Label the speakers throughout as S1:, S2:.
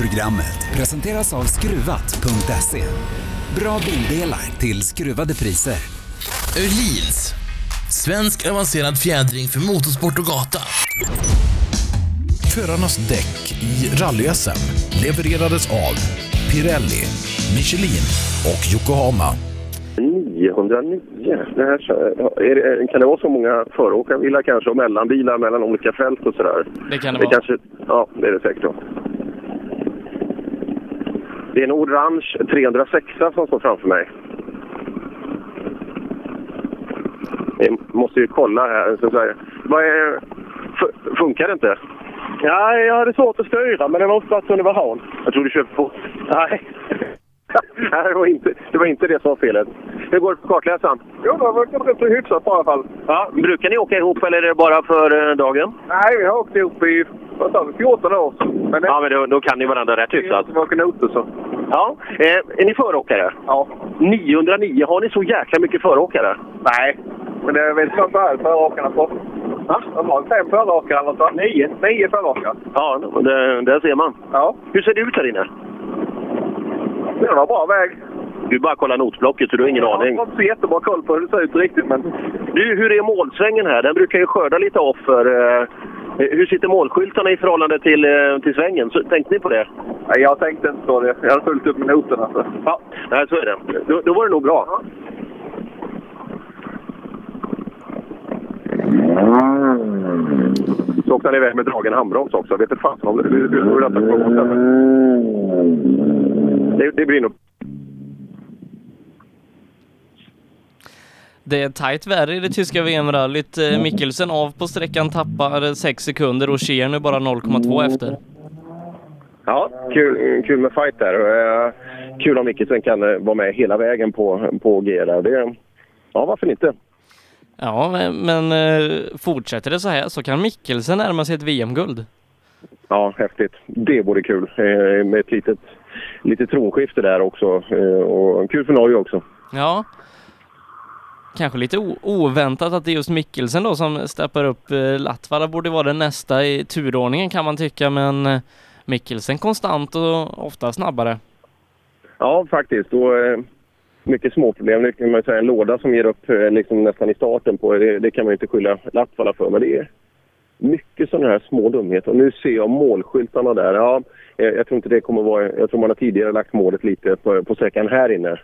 S1: Programmet presenteras av Skruvat.se. Bra bildelar till skruvade priser.
S2: Öhlins. Svensk avancerad fjädring för motorsport och gata.
S3: Förarnas däck i rally-SM levererades av Pirelli, Michelin och Yokohama.
S4: 909? Det här, är det, kan det vara så många föråkarbilar kanske och mellanbilar mellan olika fält och sådär?
S5: Det kan det
S4: Det
S5: vara.
S4: kanske, ja, det är det säkert. Då. Det är en orange 306 som står framför mig. Vi måste ju kolla här. Så så här. Vad är, fu- funkar det inte? Nej, jag hade svårt att styra, men det var oftast som det var hal. Jag tror du köpte på. Nej. Nej, det var, inte, det var inte det som var felet. Hur går det på kartläsaren? Jo, det verkar rätt så hyfsat i alla fall. Ja, brukar ni åka ihop eller är det bara för eh, dagen?
S6: Nej, vi har åkt ihop i vad sa vi, 14 år. Men det
S4: Ja, alltså. men då, då kan ni varandra rätt hyfsat.
S6: var knoter så.
S4: Ja. Eh, är ni föråkare?
S6: Ja.
S4: 909, har ni så jäkla mycket föråkare?
S6: Nej, men det vet jag inte alls föråkarna på. Va? De har fem föråkare eller så. Nio. Nio föråkare.
S4: Ja, det, där ser man.
S6: Ja.
S4: Hur ser det ut här inne?
S6: Det var bra väg.
S4: Du bara kollar notblocket, så du har ingen
S6: Jag
S4: aning.
S6: har inte så jättebra koll på hur det ser ut riktigt, men...
S4: Du, hur är målsvängen här? Den brukar ju skörda lite offer. Eh, hur sitter målskyltarna i förhållande till, eh, till svängen? Så, tänkte ni på det?
S6: Nej, jag tänkte inte på det. Jag hade fullt upp med noterna. Så.
S4: Ja, nej, så är det. Då, då var det nog bra. Så åkte han iväg med dragen handbroms också. Vet inte fasen om det- hur hur detta kommer att stämma. det, det blir nog...
S5: Det är tajt värre i det tyska VM-rallyt. Eh, Mikkelsen av på sträckan tappar 6 sekunder och Scheer nu bara 0,2 efter.
S4: Ja, kul, kul med fight där. Eh, Kul om Mickelsen kan eh, vara med hela vägen på, på G där. Det, ja, varför inte?
S5: Ja, men- men eh, fortsätter det så här så kan Mikkelsen närma sig ett VM-guld.
S4: Ja, häftigt. Det vore kul eh, med ett litet, litet tronskifte där också. Eh, Och kul för Norge också.
S5: Ja. Kanske lite o- oväntat att det är just Mikkelsen då som steppar upp. Eh, Latvala borde vara den nästa i turordningen kan man tycka, men eh, Mikkelsen konstant och ofta snabbare.
S4: Ja, faktiskt. Och, eh, mycket småproblem. Det kan man ju säga. En låda som ger upp eh, liksom nästan i starten, på, det, det kan man ju inte skylla Latvala för. Men det är mycket sådana här små dumheter. Och nu ser jag målskyltarna där. Ja, eh, jag tror inte det kommer vara... Jag tror man har tidigare lagt målet lite på, på sträckan här inne.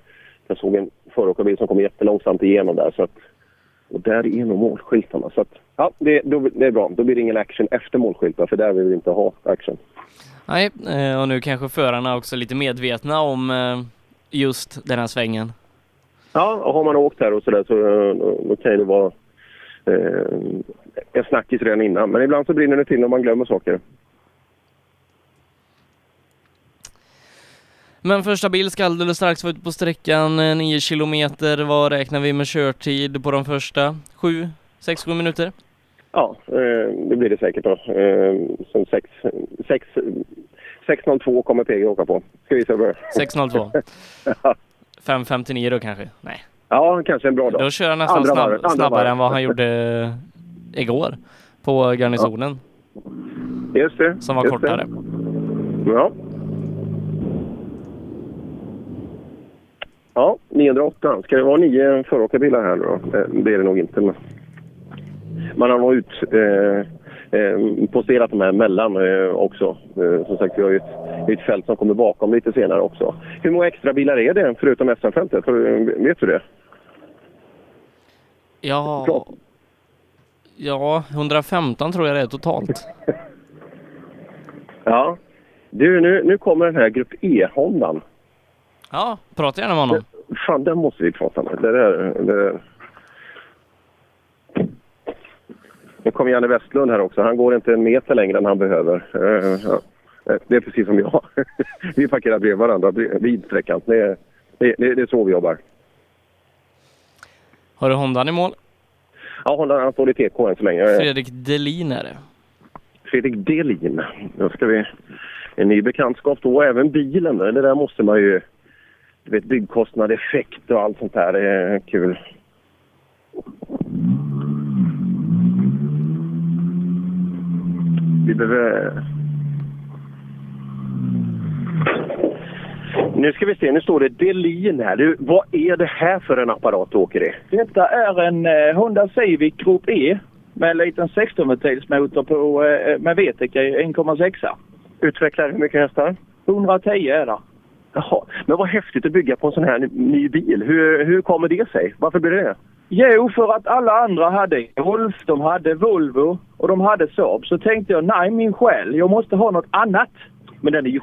S4: Jag såg en föråkarbil som kom jättelångsamt igenom där. Så att, och där är nog målskyltarna. Så att, ja, det, då, det är bra. Då blir det ingen action efter målskyltar, för där vill vi inte ha action.
S5: Nej, eh, och nu kanske förarna också är lite medvetna om eh, just den här svängen.
S4: Ja, och har man åkt här och sådär så eh, då- då kan ju det vara eh, en snackis redan innan. Men ibland så brinner det till när man glömmer saker.
S5: Men första bil ska alldeles strax vara ute på sträckan, eh, 9 kilometer. Vad räknar vi med körtid på de första? 7? 6-7 minuter?
S4: Ja, eh, det blir det säkert då. Eh, som sex, sex, 6.02 kommer PG åka på. Ska vi se börja.
S5: 6.02. 5.59 då kanske? Nej.
S4: Ja, kanske en bra dag.
S5: Då kör han nästan
S4: Andra
S5: snabb,
S4: varvet, andra
S5: snabbare
S4: varvet.
S5: än vad han gjorde igår på garnisonen
S4: Just det.
S5: som var
S4: just det.
S5: kortare.
S4: Ja. Ja, 908. Ska det vara nio föråkarbilar här nu då? Eh, Det är det nog inte. Men man har nog ut, eh, eh, posterat de här mellan eh, också. Eh, som sagt, vi har ju ett, ett fält som kommer bakom lite senare också. Hur många extra bilar är det förutom SM-fältet? Har du- Vet du det?
S5: Ja, ja, 115 tror jag det är totalt.
S4: Ja. Du, nu, nu kommer den här Grupp E-Hondan.
S5: Ja, prata gärna med honom.
S4: Fan, den måste vi prata med. Det där, det där. Nu kommer Janne Westlund här också. Han går inte en meter längre än han behöver. Eh, ja. Eh, Det är precis som jag. Vi parkerar bredvid varandra bre- vid sträckan. Det, är- det, det, det är så vi jobbar.
S5: Har du Hondan i mål?
S4: Ja, Honda, han står i TK än så länge. Eh,
S5: Fredrik Delin är det.
S4: Fredrik Delin. Då ska vi... En ny bekantskap då. Även bilen. Det där måste man ju... Du vet, byggkostnad, effekt och allt sånt där. Det är kul. Vi behöver... Nu ska vi se, nu står det Delin här. Du, vad är det här för en apparat du åker i?
S7: Detta är en eh, Honda Civic Group E med en liten 16-ventilsmotor på, eh, med VTEC i 1,6.
S4: Utvecklar hur mycket hästar?
S7: 110 är det.
S4: Jaha, men vad häftigt att bygga på en sån här ny- ny bil. Hur, hur kommer det sig? Varför blir det det?
S7: Jo, för att alla andra hade Golf, de hade Volvo och de hade Saab. Så tänkte jag, nej min själ, jag måste ha något annat.
S4: Men den är ju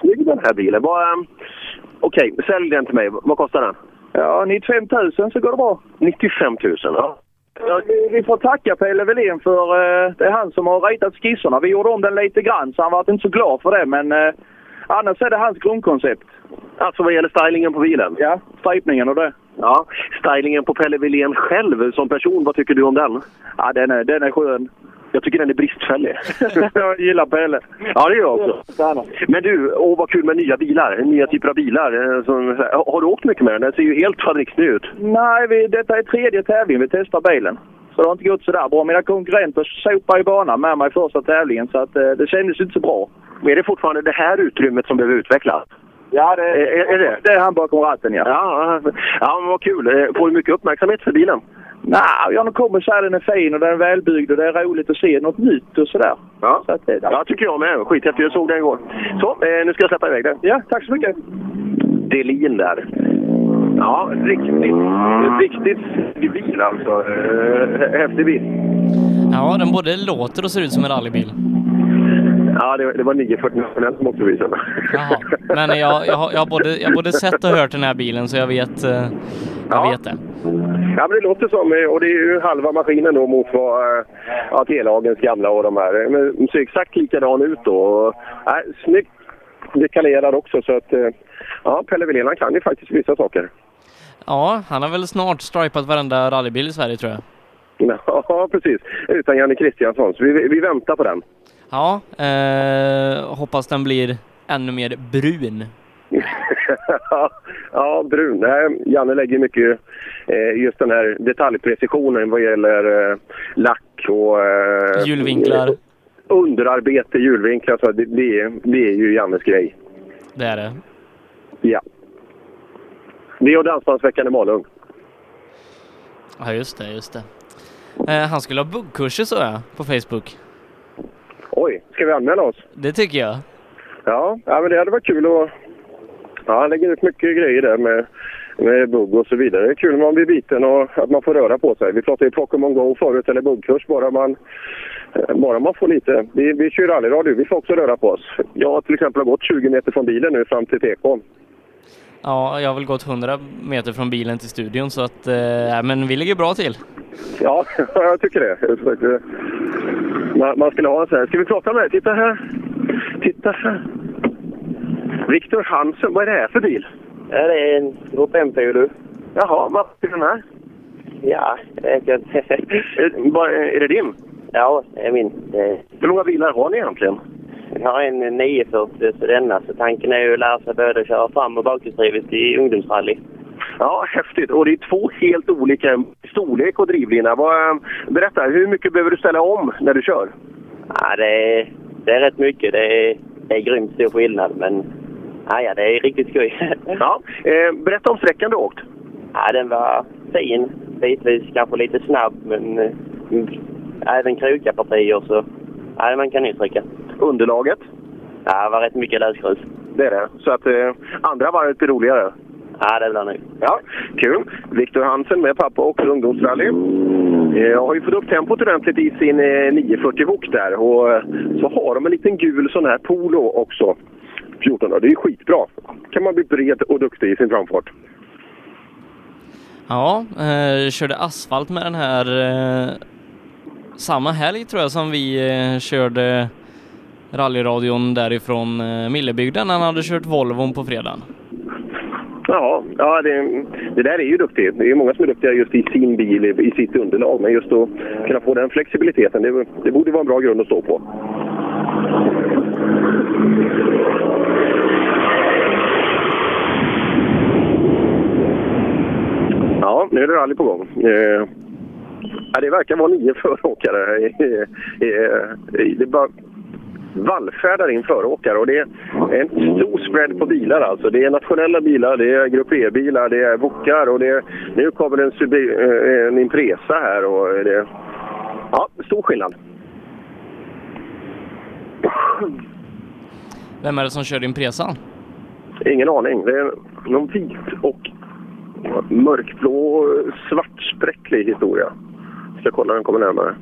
S4: snygg den här bilen. Vad,
S7: um,
S4: ehm, Okej, sälj den till mig. Vad kostar den?
S7: Ja, 95 000 så går det bra.
S4: 95 000. Ja.
S7: Ja, vi- Vi får tacka Pelle Welin för eh, det är han som har ritat skisserna. Vi gjorde om den lite grann så han var inte så glad för det men eh, annars är det hans grundkoncept.
S4: Alltså vad gäller stylingen på bilen?
S7: Ja, stripningen och det.
S4: Ja. Stylingen på Pelle Wilén själv som person, vad tycker du om den?
S7: Ja, den är, den är skön.
S4: Jag tycker den är bristfällig.
S7: jag gillar Pelle.
S4: ja, det gör jag också. Men du, åh vad kul med nya bilar. Nya typer av bilar. eh, Som, har du åkt mycket med den? Den ser ju helt fabriksny ut.
S7: Nej, vi, detta är tredje tävlingen vi testar bilen. Så det har inte gått sådär bra. Mina konkurrenter sopade i banan med mig i första tävlingen så att, eh, det kändes inte så bra.
S4: Men är det fortfarande det här utrymmet som behöver utvecklas?
S7: Ja, det
S4: Är, är, är det?
S7: Det är han bakom ratten ja.
S4: Ja, ja, men vad kul. Eh, Får du mycket uppmärksamhet för bilen?
S7: Nej, jag kommer säga den är fin och den är välbyggd och det är roligt att se något nytt och sådär.
S4: Ja,
S7: Så att det-
S4: ja tycker jag med. Skithäftig. Jag såg den igår. Så, eh, nu ska jag släppa iväg den.
S7: Ja, tack så mycket.
S4: Delin där. Ja, riktigt, riktigt snygg bil alltså. Eh, Häftig bil.
S5: Ja, den både låter och ser ut som en rallybil.
S4: Ja, det, det var 949 som åkte förbi sen.
S5: Jaha. Men jag, jag, har- jag, har både, jag har både sett och hört den här bilen så jag vet, eh, jag
S4: Ja.
S5: vet det.
S4: Ja, men det låter som, eh, och det är ju halva maskinen då mot vad eh, ja, telelagens gamla och de här. Eh, Men de ser exakt likadan ut då. Och, nej, snyggt dekalerad också så att eh, ja, Pelle Wilén han kan ju faktiskt vissa saker.
S5: Ja, han har väl snart stripat varenda rallybil i Sverige tror jag.
S4: Ja, precis. Utan Janne Kristiansson. Så vi, vi väntar på den.
S5: Ja, eh, hoppas den blir ännu mer brun.
S4: ja, brun. Nej, Janne lägger mycket eh, just den här detaljprecisionen vad gäller eh, lack och... Eh,
S5: Hjulvinklar,
S4: Underarbete, hjulvinklar. Så det, det, är- det är ju Jannes grej.
S5: det är det.
S4: Ja. Det och Dansbandsveckan i Malung.
S5: Ja, just det, just det. Eh, han skulle ha buggkurser så jag, på Facebook.
S4: Oj, ska vi anmäla oss?
S5: Det tycker jag.
S4: Ja, ja men det hade varit kul att... Ja, han lägger ut mycket grejer där med, med bugg och så vidare. Det är kul om man blir biten och att man får röra på sig. Vi pratade ju Pokémon Go förut, eller buggkurs, bara man, eh, bara man får lite. Vi, vi kör rallyradio, vi får också röra på oss. Jag har till exempel gått 20 meter från bilen nu fram till tekon.
S5: Ja, jag har väl gått 100 meter från bilen till studion så att, eh, ja, men vi ligger bra till.
S4: Ja, jag tycker det. Jag försöker- Man, man skulle ha en sån här. Ska vi prata med dig? Titta här. Titta här. Viktor Hansen, vad är det här för bil?
S6: Det är en Group M-bil du.
S4: Jaha, vad är den här?
S6: Ja, enkelt.
S4: Är, vad- Eh, är det din?
S6: ja, det är min. Eh,
S4: Hur många bilar har ni egentligen?
S6: Jag har en 940 så denna, så tanken är ju att lära sig både köra fram och bakhjulsdrivet i ungdomsrally.
S4: Ja, häftigt. Och det är två helt olika storlek och drivlina. Vad, eh, berätta, hur mycket behöver du ställa om när du kör?
S6: Ja, det, är, det är rätt mycket. Det är, det är grymt stor skillnad, men ja, ja, det är riktigt skoj.
S8: Mm.
S4: Ja. Eh, berätta om sträckan du har åkt.
S6: ja, den var fin, bitvis kanske lite snabb, men eh, ja, den krokade partier så ja, man kan uttrycka.
S4: Underlaget,
S6: Ja, det var rätt mycket lösgrus.
S4: det är det. Så att eh, andra varvet blir roligare.
S6: Ja, det blir nog.
S4: Ja, kul. Viktor Hansen med pappa och ungdomsrally. Eh, Jag har ju fått upp tempot ordentligt i sin eh, 940 Hook där. Och eh, så har de en liten gul sån här Polo också. 14 det är ju skitbra. kan man bli bred och duktig i sin framfart.
S5: Ja, eh, körde asfalt med den här eh, samma helg tror jag som vi eh, körde rallyradion därifrån eh, Millebygden. Han hade kört Volvon på fredagen.
S4: Ja, ja det, det där är ju duktigt. Det är ju många som är duktiga just i sin bil, i- i sitt underlag. Men just att kunna få den flexibiliteten, det, det borde vara en bra grund att stå på. Ja, nu är det rally på gång. Eh, ja, det verkar vara nio föråkare. här. Eh, eh, det är bara vallfärdar in föråkare. Och det är en stor spread på bilar alltså. Det är nationella bilar, det är Grupp E-bilar, det är Vokar och det är, nu kommer det en, Subi- eh, en Impresa här. Och det, ja, stor skillnad.
S5: Vem är det som kör Impresan?
S4: Ingen aning. Det är någon vit och mörkblå svartspräcklig historia. Ska kolla när den kommer närmare.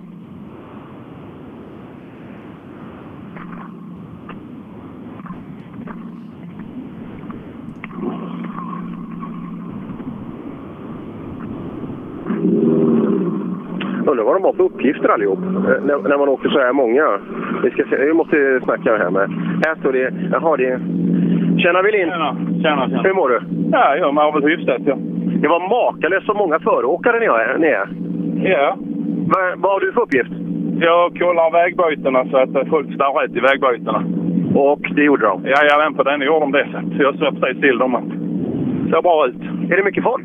S4: Undrar vad de har för uppgifter allihop, eh, när, när man åker så här många. Vi ska se, vi måste snacka här med. Här står det, jaha det är... Tjena Wilin!
S9: Tjena, tjena, tjena.
S4: Hur mår du?
S9: Ja, jag mår väl hyfsat, ja.
S4: Det var makalöst så många föråkare ni är. Ni är.
S9: Ja,
S4: Va, vad har du för uppgift?
S9: jag kollar vägbytena så att eh, folk står rätt i vägbytena.
S4: Och det gjorde de.
S9: Jajamän, på den gjorde de det. Så att jag ser precis till dem att ser bra ut.
S4: Är det mycket folk?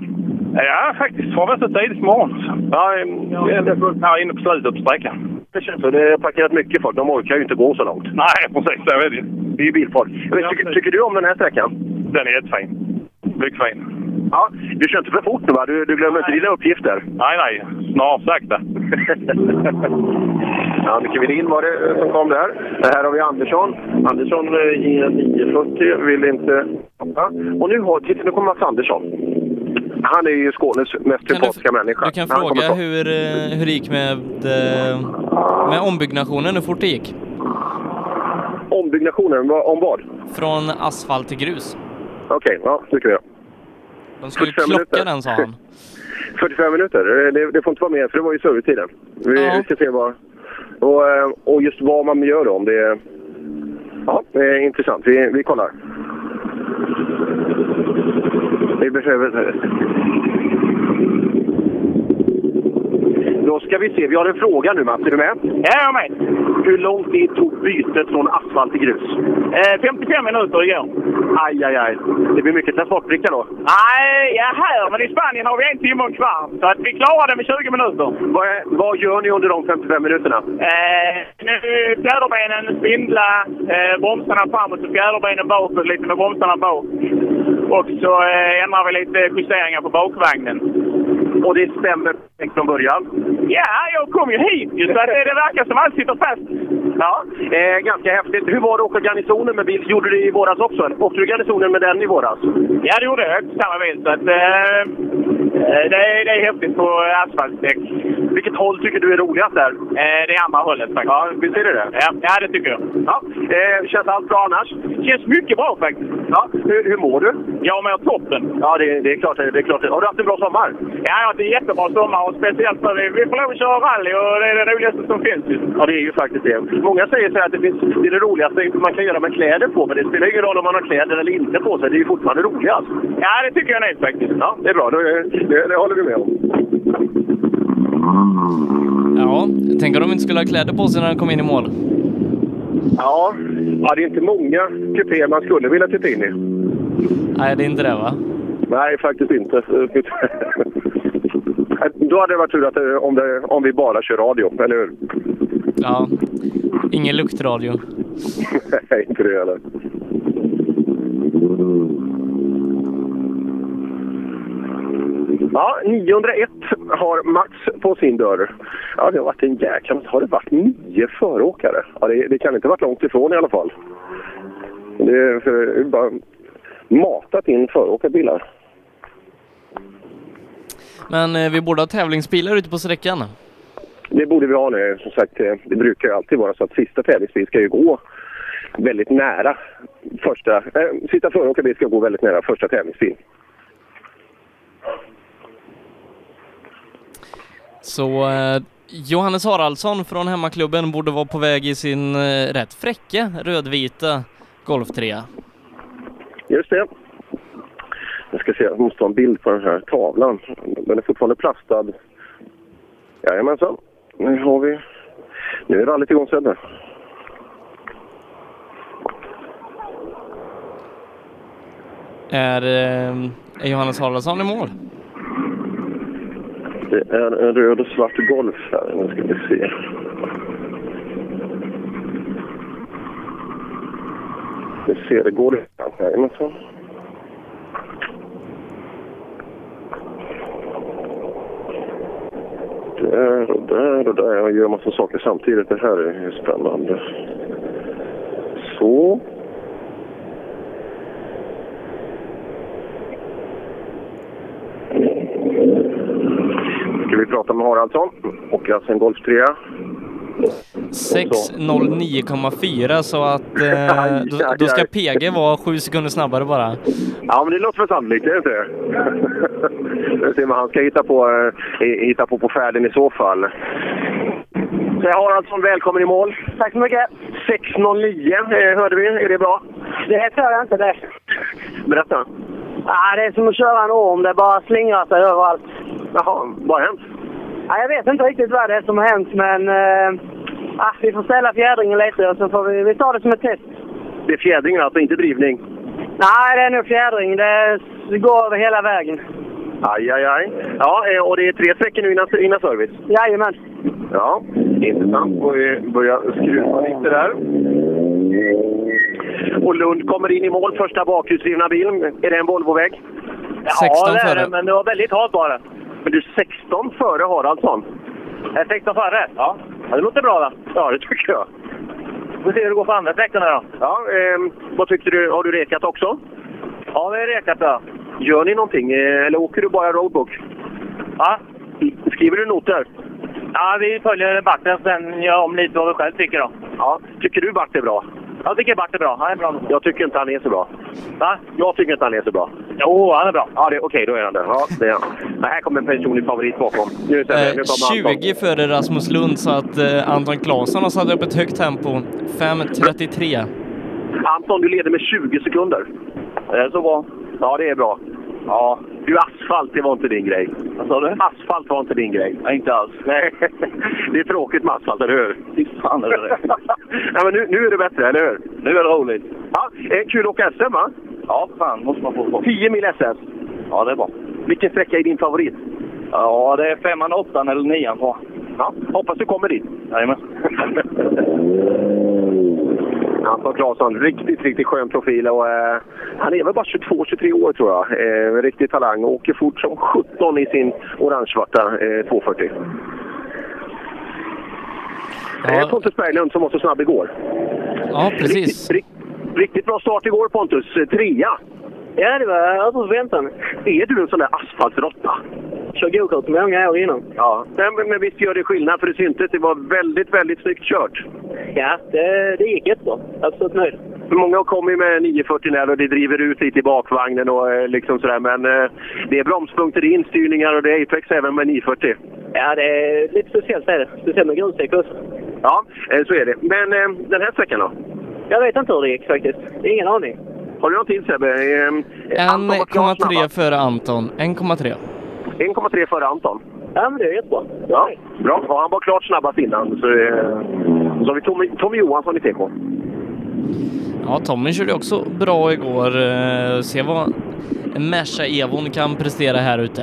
S9: Ja, faktiskt. Från så tidigt på morgonen. så.
S4: Ja, em,
S9: Det är
S4: det-
S9: fullt här inne på slutet på sträckan.
S4: det känns så. Det är parkerat mycket folk. De orkar ju inte gå så långt.
S9: Nej, precis. Så är det ju.
S4: Det är ju bilfolk. Men
S9: Ja,
S4: tycker,
S9: precis.
S4: tycker du om den här sträckan?
S9: Den är jättefin. Lyckfin.
S4: Ja, du kör inte för fort nu va? Du, du glömmer inte dina uppgifter.
S9: Nej, nej. Snart sakta.
S4: Annika Widin var det eh, som kom där. Eh, Här har vi Andersson. Andersson eh, i en 940 vill inte... Ja. Och nu, har, titta, nu kommer Mats Andersson. Han är ju Skånes mest
S5: Kan du,
S4: sympatiska människa.
S5: du kan
S4: Han kommer
S5: fråga
S4: från-
S5: hur, eh, hur det gick med, eh, med ombyggnationen, hur fort det gick.
S4: Ombyggnationen, va- om vad?
S5: Från asfalt till grus.
S4: Okej, ja, tycker jag.
S5: De skulle
S4: 45
S5: klocka
S4: minuter.
S5: den sa han.
S4: 45 minuter, eh, det, det får inte vara mer för det var ju servicetiden. Vi,
S5: Ja.
S4: vi ska se vad... Och, eh, och just vad man gör då, om det är... Ja, det är intressant. Vi, vi kollar. Vi behöver... Då ska vi se. Vi har en fråga nu, Mats. Är du med?
S9: Ja, jag med.
S4: Hur långt det tog bytet från asfalt till grus?
S9: 55 minuter igår.
S4: Aj, aj, aj. Det blir mycket transportbricka då.
S9: Nej, ja här. Men i Spanien har vi en timme och en kvart. Så att vi klarade det med 20 minuter.
S4: Vad, är, vad gör ni under de 55 minuterna?
S9: Eh, nu fjäderbenen spindla, eh, bromsarna framåt och fjäderbenen bakåt lite med bromsarna bak. Och så eh, ändrar vi lite justeringar på bakvagnen.
S4: Och det stämmer perfekt från början.
S9: Ja, jag kom ju hit ju så att det, det verkar som allt sitter fast.
S4: Ja, eh, ganska häftigt. Hur var det att åka garnisonen med bil? Gjorde du det i våras också? eller? Åkte du garnisonen med den i våras?
S9: Ja, det gjorde jag. Samma bil. Så att, eh, eh, det, är- det är häftigt på asfaltdäck.
S4: Vilket håll tycker du är roligast där?
S9: Eh, det är andra hållet faktiskt.
S4: Ja, visst är det det?
S9: Ja, ja, det tycker jag.
S4: Ja. Eh, känns allt bra annars?
S9: Känns mycket bra faktiskt.
S4: Ja. Hur, hur mår du?
S9: Jag mår toppen.
S4: Ja, det, det är klart. Det det är klart. Har du haft en bra sommar?
S9: Ja, jag har haft en jättebra sommar och speciellt för vi, vi får lov att köra rally och det är det roligaste som finns ju.
S4: Ja, det är ju faktiskt det. Många säger så här att det, finns, det är det roligaste man kan göra med kläder på, men det spelar ingen roll om man har kläder eller inte på sig. Det är ju fortfarande roligast.
S9: Ja, det tycker jag nog faktiskt.
S4: Ja, det är bra. Det, det, det håller du med om.
S5: Ja, tänk om de inte skulle ha kläder på sig när de kom in i mål.
S4: Ja. ja, det är inte många kupéer man skulle vilja titta in i.
S5: Nej, det är inte det va?
S4: Nej, faktiskt inte. Då hade det varit tur att, eh, om, det, om vi bara kör radio, eller hur?
S5: Ja. Ingen luktradio.
S4: Nej, inte det heller. Ja, 901 har Max på sin dörr. Ja, det har varit en jäkla... Har det varit nio föråkare? Ja, det, det kan inte ha varit långt ifrån i alla fall. Det är för, det är bara matat in föråkarbilar.
S5: Men eh, vi borde ha tävlingsbilar ute på sträckan.
S4: Det borde vi ha nu. Som sagt, eh, det brukar ju alltid vara så att sista tävlingsbil ska ju gå väldigt nära första... Äh, sista föråkarbil ska gå väldigt nära första tävlingsbil.
S5: Så eh, Johannes Haraldsson från hemmaklubben borde vara på väg i sin eh, rätt fräcka rödvita Golf 3.
S4: Just det. Jag ska se, jag måste ha en bild på den här tavlan. Den är fortfarande plastad. Jajamensan. Nu har vi... Nu är rallyt igång Sebbe.
S5: Är, eh, är Johannes Haraldsson i mål?
S4: Det är en röd och svart golf här. Nu ska vi se. Vi ska se, det går det kanske? Jajamensan. Där och där och där. Jag gör massa saker samtidigt. Det här är ju spännande. Så. Ska vi prata med Haraldsson? Och alltså en Golf 3.
S5: 6.09,4 så att eh, då, då ska PG vara sju sekunder snabbare bara.
S4: Ja, men det låter väl sannolikt, är det inte det? Vi ser vad han ska hitta på, eh, i- hitta på på färden i så fall. Så jag har alltså en välkommen i mål. Tack så mycket. 6.09 eh, hörde vi. Är det bra?
S10: Det tror jag inte det.
S4: Berätta.
S10: Ah, det är som att köra en orm. Det bara slingrar sig överallt.
S4: Jaha, vad har hänt?
S10: Ah, jag vet inte riktigt vad det är som har hänt, men eh, ah, vi får ställa fjädringen lite och så får vi, vi tar det som ett test.
S4: Det är fjädringen alltså, inte drivning?
S10: Nej, det är nog fjädring. Det s- går över hela vägen.
S4: Aj, aj, aj. Ja, eh, och det är tre sträckor nu innan, innan service.
S10: Jajamän.
S4: Ja, intressant. Och vi börjar skruva lite där. Och Lund kommer in i mål, första bakhjulsdrivna bilen. Är det en Volvoväg?
S5: 16 före.
S4: men det var väldigt halt bara. Men du, 16 före Haraldsson? 16 före? Ja. ja. Det låter bra då. Ja, det tycker jag. Vi får se hur det går på andra sträckorna då. Ja, ehm, vad tyckte du? Har du rekat också? Ja, vi har rekat då. Gör ni någonting eh, eller åker du bara roadbook? Ja. Skriver du noter? Ja, vi följer Barten sen gör om lite vad vi själv tycker då. Ja, tycker du Bart är bra? Jag tycker Bart är bra. Han är bra. Jag tycker inte han är så bra. Va? Jag tycker inte han är så bra. Jo, han är bra. Ja, det- Okej, då är han det. Ja, det är han. Men här kommer en personlig favorit bakom. Nu, ser vi. nu kommer
S5: Eh,
S4: Anton.
S5: 20 före Rasmus Lund så att eh, Anton Claesson har satt upp ett högt tempo. 5.33.
S4: Anton, du leder med 20 sekunder. Är det så bra? Ja, det är bra. Ja. Du, asfalt, det var inte din grej. Vad sa du? Asfalt var inte din grej. Nej, inte alls. Nej. Det är tråkigt med asfalt, eller hur? Fy fan är det det. Nej, men nu, nu är det bättre, eller hur? Nu är det roligt. Ja, eh, kul att åka SM, va? Ja, fan. Måste man få. 10 mil SS. Ja, det är bra. Vilken sträcka är din favorit? Ja, det är femman, åttan eller nian på. Ja, hoppas du kommer dit. Jajamän. Anton Claesson, riktigt, riktigt skön profil. Och, eh, han är väl bara 22-23 år tror jag. Eh, riktig talang och åker fort som 17 i sin orangevarta eh, 240. Det är
S5: Ja,
S4: Pontus Berglund som var så snabb igår.
S5: ja precis.
S4: Riktigt, rikt- riktigt bra start igår Pontus, Eh, trea.
S10: Ja, det var över förväntan.
S4: Är du en sån där asfaltsrotta?
S10: Kör gokart många år innan.
S4: Ja. Men, men visst gör det skillnad för det syntes. Det var väldigt, väldigt snyggt kört.
S10: Ja, det, det gick jättebra. Absolut nöjd.
S4: Många kommer ju med 940 när och det driver ut lite i bakvagnen och eh, liksom sådär. Men eh, det är bromspunkter, det är instyrningar och det är apex även med 940.
S10: Ja, det är lite speciellt är det. Speciellt med grusdäck också.
S4: Ja, eh, så är det. Men eh, den här sträckan då?
S10: Jag vet inte hur det gick faktiskt. Ingen aning.
S4: Har du någon tid Sebbe? Eh, Anton var klart
S5: 1,3
S4: snabbast.
S5: före Anton. 1,3.
S4: 1,3 före Anton.
S10: Ja, men det är jättebra.
S4: Ja, bra. Ja, han var klart snabbast innan. Så, eh, så har vi Tommy, Tommy Johansson i TK.
S5: Ja, Tommy körde också bra igår. Eh, Se vad Merca Evon kan prestera här ute.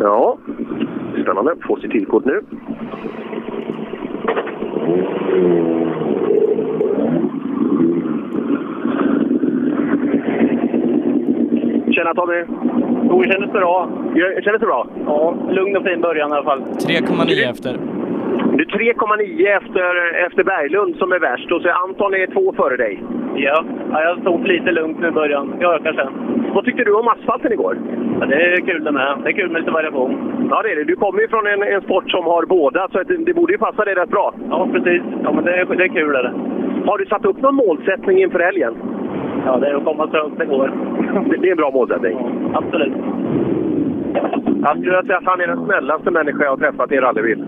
S4: Ja, spännande. Får sitt tillkort nu. Tjena Tommy! Jo, det kändes bra. Kändes det bra? Ja, lugn och fin början i alla fall.
S5: 3,9 efter.
S4: Du är 3,9 efter, efter Berglund som är värst och så Anton är två före dig.
S10: Ja, ja jag stod lite lugnt nu i början. Jag ökar sen.
S4: Vad tyckte du om asfalten igår?
S10: Ja, det är kul det med. Det är kul med lite variation.
S4: Ja, det är det. Du kommer ju från en, en sport som har båda, så att det, det borde ju passa dig rätt bra.
S10: Ja, precis. Ja, men det är, det är kul är det.
S4: Har du satt upp någon målsättning inför helgen?
S10: Ja, det är att komma så långt det går.
S4: Det, det är en bra målsättning.
S10: Absolut.
S4: Jag skulle vilja säga att han är den snällaste människa jag har träffat i en rallybil.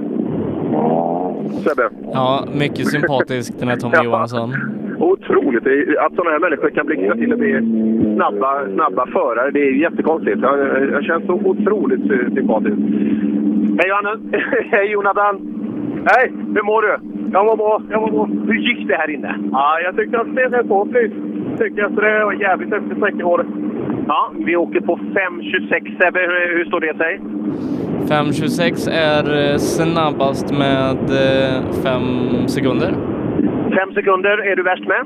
S4: Sebbe?
S5: Ja, mycket sympatisk den här Tommy
S4: Ja.
S5: Johansson.
S4: Otroligt! Det är- Att sådana här människor kan blixtra till och bli snabba, snabba förare, det är ju jättekonstigt. Jag, jag- jag känns så otroligt sy- sympatisk. Hej Johannes! Hej Jonathan! Hej! Hur mår du? Jag mår bra. Jag mår bra. Hur gick det här inne? Ja, jag tyckte att det blev på flyt. Tycker jag, så det var jävligt häftigt sträckor. Ja, vi åker på 5.26 Sebbe. Hur, hur står det sig?
S5: 5.26 är eh, snabbast med 5 sekunder.
S9: Fem sekunder är du värst med.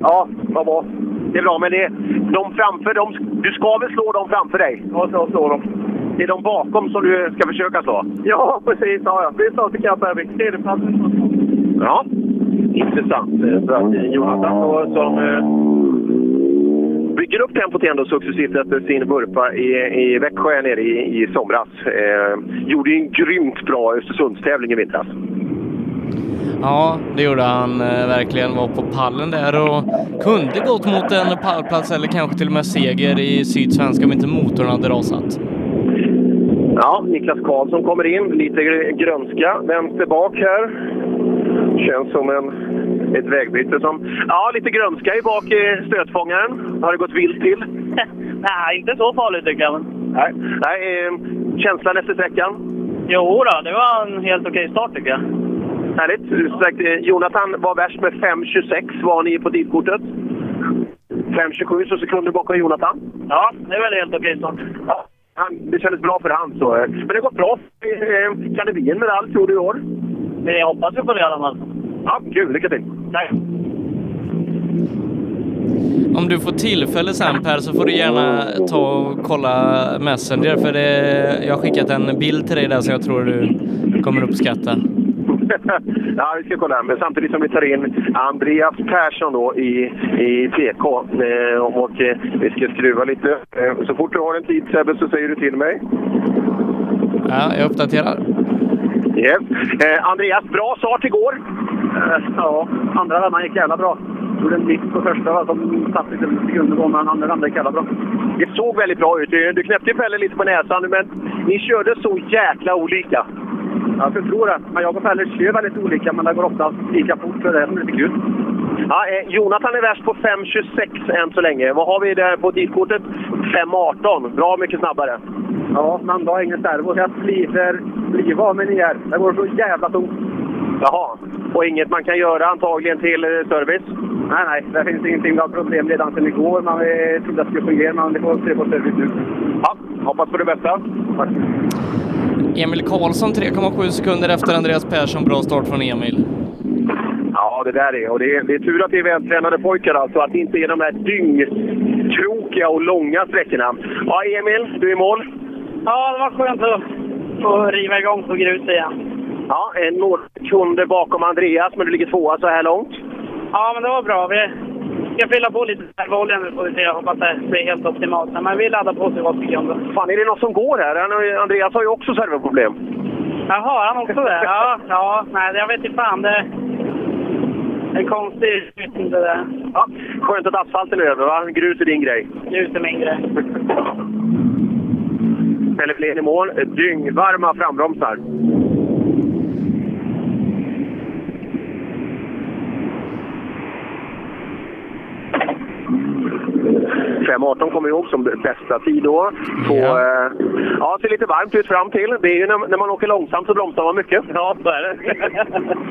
S9: Ja, vad bra. Det är bra, men det är de framför dem. Du ska väl slå dem framför dig? Ja, så slår dem. Det är de bakom som du ska försöka slå? Ja, precis. Ja, ja. Vi är snart ikapp här. Det är Ja, intressant. eh, För att eh, Jonathan då, som eh, bygger upp tempot ändå successivt efter sin vurpa i, i Växjö här nere i, i somras. Eh, gjorde ju en grymt bra Östersundstävling i vintras.
S5: Ja, det gjorde han eh, verkligen. Var på pallen där och kunde gått mot en pallplats eller kanske till och med seger i Sydsvenska om inte motorn hade rasat.
S9: Ja, Niklas Karlsson kommer in. Lite gr- grönska vänster bak här. Känns som en, ett vägbyte som... Ja, lite grönska i bak i stötfångaren. Har det gått vilt till?
S6: Nej, inte så farligt tycker jag.
S9: Nej. Nej eh, känslan efter sträckan?
S6: Jo då, det var en helt okej start tycker jag.
S9: Härligt. Sagt, eh, Jonathan var värst med 5.26. Var ni på tidkortet? 5.27, så sekunder bakom Jonathan.
S6: Ja, det är väl helt okej start.
S9: Ja, han, det kändes bra för han. Så. eh, Men det har gått bra. Eh, Kan det bli en medalj, tror du, i år?
S6: Men jag hoppas vi på det i alla fall.
S9: Ja, kul. Lycka till!
S6: Tack.
S5: Om du får tillfälle sen Per så får du gärna ta och kolla Messenger för det, jag har skickat en bild till dig där som jag tror du kommer uppskatta.
S9: ja, vi ska kolla. Men samtidigt som vi tar in Andreas Persson då i, i PK. Eh, och eh, vi ska skruva lite. Eh, så fort du har en tid Sebbe så säger du till mig.
S5: Ja, jag uppdaterar.
S9: Yes. Eh, Andreas, bra start igår. Eh, ja, andra vändan gick jävla bra. Gjorde en miss på första som satt lite sekunder på, men andra vändan gick jävla bra. Det såg väldigt bra ut. Du knäppte ju Pelle lite på näsan, men ni körde så jäkla olika. Ja, jag tror det. Men jag och Pelle kör väldigt olika, men det går ofta lika fort, så det är lite kul. Ja, eh, Jonathan är värst på 5.26 än så länge. Vad har vi där på tidkortet? 5.18. Bra mycket snabbare. Ja, men då har ingen servo, så jag sliver, sliva av mig ner. Det går så jävla tungt. Jaha, och inget man kan göra antagligen till eh, service? Nej, nej. Det finns ingenting. Vi har problem redan sedan igår. Man trodde att det skulle fungera, men det får se på service nu. Ja, hoppas på det bästa. Tack.
S5: Emil Karlsson 3,7 sekunder efter Andreas Persson. Bra start från Emil.
S9: Ja, det där är. Och det, är, det är tur att det är vältränade pojkar alltså. Att det inte är de här dyngkrokiga och långa sträckorna. Ja, Emil, du är i mål.
S6: Ja, det var skönt att få riva igång på grus igen.
S9: Ja, en några sekunder bakom Andreas, men du ligger tvåa så här långt.
S6: Ja, men det var bra. Vi ska fylla på lite servoolja nu får vi se. Jag hoppas det blir helt optimalt. Men vi laddar på så gott vi kan.
S9: Fan, är det något som går här? Han- Andreas har ju också servoproblem.
S6: Jaha, han också det? Ja, ja. Nej, jag vet inte fan. Det det är konstigt. Jag vet inte det.
S9: Ja, skönt att asfalten är över, va? Grus är din grej.
S6: Ljus är min grej.
S9: Pelle Flin i mål. Dyngvarma frambromsar. .18 kommer ihåg som bästa tid då. Så,
S5: Ja.
S9: eh, ja, ser lite varmt ut fram till. Det är ju när, när man åker långsamt så bromsar man mycket. Ja, så är det.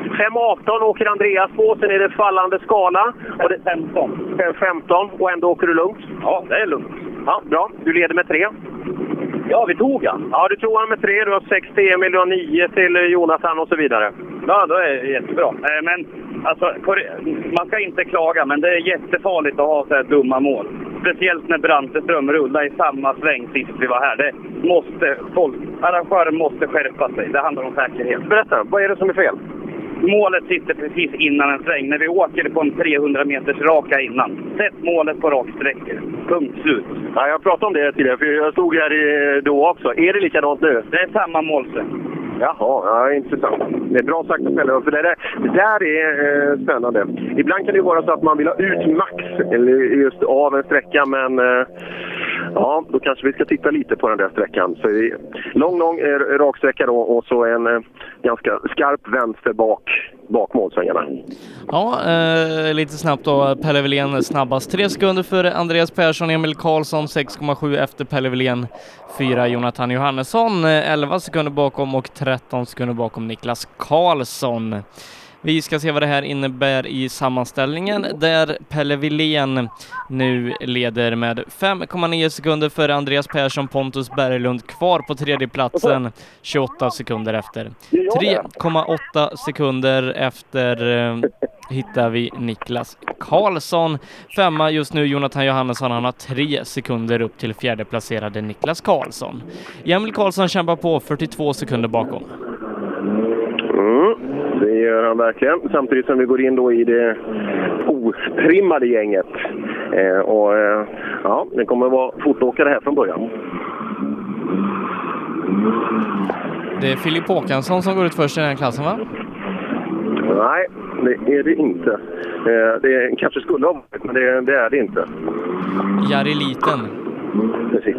S9: 5.18 åker Andreas på, sen är det fallande skala. Och det, 15. 5.15 och ändå åker du lugnt? Ja, det är lugnt. Ja, bra. Du leder med tre. Ja, vi tog han. Ja, du tog han med tre. Du har sex till Emil, du har nio till eh, Jonathan och så vidare. Ja, då är det jättebra. Men alltså, man ska inte klaga, men det är jättefarligt att ha så här dumma mål. Speciellt när Branteström rullade i samma sväng sist vi var här. Det måste, folk, arrangören måste skärpa sig. Det handlar om säkerhet. Berätta, vad är det som är fel? Målet sitter precis innan en sväng. När vi åker på en 300 meters raka innan. Sätt målet på raksträckor. Punkt slut. Ja, jag pratade om det tidigare, för jag stod här i- då också. Är det likadant nu?
S6: Det är samma målsättning.
S9: Jaha, ja, intressant. Det är bra sagt att ställa för det där, det där är eh, spännande. Ibland kan det ju vara så att man vill ha ut max eller just av en sträcka, men eh, ja, då kanske vi ska titta lite på den där sträckan. Så det är lång, lång eh, raksträcka då och så en eh, ganska skarp vänster bak, bak målsvängarna.
S5: Ja, eh, lite snabbt då. Pelle Wilén snabbast. 3 sekunder för Andreas Persson, Emil Karlsson 6,7 efter Pelle Wilén. 4 Jonathan Johannesson, eh, 11 sekunder bakom och 13 sekunder bakom Niklas Karlsson. Vi ska se vad det här innebär i sammanställningen där Pelle Wilén nu leder med 5,9 sekunder före Andreas Persson, Pontus Berglund kvar på tredjeplatsen 28 sekunder efter. 3,8 sekunder efter eh, hittar vi Niklas Karlsson. Femma just nu Jonathan Johannesson, han har tre sekunder upp till fjärdeplacerade Niklas Karlsson. Emil Karlsson kämpar på 42 sekunder bakom.
S4: Mm, det gör han verkligen. Samtidigt som vi går in då i det otrimmade gänget. Eh, och, eh, ja, det kommer att vara fortåkare här från början.
S5: Det är Filip Håkansson som går ut först i den här klassen va?
S4: Nej, det är det inte. Eh, det kanske skulle ha varit, men det, det är det inte.
S5: Jari Liten.
S4: Precis.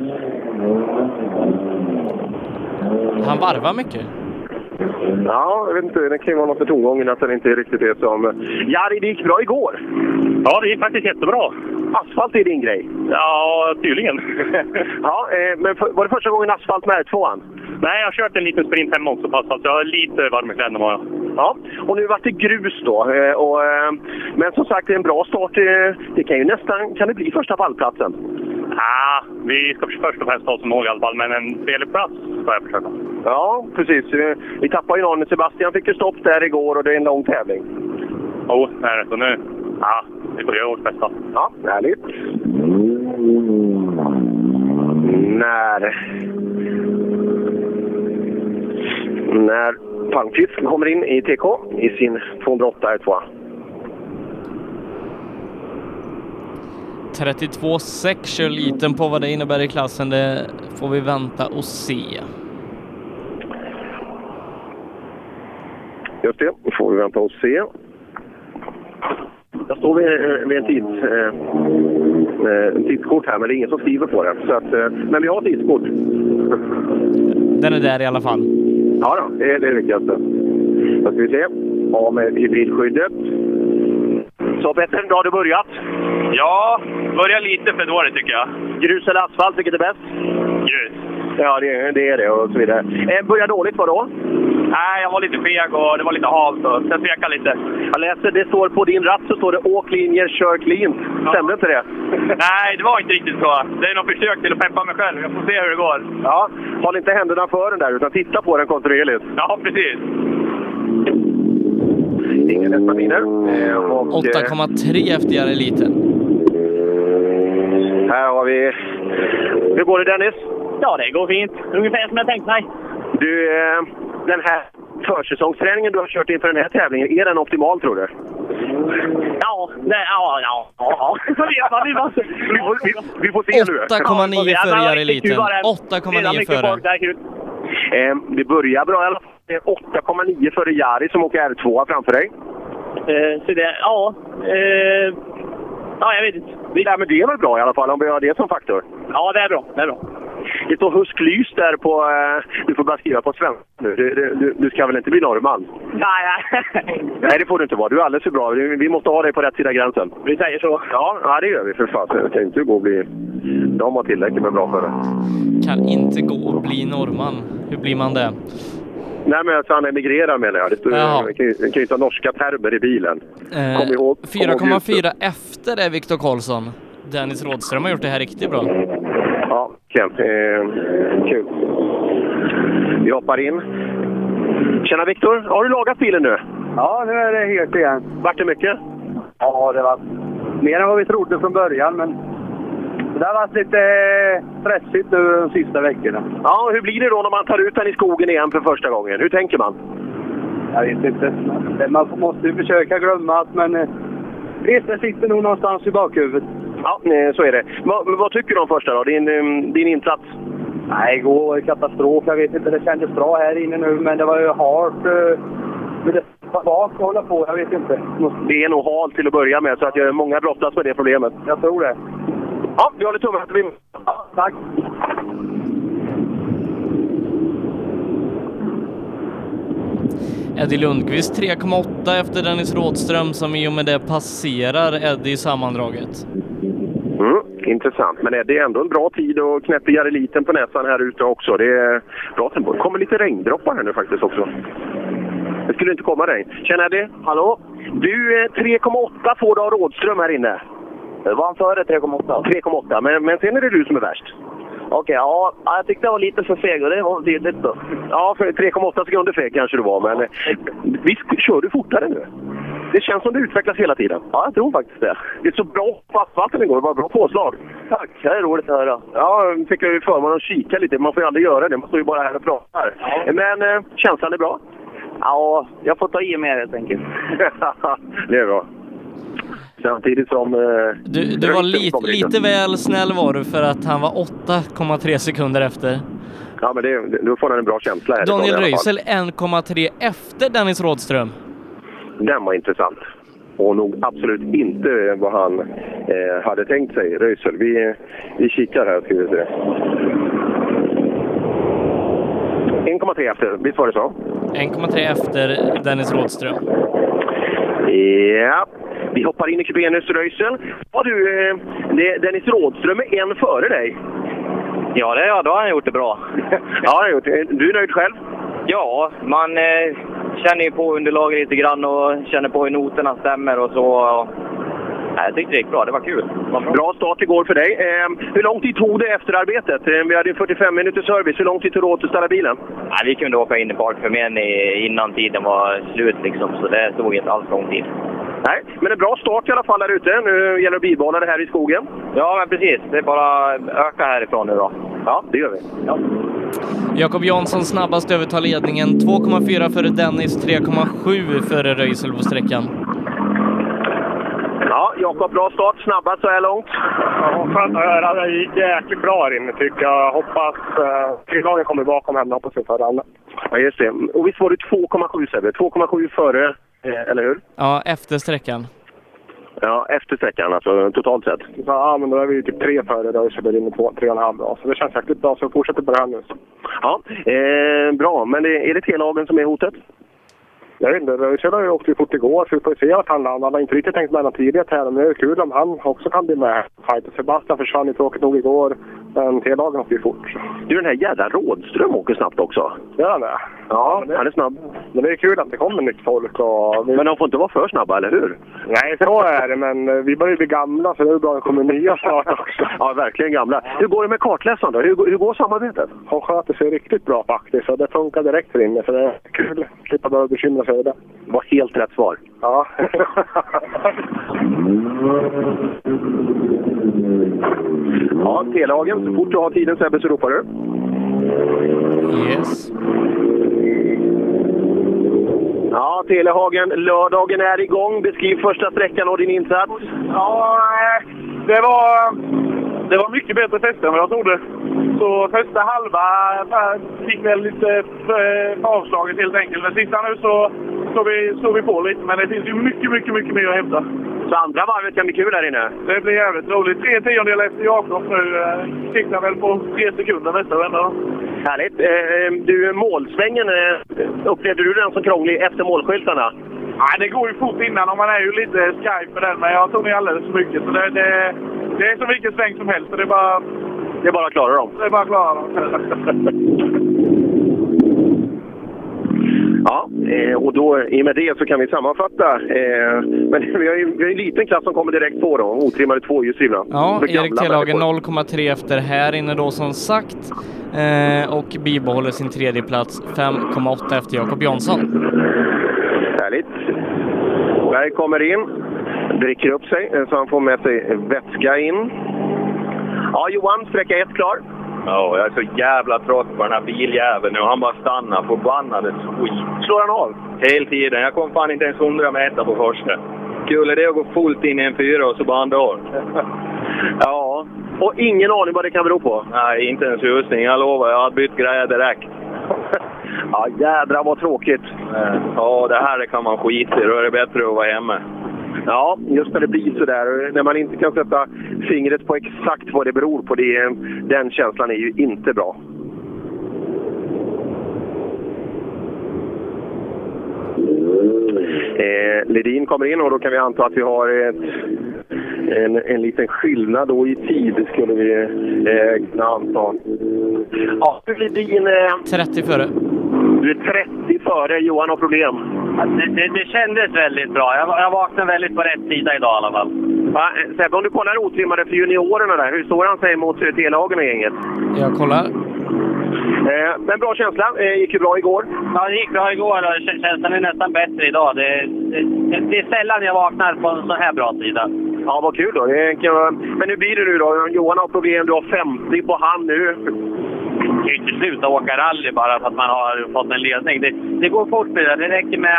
S5: Han varvar mycket.
S4: Ja, jag vet inte. Det kan ju vara något med tongången att den inte är riktigt det som... eh, Jari, det gick bra igår.
S9: Ja, det gick faktiskt jättebra.
S4: Asfalt är din grej.
S9: Ja, tydligen.
S4: ja, eh, men för, var det första gången asfalt med R2?
S9: Nej, jag har kört en liten sprint hemma också på asfalt, så jag har lite varm i kläderna har jag.
S4: Ja, och nu vart det grus då. Eh, och, eh, men som sagt, det är en bra start. Eh, Det kan ju nästan... Kan det bli första pallplatsen?
S9: Ah, vi ska först och främst ta oss ihåg i alla fall, men en trevlig plats ska jag försöka.
S4: Ja, precis. Eh, Vi tappade ju någon. Sebastian fick ju stopp där igår och det är en lång tävling.
S9: Jo, oh, nej, så nu... Ja, vi får göra vårt bästa.
S4: Ja, härligt. Mm. När... När Palmqvist kommer in i TK i sin 208 R2.
S5: 32,6 kör Liten på vad det innebär i klassen. Det får vi vänta och se.
S4: Just det, då får vi vänta och se. Jag står vid, eh, vid en tids, eh, eh, tidskort här, men det är ingen som skriver på det. Så att, eh, men vi har tidskort.
S5: Den är där i alla fall.
S4: Ja, då, det är det viktigaste. Då ska vi se. Av med hybridskyddet. Så Petter, då har du börjat.
S9: Ja, börja lite för dåligt tycker jag.
S4: Grus eller asfalt, vilket är bäst?
S9: Grus.
S4: Ja, det, det är det och så vidare. Eh, börjar dåligt, vadå?
S9: Nej, jag var lite feg och det var lite halt och sen tvekade lite.
S4: Jag läser, det står på din ratt så står det åk linjer, kör clean. Stämde inte det?
S9: Nej, det var inte riktigt så. Det är något försök till att peppa mig själv. Jag får se hur det går.
S4: Ja, håll inte händerna för den där utan titta på den kontinuerligt.
S9: Ja, precis.
S4: Ingen nästa vinner. Eh, och, eh,
S5: 8,3 efter Jari Liten.
S4: Här har vi... Hur går det Dennis?
S6: Ja, det går fint. Ungefär som jag tänkt mig.
S4: Du, eh, den här försäsongsträningen du har kört inför den här tävlingen, är den optimal tror du?
S6: Ja, nej, ja, ja, ja. Så vet man, det var så-
S4: Vi får, vi, vi får se nu.
S5: 8,9
S6: Ja,
S5: före
S6: men
S5: Jari
S6: det är kul
S5: Liten.
S6: bara det. Redan
S5: 8,9
S6: mycket folk
S5: före.
S6: där, kul.
S4: Eh, det börjar bra i alla fall. Det är 8,9 före Jari som åker R2 framför dig.
S6: Eh, Så det, ja. eh, Ja, jag vet inte.
S4: Vi lär med det är väl bra i alla fall om vi har det som faktor.
S6: Ja, det är bra. Det är bra.
S4: Det står husklys där på... Eh, du får bara skriva på svenska nu. Du, du, du- du ska väl inte bli norrman?
S6: Nej, nej.
S4: Nej, det får du inte vara. Du är alldeles för bra. Vi vi måste ha dig på rätt sida gränsen.
S6: Vi säger så.
S4: Ja, ja det gör vi för fasen. Det kan ju inte gå och bli... De har tillräckligt med bra förare.
S5: Kan inte gå att bli norrman. Hur blir man det?
S4: Nej, men alltså han emigrerar menar jag. Det står,
S5: Jaha.
S4: man kan ju man kan ju inte ha norska termer i bilen.
S5: Eh,
S4: Kom ihåg- kom ihåg
S5: 4,4 efter är Viktor Karlsson. Dennis Rådström har gjort det här riktigt bra.
S4: Ja, Ken. Eh, kul. Vi hoppar in. Tjena Viktor! Har du lagat bilen nu?
S10: Ja, nu är det helt igen.
S4: Vart det mycket?
S10: Ja, det var mer än vad vi trodde från början, men det har varit lite eh, stressigt nu de sista veckorna.
S4: Ja, hur blir det då när man tar ut den i skogen igen för första gången? Hur tänker man?
S10: Jag vet inte. Men Man måste ju försöka glömma att man... eh, Visst, det sitter nog någonstans i bakhuvudet.
S4: Ja, eh, så är det. Va, men vad tycker du om första då? Din, eh, din insats?
S10: Nej, igår var det katastrof. Jag vet inte, det kändes bra här inne nu, men det var ju hårt. eh, Men det var bak att hålla på, jag vet inte.
S4: Det är nog halt till att börja med, så att jag är många brottas med det problemet.
S10: Jag tror det.
S4: Ja, vi håller tummen att vi...
S10: Ja, tack.
S5: Eddie Lundqvist 3,8 efter Dennis Rådström som i och med det passerar Eddie i sammandraget.
S4: Mm, intressant. Men det är ändå en bra tid och knäpper Jari liten på näsan här ute också. Det är bra tempo. Det kommer lite regndroppar här nu faktiskt också. Det skulle inte komma dig. Tjena Eddie! Hallå! Du, eh, 3,8 får du av Rådström här inne. Var han före 3,8? 3,8, men, men sen är det du som är värst. Okej, ja. Jag tyckte jag var lite för feg och det var tydligt då. Ja, för 3,8 sekunder feg kanske du var, men eh, visst kör du fortare nu? Det känns som det utvecklas hela tiden. Ja, jag tror faktiskt det. Det så bra på asfalten igår. Det var bra påslag. Tack, det är roligt att höra. Ja, nu fick jag ju förmånen att kika lite. Man får ju aldrig göra det. Man står ju bara här och pratar. Men eh, känslan är bra? Ja, jag får ta i mer helt enkelt. det är bra. Samtidigt som... Eh, liksom-
S5: Du, du var lite, lite väl snäll var du för att han var 8,3 sekunder efter.
S4: Ja, men det, då får han en bra känsla här.
S5: Daniel Röisel 1,3 efter Dennis Rådström.
S4: Den var intressant. Och nog absolut inte vad han eh, hade tänkt sig, Röisel. Vi, vi kikar här ska vi se. 1,3 efter, visst var det så?
S5: 1,3 efter Dennis Rådström.
S4: Ja, vi hoppar in i Kubenius Röisel. Ja du, eh, det- Dennis Rådström är en före dig. Ja, det, ja, då har han gjort det bra. ja, han har gjort det. Du är nöjd själv?
S8: Ja, man eh, känner ju på underlaget lite grann och känner på hur noterna stämmer och så. Ja. Nej, jag tyckte det gick bra. Det var kul.
S4: Bra start igår för dig. Eh, hur lång tid tog det efter arbetet? Eh, vi hade ju 45 minuters service. Hur lång tid tog det att återställa bilen?
S8: Nej, vi kunde åka in i parkförmen i- innan tiden var slut liksom, så det tog inte alls lång tid.
S4: Nej, men en bra start i alla fall där ute. Nu gäller det att bibehålla det här i skogen.
S8: Ja, men precis. Det är bara att öka härifrån nu då.
S4: Ja, det gör vi.
S5: Jakob Jansson snabbast övertar ledningen. 2,4 före Dennis, 3,7 före Röisel på sträckan.
S4: Ja, Jakob, bra start. Snabbast så här långt.
S11: Ja, skönt att höra. Det gick jäkligt bra här inne tycker jag. Hoppas eh, Frilagen kommer bakom henne. Hoppas vi får höra annat.
S4: Ja, just det. Och visst var det 2,7 Sebbe? 2,7 före, eh, eller hur?
S5: Ja, efter sträckan.
S4: Ja, efter sträckan alltså, totalt sett.
S11: Så, ja, men då är vi ju typ tre före då och så blir det inne på tre och en halv bra. Så det känns jäkligt bra. Så vi fortsätter på det här nu.
S4: Ja, eh, bra. Men det, är det T-lagen som är hotet?
S11: Jag vet inte. Röisel har ju åkt ju fort igår så vi får ju se vart han landar. Han har inte riktigt tänkt med den tidiga tävlingen. men Det är kul om han också kan bli med. Fighter Sebastian försvann ju tråkigt nog igår. Men T-lagen åkte ju fort.
S4: Du, den här jävla Rådström åker snabbt också.
S11: Gör han det?
S4: Ja, han är snabb.
S11: Men det är kul att det kommer nytt folk. Och vi...
S4: Men de får inte vara för snabba, eller hur?
S11: Nej, så är det. Men eh, vi börjar ju bli gamla så det är bra att det kommer nya snart också.
S4: Ja, verkligen gamla. Hur går det med kartläsaren då? Hur, går- hur går samarbetet?
S11: Hon sköter sig riktigt bra faktiskt och det funkar direkt här inne så det är kul. Slippa behöva bekymra sig över det.
S4: Det var helt rätt svar.
S11: Ja.
S4: Ja, T-lagen. Så fort du har tiden Sebbe så ropar du.
S5: Yes.
S4: Ja, Telehagen. Lördagen är igång. Beskriv första sträckan och din insats.
S12: Ja, eh, det var, det var mycket bättre test än vad jag trodde. Så första halva eh, fick väl lite eh, avslaget helt enkelt. Men sista nu så står vi, står vi på lite. Men det finns ju mycket, mycket, mycket mer att hämta.
S4: Så andra varvet kan bli kul här inne.
S12: Det blir jävligt roligt. Tre tiondelar efter Jakob nu. eh, Siktar väl på tre sekunder nästa vända. då.
S4: Härligt. Eh, du, målsvängen, eh, upplevde du den som krånglig efter målskyltarna?
S12: Nej, det går ju fort innan och man är ju lite skraj för den. Men jag tog ner alldeles för mycket. Så det, det, det är som vilken sväng som helst. Så det är bara,
S4: Det är bara att klara dem.
S12: det är bara att klara dem.
S4: Ja, eh, och då, i och med det så kan vi sammanfatta. Eh, men vi har, ju, vi har ju en liten klass som kommer direkt på då. Otrimmade tvåhjulsdrivna.
S5: Ja,
S4: För gamla
S5: Erik Telhagen
S4: människor.
S5: 0,3 efter här inne då som sagt. Eh, och bibehåller sin tredje plats 5,8 efter Jakob Jansson.
S4: Härligt. Berg kommer in, dricker upp sig eh, så han får med sig vätska in. Ja, Johan, sträcka ett klar.
S9: Ja, jag är så jävla trött på den här biljäveln nu. Han bara stannar. Förbannade skit. Slår han av? Hela tiden. Jag kom fan inte ens 100 meter på första. Kul är det att gå fullt in i en fyra och så bara han drar.
S4: Ja, och ingen aning vad det kan bero på.
S9: Nej, inte ens husning. Jag lovar. Jag hade bytt grejer direkt.
S4: Ja, jädrar vad tråkigt.
S9: Ja, det här det kan man skita i. Då är det bättre att vara hemma.
S4: Ja, just när det blir sådär. När man inte kan sätta fingret på exakt vad det beror på. Det, är- den känslan är ju inte bra. Eh, Ledin kommer in och då kan vi anta att vi har ett, en, en liten skillnad då i tid, skulle vi eh, kunna anta. Ja, Ledin... Eh,
S5: 30 före.
S4: du är 30 före. Johan har problem.
S8: Det, det, det kändes väldigt bra. Jag, jag vaknade väldigt på rätt sida idag i alla fall.
S4: Va? eh, Sebbe, om du kollar otrimmade för juniorerna där, hur står han sig mot eh, T-lagen och gänget?
S5: Jag kollar.
S4: Eh, men bra känsla. Eh, gick ju bra igår.
S8: Ja, det gick bra igår och k- känslan är nästan bättre idag. Det, det, det, det är sällan jag vaknar på en så här bra sida.
S4: Ja, vad kul då. Det kan vara- Men hur blir det nu då? Johan har problem. Du har 50 på hand nu.
S8: Man kan ju inte sluta åka rally bara för att man har fått en ledning. Det, det går fort med det. där. Det räcker med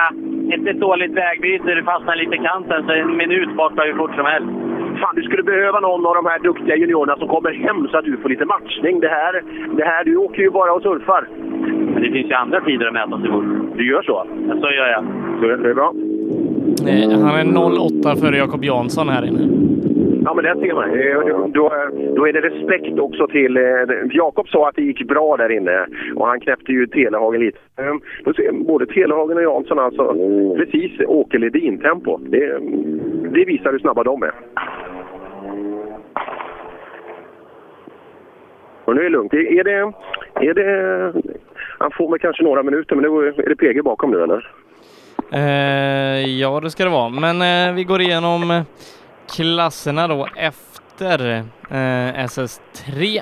S8: ett, ett dåligt vägbyte, det fastnar lite i kanten, så en minut borta hur fort som helst.
S4: Fan, du skulle behöva någon av de här duktiga juniorerna som kommer hem så att du får lite matchning. Det här, det här du åker ju bara och surfar.
S8: Men det finns ju andra tider att mäta sig mot.
S4: Du gör så?
S8: Ja, så gör jag.
S4: Så det är bra.
S5: Eh, Han är 08 före Jakob Jansson här inne.
S4: Ja, men det ser man. Eh, Då, då är det respekt också till... eh, Jakob sa att det gick bra där inne och han knäppte ju Telehagen lite. Eh, Då ser både Telehagen och Jansson alltså precis Åke Ledin-tempo. Det, det visar hur snabba de är. Och nu är det lugnt. Är är det, är det, han får väl kanske några minuter, men nu är det PG bakom nu eller?
S5: Eh, ja, det ska det vara. Men eh, vi går igenom eh, klasserna då efter eh, SS3.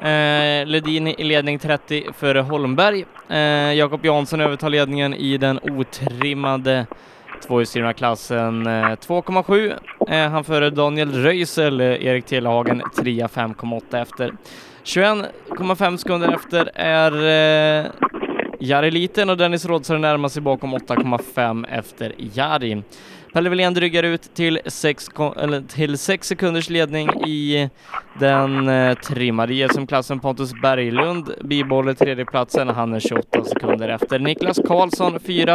S5: Eh, Ledin i ledning 30 före Holmberg. Eh, Jakob Jansson övertar ledningen i den otrimmade tvåhjulsdrivna klassen eh, 2,7. Eh, han före Daniel Röisel, eh, Erik Telehagen trea 5,8 efter. 21,5 sekunder efter är eh, Jari Liten och Dennis Rådsare närmar sig bakom 8,5 efter Jari. Pelle Wilén drygar ut till 6, eller till sex sekunders ledning i den eh, trimmade JSM-klassen Pontus Berglund bibehåller tredjeplatsen. Han är 28 sekunder efter. Niklas Karlsson 4.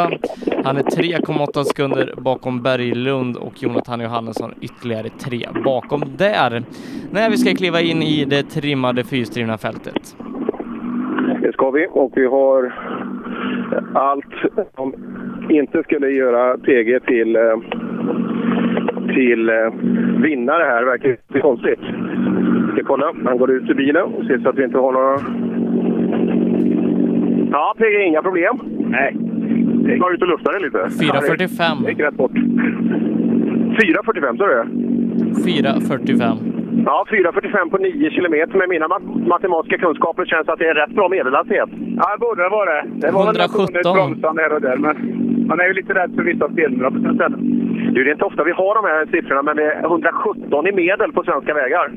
S5: Han är 3,8 sekunder bakom Berglund och Jonathan Johannesson ytterligare 3 bakom där. När vi ska kliva in i det trimmade fyrstrivna fältet.
S4: Det ska vi och vi har allt som inte skulle göra PG till, eh, till eh, vinnare här. verkar lite konstigt. Vi ska kolla. Han går ut ur bilen och ser så att vi inte har några... Ja, PG, inga problem. Nej. Var ut och luftade lite?
S5: 4.45.
S4: Det gick rätt bort. 4.45 sa du?
S5: 4.45.
S4: Ja, 4.45 på 9 kilometer. Med mina mat- matematiska kunskaper känns att det är rätt bra medelhastighet.
S12: Ja, det borde det vara. Det var väl något under bromsarna här och där, men man är ju lite rädd för vissa spelningar på sina ställen.
S4: Du, det är inte ofta vi har de här siffrorna, men det är 117 i medel på svenska vägar.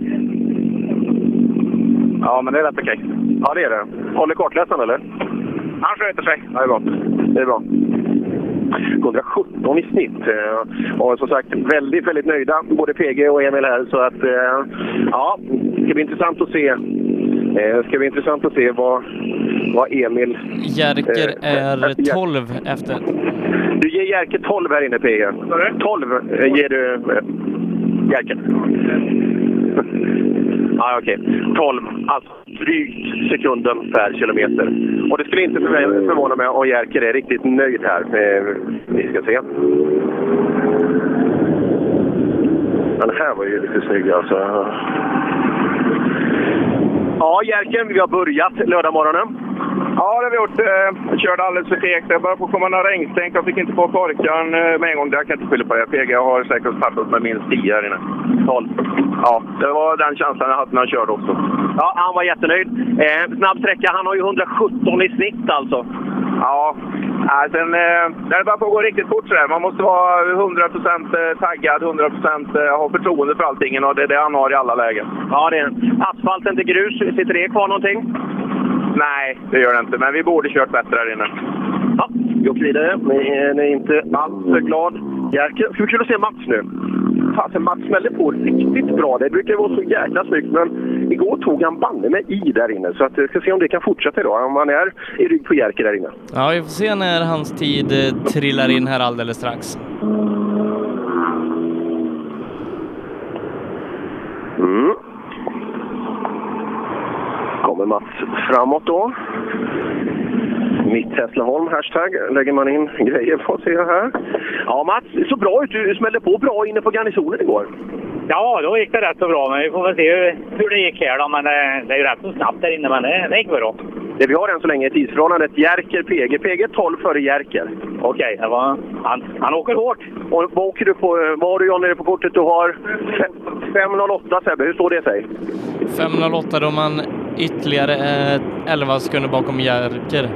S4: Ja, men det är rätt okej. Ja, det är det. Håller kartläsaren, eller? Han sköter sig. Ja, det är bra. Det är bra. 117 i snitt. Eh, Och som sagt, väldigt, väldigt nöjda, både PG och Emil här. Så att, eh, ja, det ska bli intressant att se. Eh, Det ska bli intressant att se vad, vad Emil...
S5: Jerker
S4: Eh,
S5: är
S4: Jerker.
S5: 12 efter.
S4: Du ger Jerker 12 här inne, PG. 12 eh, ger du eh, Jerker. Ja, okej. 12, alltså drygt sekunden per kilometer. Och det skulle inte förvä- förvåna mig om Jerker är riktigt nöjd här. Eh, Vi ska se. Den här var ju lite snygg alltså. Ja, Jerker, vi har börjat lördagmorgonen.
S12: Ja, det har vi gjort. Eh, Jag körde alldeles för segt. Jag började på att komma några regnstänk. Jag fick inte på korkan eh, med en gång. Jag kan inte skylla på det. PG har säkert tappat med minst 10 här inne. 12.
S4: Ja, det var den känslan jag hade när jag körde också. Ja, han var jättenöjd. Eh, snabb sträcka. Han har ju 117 i snitt alltså.
S12: Ja, nej, sen, eh, när det börjar på att gå riktigt fort sådär. Man måste vara 100% taggad, 100% eh, ha förtroende för allting. Och det är det han har i alla lägen.
S4: Ja, det är Asfalten till grus, sitter det kvar någonting?
S12: Nej, det gör det inte. Men vi borde kört bättre här inne.
S4: Ja, vi åker vidare. Men är ni inte alls för glad? Jerker, ska vi kunna se Mats nu? Fasen, Mats smällde på riktigt bra. Det brukar vara så jäkla snyggt, men igår tog han banne med i där inne. Så att, eh, ska se om det kan fortsätta idag, om han är i rygg på Jerker där inne.
S5: Ja, vi får se när hans tid eh, trillar in här alldeles strax.
S4: Mm. Kommer Mats framåt då. Mitt Hässleholm, hashtag, lägger man in grejer på ser jag här. Ja Mats, det såg bra ut. Du smällde på bra inne på garnisonen igår.
S8: Ja, då gick det rätt så bra. Men vi får väl se hur, hur det gick här då. Men eh, det, det är ju rätt så snabbt där inne. Men det, det gick bra.
S4: Det vi har än så länge är tidsförhållandet Jerker PG. PG 12 före Jerker. Okej, det var- han, han åker hårt. Och vad, åker du på, eh, vad har du Johnny på kortet du har? Fe- 508 Sebbe, hur står det sig?
S5: 508 då man ytterligare eh, 11 sekunder bakom Jerker.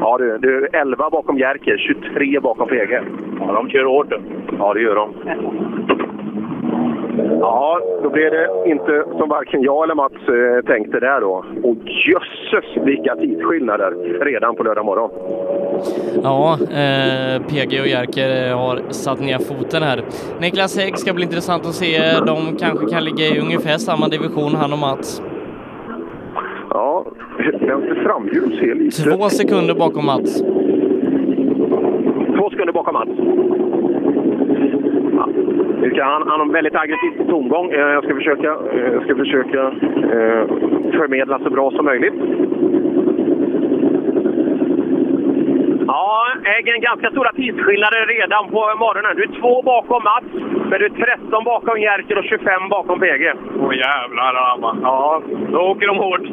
S4: Ja du, du är 11 bakom Jerker, 23 bakom PG. Ja, de kör hårt du. Ja, det gör de. Ja, då blir det inte som varken jag eller Mats eh, tänkte där då. Och jösses vilka tidsskillnader redan på lördag morgon.
S5: Ja, eh, PG och Jerker eh, har satt ner foten här. Niklas Hägg ska bli intressant att se. De kanske kan ligga i ungefär samma division, han och Mats.
S4: Ja, vänster framhjul ser lite...
S5: Två sekunder bakom Mats.
S4: Två sekunder bakom Mats. Ja. Nu ska Han, han har en väldigt aggressiv tomgång. Eh, Jag ska försöka, eh, jag ska försöka eh, förmedla så bra som möjligt.
S13: Ja, äggen ganska stora tidsskillnader redan på morgonen. Du är två bakom Mats, men du är 13 bakom Jerker och 25 bakom PG.
S12: Åh jävlar anamma.
S13: Ja, då åker de hårt.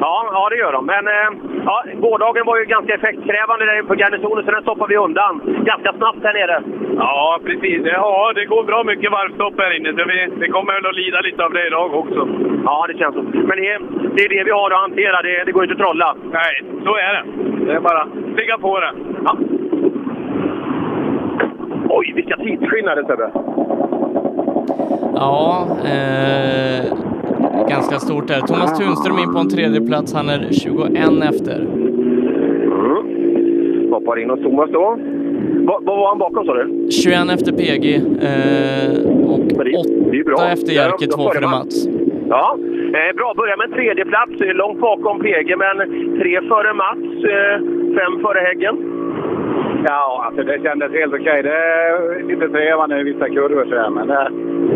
S13: Ja, ja det gör de. Men eh, ja, gårdagen var ju ganska effektkrävande där på garnisonen, så den stoppar vi undan ganska snabbt här nere.
S12: Ja, precis. Ja, det går bra mycket varvstopp här inne. Så vi, vi kommer väl att lida lite av det idag också.
S4: Ja, det känns så. Men det, det är det vi har att hantera. Det, det går inte att trolla.
S12: Nej, så är det. Det är bara att ligga på det. Ja.
S4: Oj, vilka tidsskillnader Sebbe!
S5: Ja, eh, ganska stort där. Thomas Tunström in på en tredje plats. Han är 21 efter.
S4: Hoppar in hos Thomas då. Vad vad var han bakom sa du?
S5: 21 efter PG eh, och 8 efter Jerker,
S4: Ja, då
S5: 2 före
S4: får det
S5: Mats.
S4: Ja, eh, bra. Börja med en tredje plats. Eh, Långt bakom PG, men tre före Mats, eh, fem före Häggen.
S9: Ja, alltså det kändes helt okej. Det är lite trevande i vissa kurvor sådär, men det...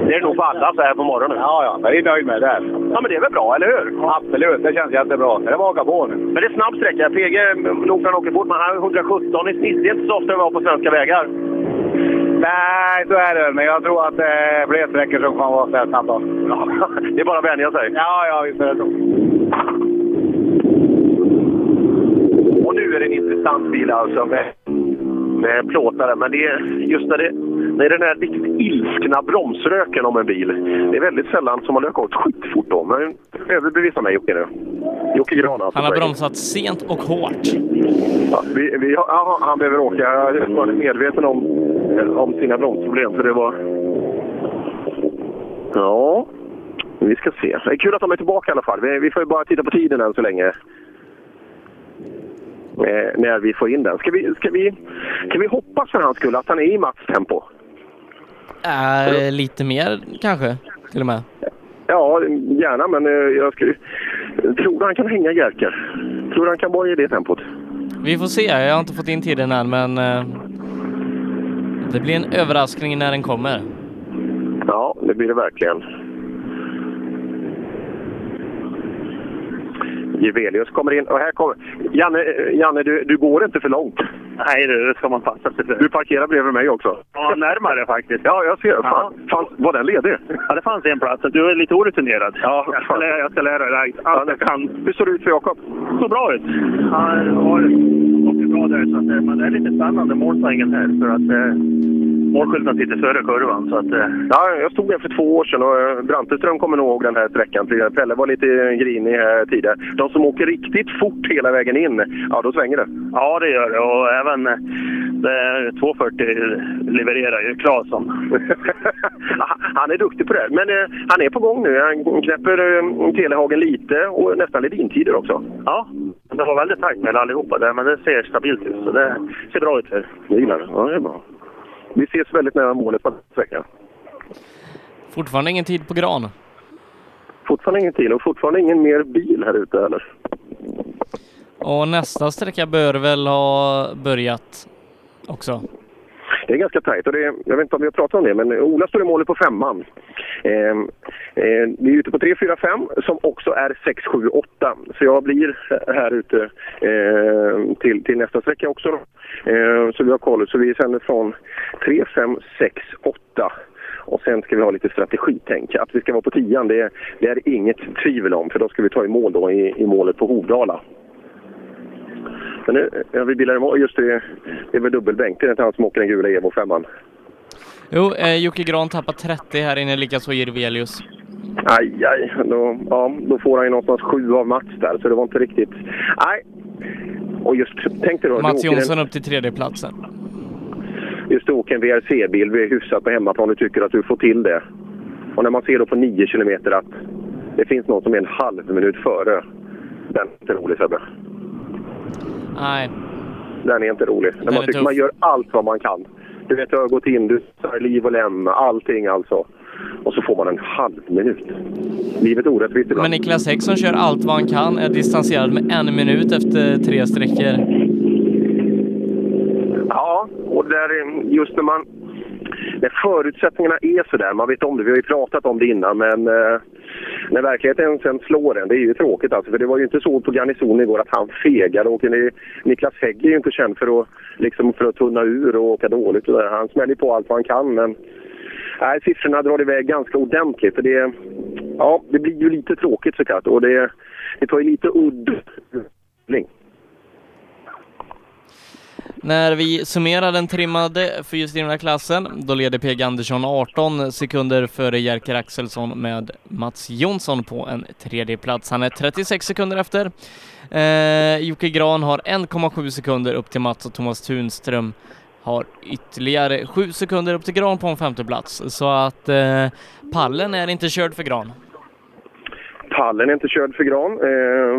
S4: Det är nog för alla så här på morgonen.
S9: Ja, ja. Jag är nöjd med det. Där.
S4: Ja, men det är väl bra, eller hur?
S9: Absolut, det känns jättebra. Det är bara att åka på nu.
S4: Men det är snabb sträcka. PG, nog han åker fort, men han är 117 i snitt. Det är inte så ofta vi har på svenska vägar.
S9: Nej, så är det. Men jag tror att det är fler sträckor Eh, som kommer vara så här snabba.
S4: det är bara att vänja sig.
S9: Ja, ja, visst är det så.
S4: Och nu är det en intressant bil alltså med, med plåtare. Men det är just när det, när det är den här riktigt ilskna bromsröken om en bil. Det är väldigt sällan som man har gått skitfort då. Men överbevisa mig Jocke nu. Jocke Gran alltså.
S5: Han har
S4: poäng.
S5: bromsat sent och hårt.
S4: Ja, vi, vi, ja, han behöver åka. Jag var medveten om, om sina bromsproblem. Så det var... Ja, vi ska se. Det är kul att de är tillbaka i alla fall. Vi, vi får ju bara titta på tiden än så länge. Eh, när vi får in den. Ska vi, ska vi, kan vi hoppas för hans skull att han är i Mats tempo?
S5: Äh, lite mer kanske, till och med.
S4: Ja, gärna, men eh, jag skulle, tror han kan hänga Jerker. Tror han kan vara i det tempot.
S5: Vi får se. Jag har inte fått in tiden än, men eh, det blir en överraskning när den kommer.
S4: Ja, det blir det verkligen. Juvelius kommer in och här kommer... Janne, eh, Janne du, du går inte för långt. Nej, det ska man passa sig för. Du parkerar bredvid mig också.
S8: Ja, närmare faktiskt.
S4: Ja, jag ser. Fan, fan, var den ledig?
S8: Ja, det fanns en plats. Du är lite orutinerad. Ja, jag ska lära, jag ska lära dig allt jag kan.
S4: Hur ser det ut för Jakob?
S8: såg bra ut. Han har åkt bra där, så att, eh, men det är lite spännande målsvängen här. För att eh, målskylten sitter före kurvan. Så att, eh,
S4: Ja, jag stod här för två år sedan och eh, Branteström kommer nog ihåg den här sträckan. För Pelle var lite grinig här tidigare. De som åker riktigt fort hela vägen in, ja då svänger det.
S8: ja, det gör det. Och även eh, det 240 levererar ju Claesson.
S4: Han är duktig på det. här. Men eh, han är på gång nu. Han knäpper eh, Telehagen lite och nästan lite intider också.
S8: Ja, det var väldigt tajt med allihopa där, men det ser stabilt ut. Så det ser bra ut här.
S4: Jag gillar det. Ja, det är bra. Vi ses väldigt nära målet på nästa vecka.
S5: Fortfarande ingen tid på Gran.
S4: Fortfarande ingen tid och fortfarande ingen mer bil här ute heller.
S5: Och nästa sträcka bör väl ha börjat också.
S4: Det är ganska tajt. Och det är, jag vet inte om vi har pratat om det, men Ola står i målet på femman. Eh, eh, vi är ute på 3, 4, 5 som också är 6, 7, 8. Så jag blir här ute eh, till, till nästa sträcka också. då. Eh, så vi har koll. Så vi sänder från 3, 5, 6, 8. Och sen ska vi ha lite strategitänk. Att vi ska vara på tian, det, det är inget tvivel om. För då ska vi ta i mål då i, i målet på Hovdala. Men nu, ja, vi bilar imorgon. Just det, det är väl dubbelbänk. Det är inte han som åker den gula Evo 5
S5: Jo, eh, Jocke Gran tappar 30 här inne, likaså Jirvelius.
S4: Aj, aj. Då, ja, då får han ju någonstans sju av Mats där, så det var inte riktigt... Nej. Och just, tänk dig då...
S5: Mats
S4: du åker
S5: Jonsson
S4: en-
S5: upp till tredjeplatsen.
S4: Just det, åker en VRC-bil. Vi är hyfsat på hemmaplan och tycker att du får till det. Och när man ser då på 9 kilometer att det finns någon som är en halv minut före. Den är inte rolig, Sebbe.
S5: Nej,
S4: Den är inte rolig. När
S5: Den är
S4: man tycker
S5: tuff.
S4: man gör allt vad man kan. Du vet, jag har gått in, du tar liv och lem, allting alltså. Och så får man en halv minut. Livet är orättvist ibland.
S5: men Niklas Häcksson kör allt vad han kan, är distanserad med en minut efter tre sträckor.
S4: Ja, och där, eh, just när man... När förutsättningarna är sådär, man vet om det, vi har ju pratat om det innan, men eh, när verkligheten sen slår en, det är ju tråkigt alltså. För det var ju inte så på garnisonen igår att han fegade och ni- Niklas Hägg är ju inte känd för att, liksom, för att tunna ur och åka dåligt och där. Han smäller på allt vad han kan, men nej, siffrorna drar iväg ganska ordentligt. Och det, ja, det blir ju lite tråkigt såklart och det, det tar ju lite udd.
S5: När vi summerar den trimmade fyrhjulsdrivna klassen, då leder PG Andersson 18 sekunder före Jerker Axelsson med Mats Jonsson på en tredje plats. Han är 36 sekunder efter. Eh, Jocke Gran har 1,7 sekunder upp till Mats och Thomas Tunström har ytterligare 7 sekunder upp till Gran på en femte plats. Så att eh, pallen är inte körd för Gran.
S4: Pallen är inte körd för gran. Eh,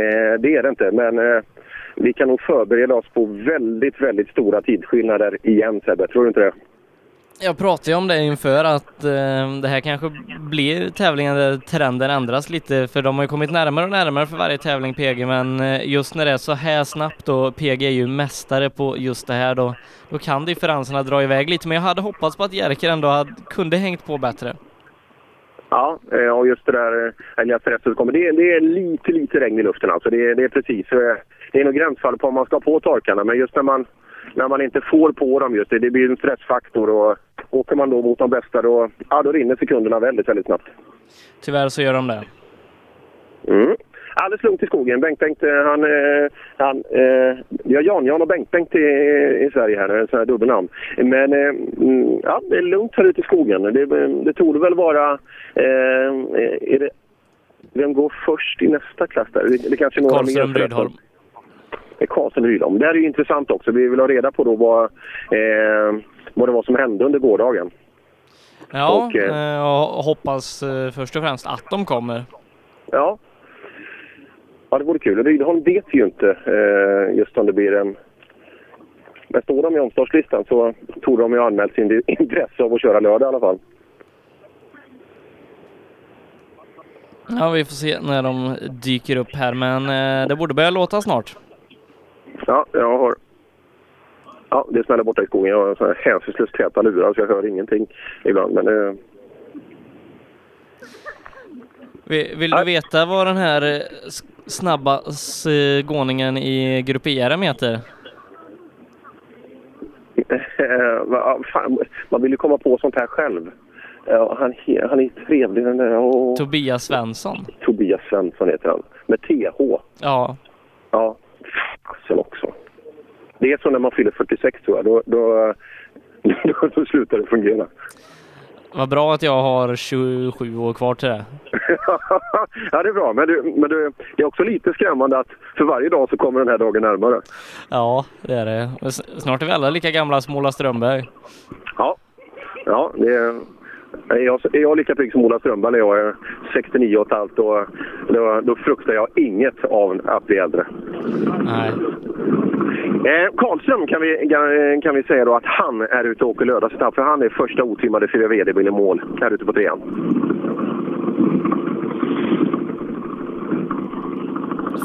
S4: eh, det är det inte, men eh, vi kan nog förbereda oss på väldigt, väldigt stora tidsskillnader igen Sebbe. Tror du inte det?
S5: Jag pratade ju om det inför att eh, det här kanske blir tävlingen där trenden ändras lite för de har ju kommit närmare och närmare för varje tävling PG men eh, just när det är så här snabbt och PG är ju mästare på just det här då, då kan differenserna dra iväg lite men jag hade hoppats på att Jerker ändå hade, kunde hängt på bättre.
S4: Ja, eh, och just det där eh, Elias Stress kommer. Det, är- det är lite, lite regn i luften alltså. Det, är- det är precis. eh, Det är nog gränsfall på om man ska på torkarna, men just när man, när man inte får på dem just det, det blir en stressfaktor och åker man då mot de bästa då, ja, då rinner sekunderna väldigt, väldigt snabbt.
S5: Tyvärr så gör de det.
S4: Mm. Alldeles lugnt i skogen. Bengt-Bengt, eh, han... eh, han eh, vi har Jan-Jan och Bengt-Bengt i, i Sverige här, en sån här dubbelnamn. Men eh, mm, ja, det är lugnt här ute i skogen. Det, det torde väl vara... Eh, är det, vem går först i nästa klass där? Det, det kanske är några
S5: Karlström
S4: mer
S5: Rydholm.
S4: Det är Karlström Rydholm. Det här är ju intressant också. Vi vill ha reda på då vad, eh, vad det var som hände under gårdagen.
S5: Ja,
S4: Och, eh,
S5: eh, och hoppas eh, först och främst att de kommer.
S4: Ja. Ja, det vore kul. Rydholm vet ju inte eh, just om det blir en... Men står de i omstartslistan så tror de ju ha anmält sin intresse av att köra lördag i alla fall.
S5: Ja, vi får se när de dyker upp här men eh, det borde börja låta snart.
S4: Ja, jag har... Ja, det smäller borta i skogen. Jag har en sån här hänsynslöst täta lurar så jag hör ingenting ibland. Men eh,
S5: Vi- Vill du veta vad den här eh, s- snabba s- eh, gåningen i Grupp ERM heter?
S4: va- ja, fan, man vill ju komma på sånt här själv. Ja, han, he- han är trevlig den där. Åh.
S5: Tobias Svensson.
S4: Tobias Svensson heter han. Med TH.
S5: Ja,
S4: Ja, fasen också. Det är så när man fyller 46 tror jag. Då, då, då, då slutar det fungera.
S5: vad bra att jag har 27 år kvar till det.
S4: ja, det är bra. Men, du, men du, det är också lite skrämmande att för varje dag så kommer den här dagen närmare.
S5: Ja, det är det. Och s- Snart är vi alla lika gamla som Ola Strömberg.
S4: Ja, ja det är... Är jag, är jag lika pigg som Ola Strömberg när jag är 69 och ett halvt, då, då, då fruktar jag inget av att bli äldre.
S5: Nej.
S4: Eh, Karlström kan vi, eh, kan- kan vi säga då att han är ute och åker lördagsetapp, för han är första otrimmade 4 VD-bil i mål här ute på trean.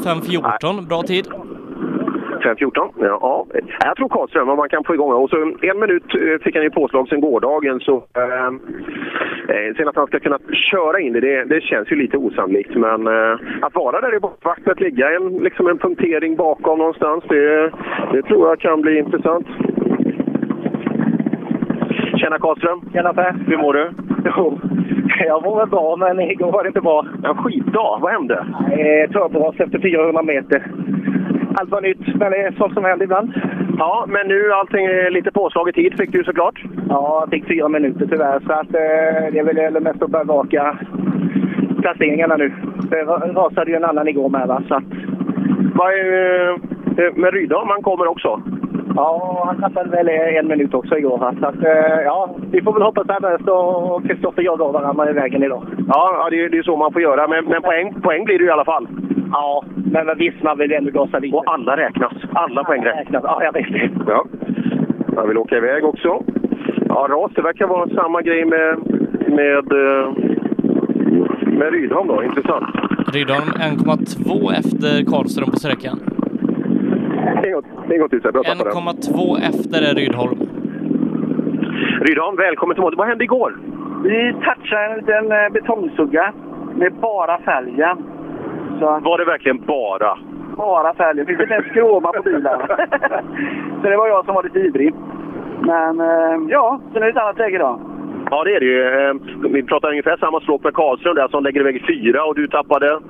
S5: Sen 14, bra tid.
S4: 5.14. Ja, ja. Jag tror Karlström, om man kan få igång det. Och så en minut eh, fick han ju påslag sen gårdagen. Så, eh, eh, sen att han ska kunna köra in det, det, det känns ju lite osannolikt. Men eh, att vara där i bakvakten, att ligga en, liksom en punktering bakom någonstans, det, det tror jag kan bli intressant. Tjena Karlström!
S10: Tjena Per!
S4: Hur mår du?
S10: Jo, jag mår väl bra, men igår var det inte bra.
S4: En skitdag! Vad hände?
S10: Nej, törnblås efter 400 meter.
S14: allt var nytt, men det är sånt som händer ibland.
S4: Ja, men nu allting är lite påslaget tid fick du såklart.
S14: Ja, jag fick fyra minuter tyvärr, så att, eh, det är väl det mest att bevaka placeringarna nu. Det ra- rasade ju en annan igår med, va? så att...
S4: Vad är eh, med Rydahl? Han kommer också.
S14: Ja, han tappade väl en minut också igår. va? Så att, eh, ja, vi får väl hoppas att Ernst och Kristoffer jagar varandra i vägen idag.
S4: Ja, ja, det är det är så man får göra. Men, men poäng, poäng blir det i alla fall.
S14: Ja, men vad visst, man vill ändå gasa lite.
S4: Och alla räknas. Alla poäng
S14: räknas. Ja, jag vet.
S4: Ja. Jag vill åka iväg också. Ja, ras, det verkar vara samma grej med, med, eh, med Rydholm då. Intressant.
S5: Rydholm 1,2 efter Karlström på sträckan.
S4: Det går till sig. Bra tappade.
S5: 1,2 efter är Rydholm.
S4: Rydholm, välkommen till målet. Vad hände igår?
S9: Vi touchade en liten eh, betongsugga med bara fälgen.
S4: Var det verkligen bara?
S9: Bara fälgen. Fick inte ens skråma på bilen. så det var jag som var lite ivrig. Men eh, ja, sen är det ett annat läge idag.
S4: Ja, det är det ju. Eh, Vi pratar ungefär samma stråk med Karlström där som lägger iväg fyra och du tappade...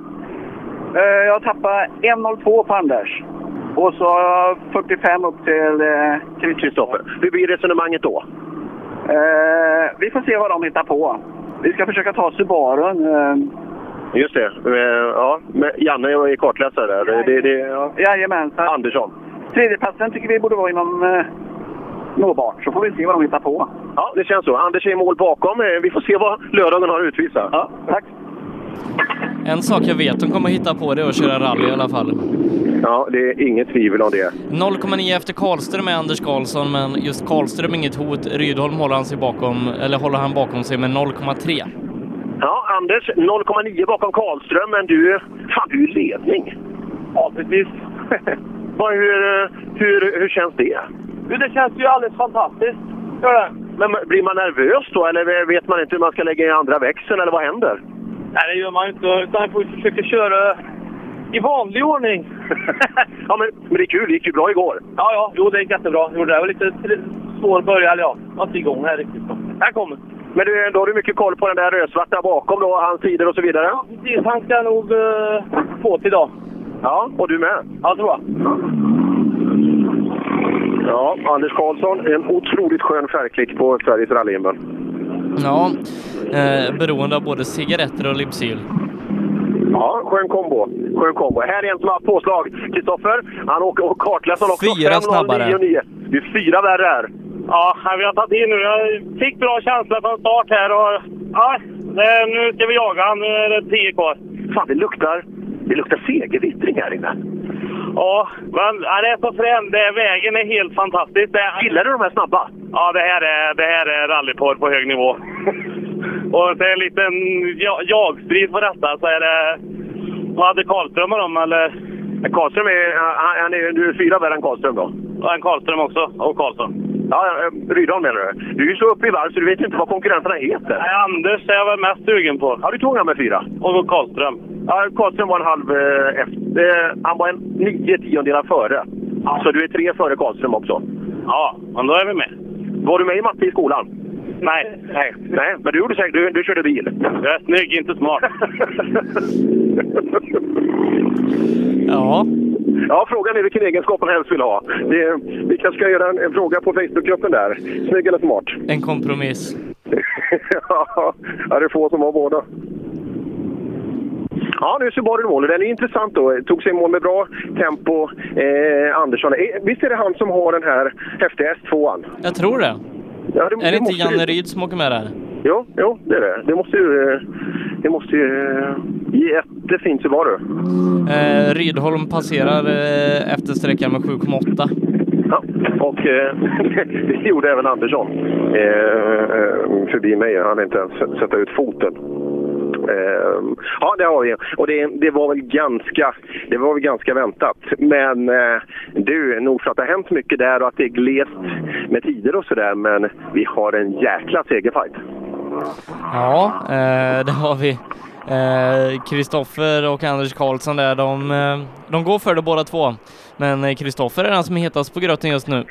S9: Eh, jag tappade 1.02 på Anders. Och så 45 upp till eh,
S4: Kristoffer. Hur blir resonemanget då?
S9: Eh, vi får se vad de hittar på. Vi ska försöka ta Subarun. Eh,
S4: Just det. Eh, Ja, men Janne är kartläsare där. Det- Det, det, ja.
S9: Jajamensan.
S4: Andersson.
S9: Tredjeplatsen tycker vi borde vara inom eh, nåbart, så får vi se vad de hittar på.
S4: Ja, det känns så. Anders är i mål bakom. Eh, Vi får se vad lördagen har att utvisa.
S9: Ja, tack.
S5: En sak jag vet de kommer hitta på det är att köra rally i alla fall.
S4: Ja, det är inget tvivel om det.
S5: 0,9 efter Karlström är Anders Karlsson, men just Karlström inget hot. Rydholm håller han, sig bakom, eller håller han bakom sig med 0,3.
S4: Ja, Anders 0,9 bakom Karlström, men du, fan, du är i ledning. Ja, precis. Vad, hur, eh, hur, hur känns det?
S8: Det känns ju alldeles fantastiskt.
S4: Men blir man nervös då, eller vet man inte hur man ska lägga i andra växeln, eller vad händer?
S8: Nej, det gör man ju inte. Utan får försöka köra i vanlig ordning.
S4: ja, men, men det är kul. Det gick ju bra igår.
S8: Ja, ja. Jo, det gick jättebra. Jo, det var lite tr- svår början. Eller ja, jag var inte igång här riktigt. Här kommer.
S4: Men du, då har du mycket koll på den där rödsvarta bakom då, hans sidor och så vidare? Ja,
S8: precis. Han ska nog eh, få till idag.
S4: Ja, och du med?
S8: Ja, tror jag.
S4: Ja, Anders Karlsson, en otroligt skön färgklick på Sveriges rallyhimmel.
S5: Ja, eh, beroende av både cigaretter och Lypsyl.
S4: Ja, skön kombo. Skön kombo. Här är en som har haft påslag. Kristoffer, han åker och kartläsaren också.
S5: Fyra snabbare.
S4: 5.09,9. Det är fyra värre här.
S8: Ja, vi har tagit in nu. Jag fick bra känsla från start här. Och, ja, det- nu ska vi jaga. Nu är det tio kvar.
S4: Fan, det luktar, det luktar segervittring här inne.
S8: Ja, men ja, det är så fränt. Det är- Vägen är helt fantastisk.
S4: Gillar du de här snabba?
S8: Ja, det här är, det här är rallyporr på hög nivå. och det är en liten ja- jagstrid på detta. Så är det... Vad hade Karlström och dem, eller?
S4: Karlström är, han, han är, du är fyra värre än Karlström då?
S8: Ja, en Karlström också. Och Karlsson.
S4: Ja, eh, Rydahl menar du? Du är ju så uppe i varv så du vet inte vad konkurrenterna heter.
S8: Nej, Anders är jag väl mest sugen på.
S4: Ja, du tog han med fyra.
S8: Och Karlström.
S4: Ja, Karlström var en halv eh, efter. Eh, han var en nio tiondelar före. Så du är tre före Karlström också.
S8: Ja, men då är vi med.
S4: Var du med i matte i skolan?
S8: Nej.
S4: Nej, nej men du gjorde säkert. Du, du körde bil.
S8: Jag är snygg, inte smart.
S5: Ja.
S4: Ja, frågan är vilken egenskap man helst vill ha. Det, vi kanske ska göra en, en fråga på Facebookgruppen där. Snygg eller smart?
S5: En kompromiss.
S4: ja, det är få som har båda. Ja, nu är Subaru i mål. Den är intressant då. Tog sig i mål med bra tempo. Eh, Andersson. Eh, Visst är det han som har den här häftiga S2an?
S5: Jag tror det.
S4: Ja, det-
S5: är
S4: det
S5: det inte
S4: måste
S5: Janne
S4: ju-
S5: Ryd som åker med där?
S4: Jo, jo, det är det. Det måste ju... eh, Det måste ju... eh, Jättefint Subaru.
S5: Eh, Rydholm passerar eh, efter sträckan med 7,8.
S4: Ja, och eh, det gjorde även Andersson. Eh, eh, förbi mig. Han hade inte ens s- sätta ut foten. Eh, ja, det har vi. Och det, det, var väl ganska, det var väl ganska väntat. Men eh, du, nog för att det har hänt mycket där och att det är glest med tider och sådär. Men vi har en jäkla segerfight.
S5: Ja, eh, det har vi. Eh, Kristoffer och Anders Karlsson där, de, eh, de går för det båda två. Men eh, Kristoffer är den som är hetast på gröten just nu.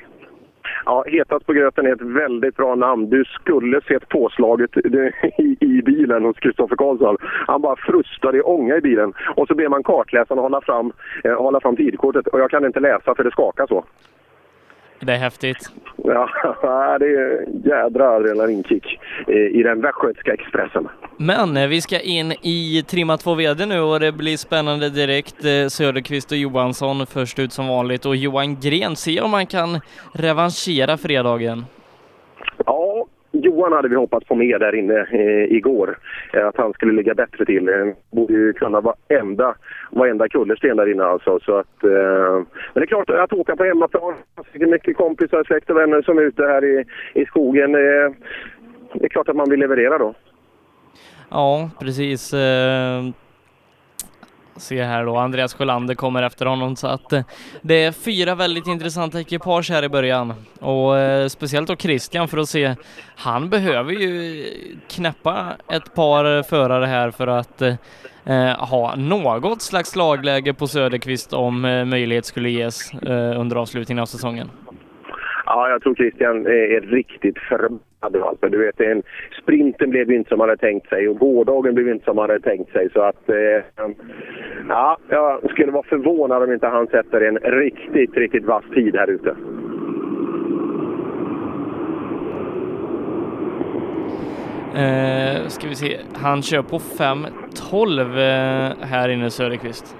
S4: Ja, Hetast på gröten är ett väldigt bra namn. Du skulle sett påslaget i, i bilen hos Kristoffer Karlsson. Han bara frustade i ånga i bilen. Och så ber man kartläsaren hålla fram, eh, hålla fram tidkortet. Och jag kan inte läsa för det skakar så.
S5: Det är häftigt.
S4: Ja, det är jädra adrenalinkick eh, i den västgötska Expressen.
S5: Men eh, vi ska in i trimma 2 VD nu och det blir spännande direkt. Eh, Söderqvist och Johansson först ut som vanligt och Johan Gren, se om han kan revanschera fredagen.
S4: Ja, Johan hade vi hoppats få med där inne eh, igår. Eh, att han skulle ligga bättre till. Eh, borde ju kunna varenda, varenda kullersten där inne alltså. Så att, eh, men det är klart, att åka på hemmaplan. Det finns mycket kompisar, släkt och vänner som är ute här i, i skogen. Eh, det är klart att man vill leverera då.
S5: Ja, precis. Eh, se här då, Andreas Sjölander kommer efter honom så att eh, det är fyra väldigt intressanta ekipage här i början och eh, speciellt då Christian för att se. Han behöver ju knäppa ett par förare här för att eh, ha något slags slagläge på Söderqvist om eh, möjlighet skulle ges eh, under avslutningen av säsongen.
S4: Ja, jag tror Christian är riktigt förbannad. nu, Alltså, du vet, en, sprinten blev ju inte som man hade tänkt sig och gårdagen blev inte som man hade tänkt sig. Så att, eh, ja, jag skulle vara förvånad om inte han sätter en riktigt, riktigt vass tid här ute.
S5: Eh, ska vi se, han kör på 5.12 eh, här inne Söderqvist.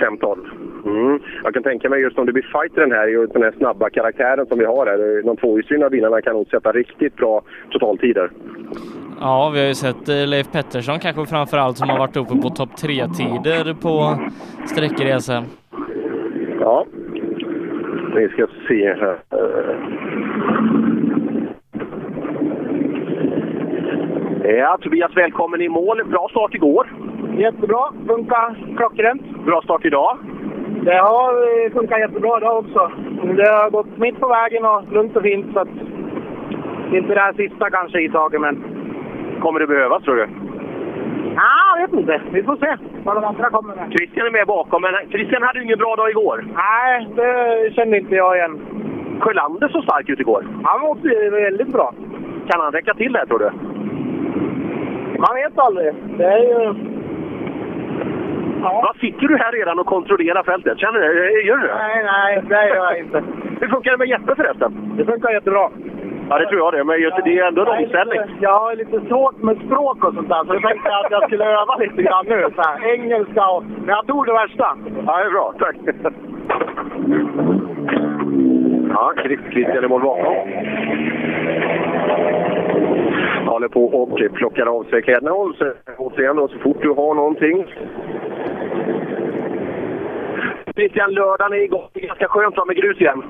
S4: 5-12. Mm. Jag kan tänka mig just om det blir fight i den här, just den här snabba karaktären som vi har här. eh, De tvåhjulsdrivna bilarna kan nog sätta riktigt bra totaltider.
S5: Ja, vi har ju sett eh, Leif Pettersson kanske framför allt som har varit uppe på topp 3-tider på Eh, sträckor i SM.
S4: Ja, vi ska se här. Eh.
S9: Ja, Tobias, välkommen i mål. Bra start igår. Jättebra. Funkar klockrent. Bra start idag.
S10: Det har eh, funkat jättebra idag också. Det har gått mitt på vägen och lugnt och fint. Så att, inte det här sista kanske i taget, men
S9: Kommer det behövas, tror du?
S10: ah, jag vet inte. Vi får se vad de andra kommer med.
S9: Christian är med bakom, men Christian hade ju ingen bra dag igår.
S10: Nej, det kände inte jag igen.
S9: Sjölander såg stark ut igår.
S10: Han var väldigt bra.
S9: Kan han räcka till där, tror du?
S10: Man vet aldrig. Det är ju...
S9: Vad sitter du här redan och kontrollerar fältet? Känner du Gör du det?
S10: Nej, nej, det gör jag inte.
S9: Hur funkar det med Jeppe förresten?
S10: Det funkar jättebra.
S9: Ja, det tror jag det. Men just det är ändå en
S10: Jag är
S9: omställning.
S10: lite- Jag har lite svårt med språk och sånt där, så jag tänkte att jag skulle öva lite grann nu. Så här, engelska och... Men jag tog det värsta.
S9: Ja, det är bra. Tack.
S4: Ja, Chris- Christian är mål bakom. Håller på och plockar av sig kläderna. Håll sig- Återigen då, så fort du har någonting.
S9: Christian, lördagen är igång. Det är ganska skönt att med grus igen.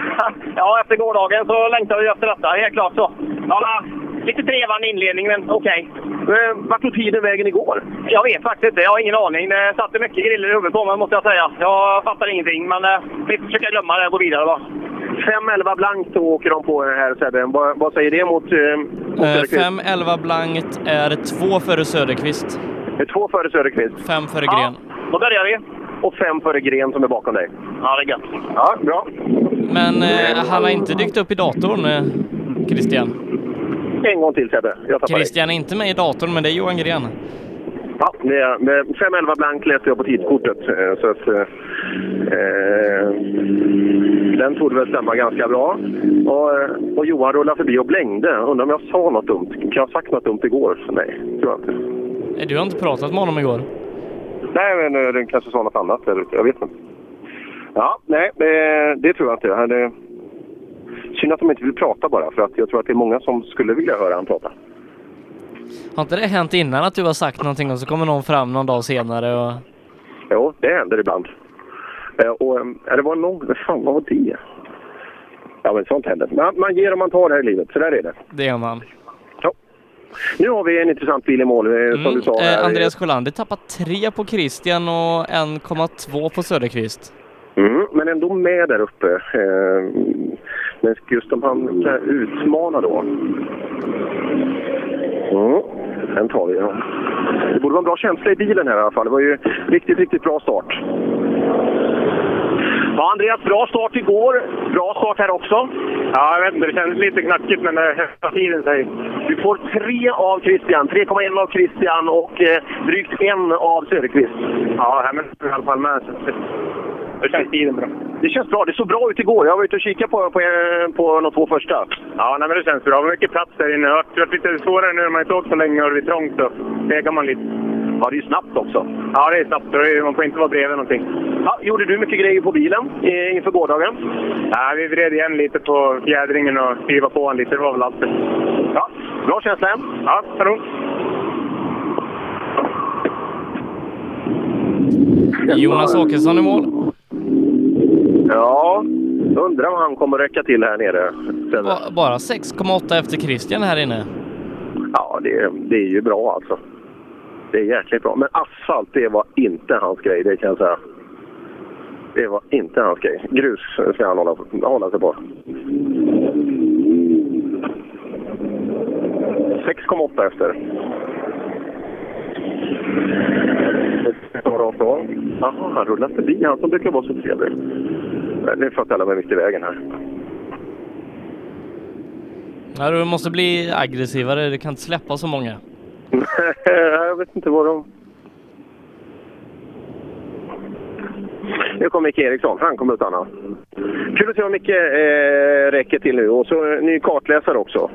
S9: ja, efter gårdagen så längtar vi efter detta. Helt klart så. Ja, lite trevande inledning, men okej.
S4: Eh,
S9: Okay. Vart tog tiden vägen igår? Jag vet faktiskt inte. Jag har ingen aning. Det satte mycket griller i huvudet på mig, måste jag säga. Jag fattar ingenting, men eh, vi försöker glömma det och gå vidare bara.
S4: 5-11 blankt åker de på den här Sebbe. Vad, vad säger det mot... Eh, mot
S5: Eh,
S4: Söderqvist?
S5: 5-11 blankt är två före Söderqvist.
S4: Två före Söderqvist?
S5: Fem före Gren.
S9: Då börjar vi.
S4: Och fem före Gren som är bakom dig.
S9: Ja, det är gött.
S4: Ja, bra.
S5: Men eh, han har inte dykt upp i datorn, eh, Christian.
S4: En gång till Sebbe. Jag tappar dig.
S5: Christian är inte med i datorn, men det är Johan Gren.
S4: Ja, det är, med 5-11 blank läste jag på tidkortet. eh, Så att, eh, eh, den tog väl stämma ganska bra. Och, eh, och Johan rullade förbi och blängde. Undrar om jag sa något dumt. Kan jag ha sagt något dumt igår? Så Nej, tror jag inte.
S5: Eh, Du har inte pratat med honom igår.
S4: Nej, men eh, den kanske sa något annat. eller- Jag vet inte. Ja, nej, eh, det tror jag inte. Han, eh, Synd att de inte vill prata bara, för att jag tror att det är många som skulle vilja höra han prata.
S5: Har inte det hänt innan att du har sagt någonting och så kommer någon fram någon dag senare och...
S4: Jo, det händer ibland. Eh, Och, eh, ja, det var någon... vad Fan, vad var det? Ja, men sånt händer. Man, man ger och man tar här i livet. Så där är det.
S5: Det gör man.
S4: Nu har vi en intressant bil i mål, eh, som du sa. här.
S5: Eh, Andreas Sjölander tappar tre på Christian och 1,2 på Söderqvist.
S4: Mm, men ändå med där uppe. Eh, men just om han kan utmana då. Mm, den tar vi. ja. Det borde vara en bra känsla i bilen här i alla fall. Det var ju riktigt, riktigt bra start. Ja, Andreas, bra start igår. Bra start här också. Ja, jag vet inte. Det kändes lite knackigt, men eh, högsta tiden säger Du får tre av Christian. 3,1 av Christian och eh, drygt en av Söderqvist. Ja, här men i alla fall med. Det känns tiden bra. Det känns bra. Det såg bra ut igår. Jag var ute och kikade på, på, på de två första.
S9: Ja, nej, men det känns bra. Mycket plats där inne. Det har varit lite svårare nu när man inte åkt så länge och det är trångt. Så fegar man lite.
S4: Ja, det är ju snabbt också.
S9: Ja, det är snabbt. och det är- Man får inte vara bredvid någonting.
S4: Ja, gjorde du mycket grejer på bilen eh, inför gårdagen?
S9: Ja, vi vred igen lite på fjädringen och skivade på den lite. Det var väl allt.
S4: Ja, bra känsla.
S9: Ja, kanon.
S5: Jonas Åkesson i mål.
S4: Ja, undrar om han kommer räcka till här nere. Sen,
S5: Ba- Bara 6,8 efter Christian här inne.
S4: ja, det, det är ju bra alltså. Det är jäkligt bra. Men asfalt, det var inte hans grej, det kan jag säga. Det var inte hans grej. Grus ska han hålla, hålla sig på. 6,8 efter. Det var rakt av. Jaha, han rullade förbi. Han som brukar vara så trevlig. Men Nu får jag ställa mig mitt i vägen här.
S5: Ja, du måste bli aggressivare. Du kan inte släppa så många.
S4: jag vet inte vad de... Nu kommer Micke Eriksson. Han kommer att stanna. Kul att se vad Micke eh, räcker till nu. Och så en ny kartläsare också.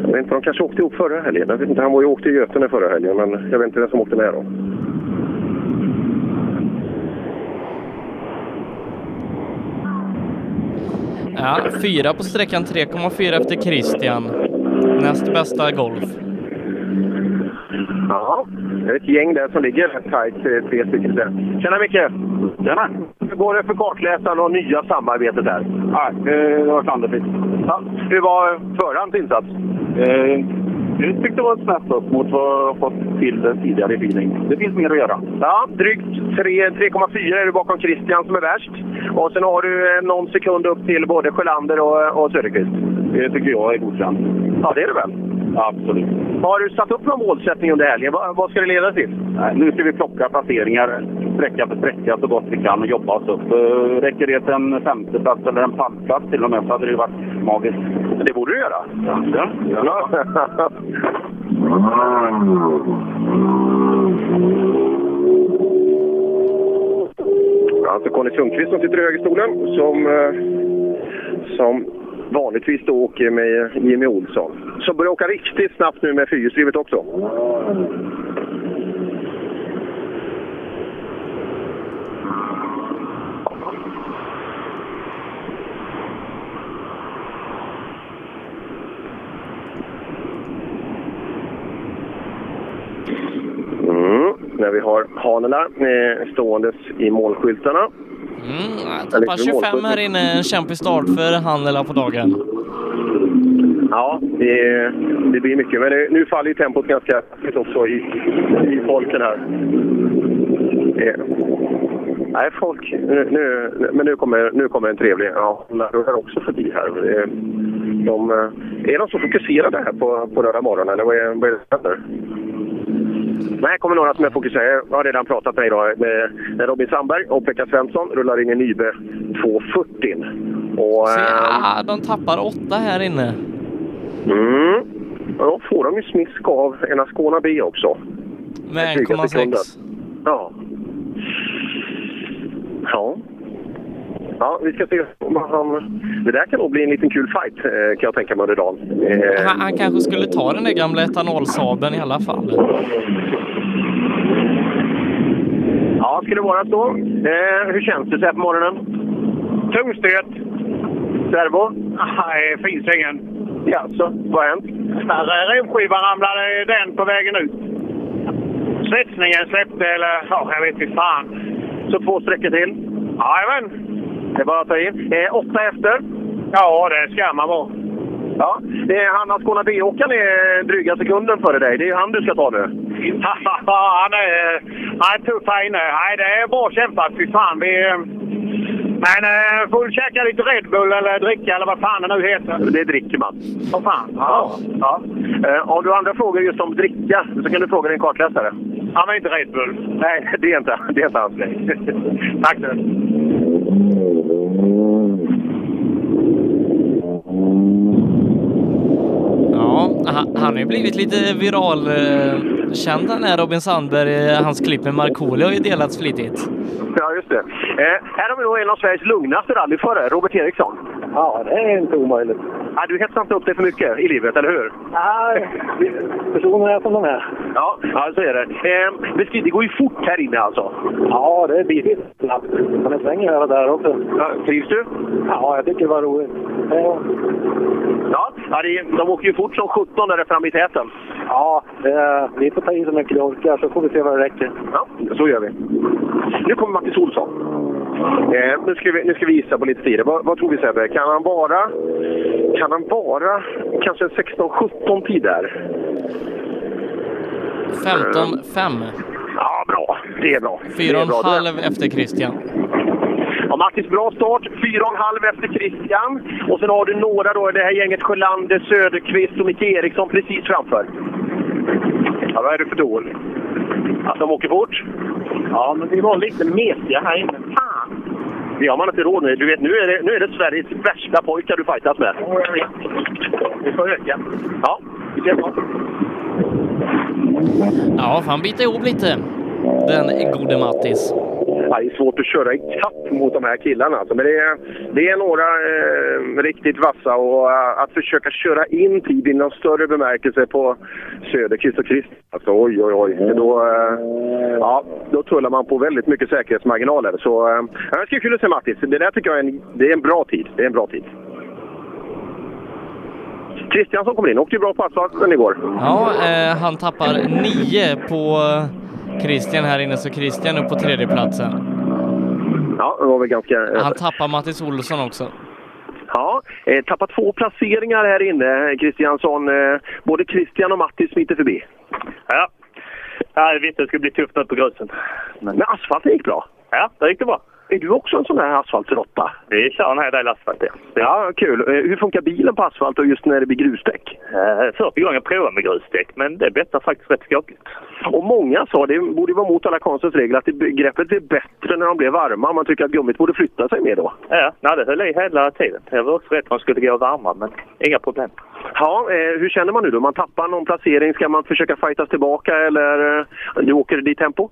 S4: Jag vet inte, de kanske åkte ihop förra helgen. Jag vet inte, han var ju åkte i Götene förra helgen, men jag vet inte vem som åkte med då.
S5: Ja, fyra på sträckan, 3,4 efter Christian. Näst bästa golf.
S4: Ja, det är ett gäng där som ligger rätt tajt, eh, tre stycken där. Tjena Micke! Tjena! Hur går det för kartläsaren och nya samarbetet här? Ja, det var klanderfritt. Ja. Hur var förarens insats? jag Eh, tyckte det var snett upp mot vad jag fått till tidigare i feeling. Det finns mer att göra. Ja, drygt tre- 3,4 är du bakom Christian som är värst. Och sen har du eh, någon sekund upp till både Sjölander och, och Söderqvist. Det tycker jag är godkänt. Ja, det är det väl? Absolut. Har du satt upp någon målsättning under helgen? Vad, vad ska det leda till?
S8: Nu ska vi plocka placeringar sträcka för sträcka så gott vi kan och jobba oss upp. Eh, Räcker det till en femteplats eller en pallplats till och med så hade det ju varit magiskt.
S4: Det borde du göra.
S8: Ja.
S4: Ja. Alltså Conny Sundqvist som sitter i högerstolen som, eh, som vanligtvis då åker med Jimmy Olsson. Som börjar åka riktigt snabbt nu med fyrhjulsdrivet också. Mm. När vi har Hanela eh, ståendes i målskyltarna.
S5: Mm, Tappar 25 här inne. En kämpig start för Handela på dagen.
S4: Ja, det, det blir mycket. Men det, nu faller ju tempot ganska kraftigt också i, i folken här. Eh, Nej, folk. Nu, nu, men nu kommer, nu kommer en trevlig. Ja, de rullar också förbi här. Eh, De, eh, är de så fokuserade här på, på den här morgonen, eller vad är, vad är det som händer? Men här kommer några som är fokuserade. Jag har redan pratat med idag. Med med Robin Sandberg och Pekka Svensson rullar in i Nybe 240. Och,
S5: Se,
S4: ehm,
S5: ah, de tappar 8 här inne.
S4: Mm. Ja, då får de ju smisk av en Ascona B också.
S5: Med
S4: Dryga
S5: 1,6.
S4: sekunder. Ja. Ja. Ja, vi ska se om han... Det där kan nog bli en liten kul fight, eh, kan jag tänka mig under dagen. Eh,
S5: Han, han kanske skulle ta den där gamla etanolsaben i alla fall.
S4: Ja, skulle det vara så. Eh, hur känns det så här på morgonen? Tung stöt. Servo? Nej, finns ingen. Jaså, vad har hänt?
S9: Remskivan ramlade i den på vägen ut. Svetsningen släppte, eller ja, jag vet inte fan.
S4: Så två sträckor till? Jajamän. Det är bara att ta i. Eh, åtta efter? Ja, det ska man vara. Ja. Eh, han Ascona B-åkaren är dryga sekunden före dig. Det är ju han du ska ta nu.
S9: han, är, han är tuff här inne. Nej, det är bra kämpat. Fy fan. Vi, eh, men eh, får du käka lite Red Bull eller dricka eller vad fan det nu heter.
S4: Det dricker man.
S9: Åh fan.
S4: Ja. ja. Eh, om du har andra frågor just om dricka så kan du fråga din kartläsare.
S9: Han var inte Red Bull.
S4: Nej, det är inte, det är inte hans grej. Tack så mycket.
S5: Ja, han, han har ju blivit lite viral eh, känd den här Robin Sandberg. Eh, Hans klipp med Markoolio har ju delats flitigt.
S4: Ja, just det. Eh, här har vi då en av Sveriges lugnaste rallyförare, Robert Eriksson. Ja, det är inte omöjligt. Ah, du hetsar inte upp dig för mycket i livet, eller hur?
S15: Nej, personerna är som de är.
S4: Ja, ja så är det. Eh, beskri- det går ju fort här inne alltså. Ja, det blir det snabbt. Men det svänger här och där också. Ja, trivs du? Ja, jag tycker det var roligt.
S15: Eh,
S4: Ja, ja det, är- de åker ju fort som 17 där framme i täten.
S15: Ja, det, vi får ta i så mycket vi orkar så får vi se vad det räcker.
S4: Ja, så gör vi. Nu kommer Mattis Olsson. Eh, nu, ska vi, nu ska vi gissa på lite tider. Vad, vad tror vi Sebbe? Kan han vara, kan han vara kanske en 16-17 tid där?
S5: 15-5.
S4: Ja, bra. Det är bra. Eh, Det är bra.
S5: 4,5 efter Christian.
S4: Ja, Mattis, bra start. Fyra och en halv efter Christian. Och sen har du några då, det här gänget Sjölander, Söderqvist och Micke Eriksson precis framför. Ja, vad är det för dål? Att de åker fort? Ja, men vi var lite mesiga här inne. Fan! Det har man inte råd med. Du vet, nu är det, nu är det Sveriges värsta pojkar du fightas med. Vi får öka. Ja, vi ser vad.
S5: Ja, fan biter ihop lite. Den gode Mattis.
S4: Ja, det är svårt att köra ikapp mot de här killarna. Alltså. Men det är, det är några eh, riktigt vassa och eh, att försöka köra in tid i någon större bemärkelse på Söderqvist och Christ. Alltså, oj, oj, oj. Då, eh, ja, då tullar man på väldigt mycket säkerhetsmarginaler. Så eh, ja, det ska bli kul att se Mattis. Det där tycker jag är en, det är en bra tid. Det är en bra tid. Kristiansson kommer in. Åkte ju bra på asfalten igår.
S5: Ja, eh, han tappar 9 på Christian här inne, så Christian upp på tredjeplatsen.
S4: Ja, det var väl ganska... eh,
S5: Han tappar Mattis Olsson också.
S4: Ja, eh, tappat två placeringar här inne, Kristiansson. Eh, både Christian och Matti smiter förbi.
S16: Ja. Jag visste det skulle bli tufft nu på grusen.
S4: Men asfalten gick bra.
S16: Ja, det gick det bra.
S4: Är du också en sån här asfaltsrotta?
S16: Vi kör en hel del asfalt, ja.
S4: Ja, kul. Eh, hur funkar bilen på asfalt och just när det blir grusdäck?
S16: Eh, Första gången provade med grusdäck, men det bättre faktiskt rätt skapligt.
S4: Och många sa, det borde ju vara mot alla konstens regler, att det, greppet är bättre när de blir varma. Man tycker att gummit borde flytta sig mer då.
S16: Ja, nej, det höll i hela tiden. Jag var också rädd att de skulle gå varma, men inga problem.
S4: Ja, eh, hur känner man nu då? Man tappar någon placering. Ska man försöka fightas tillbaka eller eh, du åker i ditt tempo?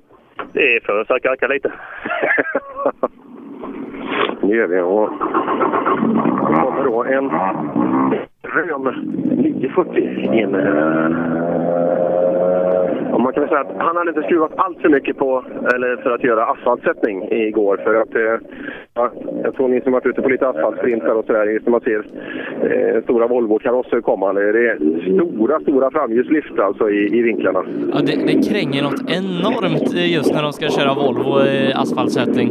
S16: Det får jag försöka öka lite.
S4: Nu gör vi. Och kommer då en rön 940 in. eh. Och man kan väl säga att han hade inte skruvat allt för mycket på, eller för att göra asfaltsättning igår. För att, eh, ja, jag tror ni som varit ute på lite asfaltsprintar och sådär, just när man ser eh, stora Volvo-karosser komma. Det är stora, stora framljuslyft alltså i, i vinklarna.
S5: Ja, det, det kränger något enormt eh, just när de ska köra Volvo i asfaltsättning.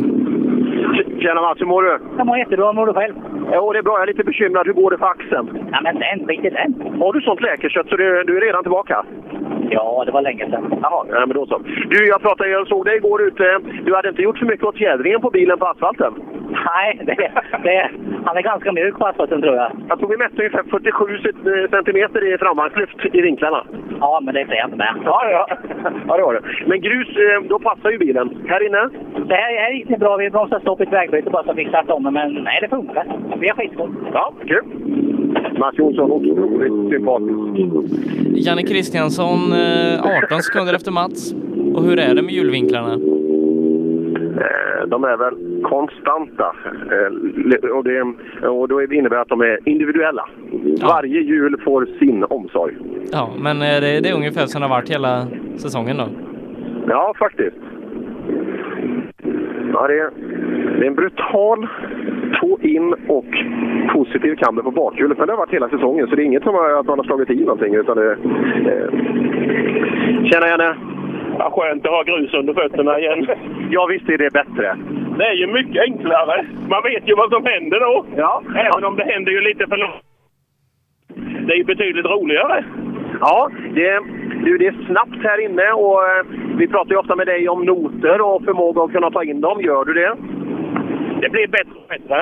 S4: Tjena Mats, hur mår du?
S8: Jag mår jättebra. Mår du själv?
S4: Jo, det är bra. Jag är lite bekymrad. Hur går det för axeln?
S8: Ja, men den, riktigt den.
S4: Har du sånt läkarkött så du, du är redan tillbaka?
S8: Ja, det var länge sedan.
S4: Jaha, nej, men då så. Du, jag pratade, jag såg dig igår ute. Du hade inte gjort så mycket åt fjädringen på bilen på asfalten.
S8: Nej, det, det, han är ganska mjuk på asfalten tror jag.
S4: Jag tror vi mätte ungefär 47 cent- eh, centimeter i framvagnslyft i vinklarna.
S8: Ja, men det är jag med.
S4: Ja, ja. ja det var det. Men grus, eh, då passar ju bilen. Här inne?
S8: Det här, här gick det bra. Vi bromsade stopp i ett vägbyte bara så vi startade om det, men nej, det funkar. Vi har skitskoj.
S4: Ja, kul. Mats Jonsson, otroligt sympatisk.
S5: Janne Kristiansson eh, 18 sekunder efter Mats. Och hur är det med hjulvinklarna?
S4: Eh, De är väl konstanta. Eh, le- Och det, och då innebär att de är individuella. Varje hjul får sin omsorg.
S5: Ja, men eh, det, det är ungefär som det har varit hela säsongen då.
S4: Ja, faktiskt. Ja, det, är, det är en brutal tå in och positiv kamber på bakhjulet. Men det har varit hela säsongen, så det är inget som har- att man har slagit i någonting. Utan det, eh. Tjena Janne!
S17: Ja, skönt att ha grus under fötterna igen.
S4: Ja, visst är det bättre.
S17: Det är ju mycket enklare. Man vet ju vad som händer då.
S4: Ja.
S17: Även om det händer ju lite för långt. Det är ju betydligt roligare.
S4: Ja, det, du, det är snabbt här inne och eh, vi pratar ju ofta med dig om noter och förmåga att kunna ta in dem. Gör du det?
S17: Det blir bättre och bättre.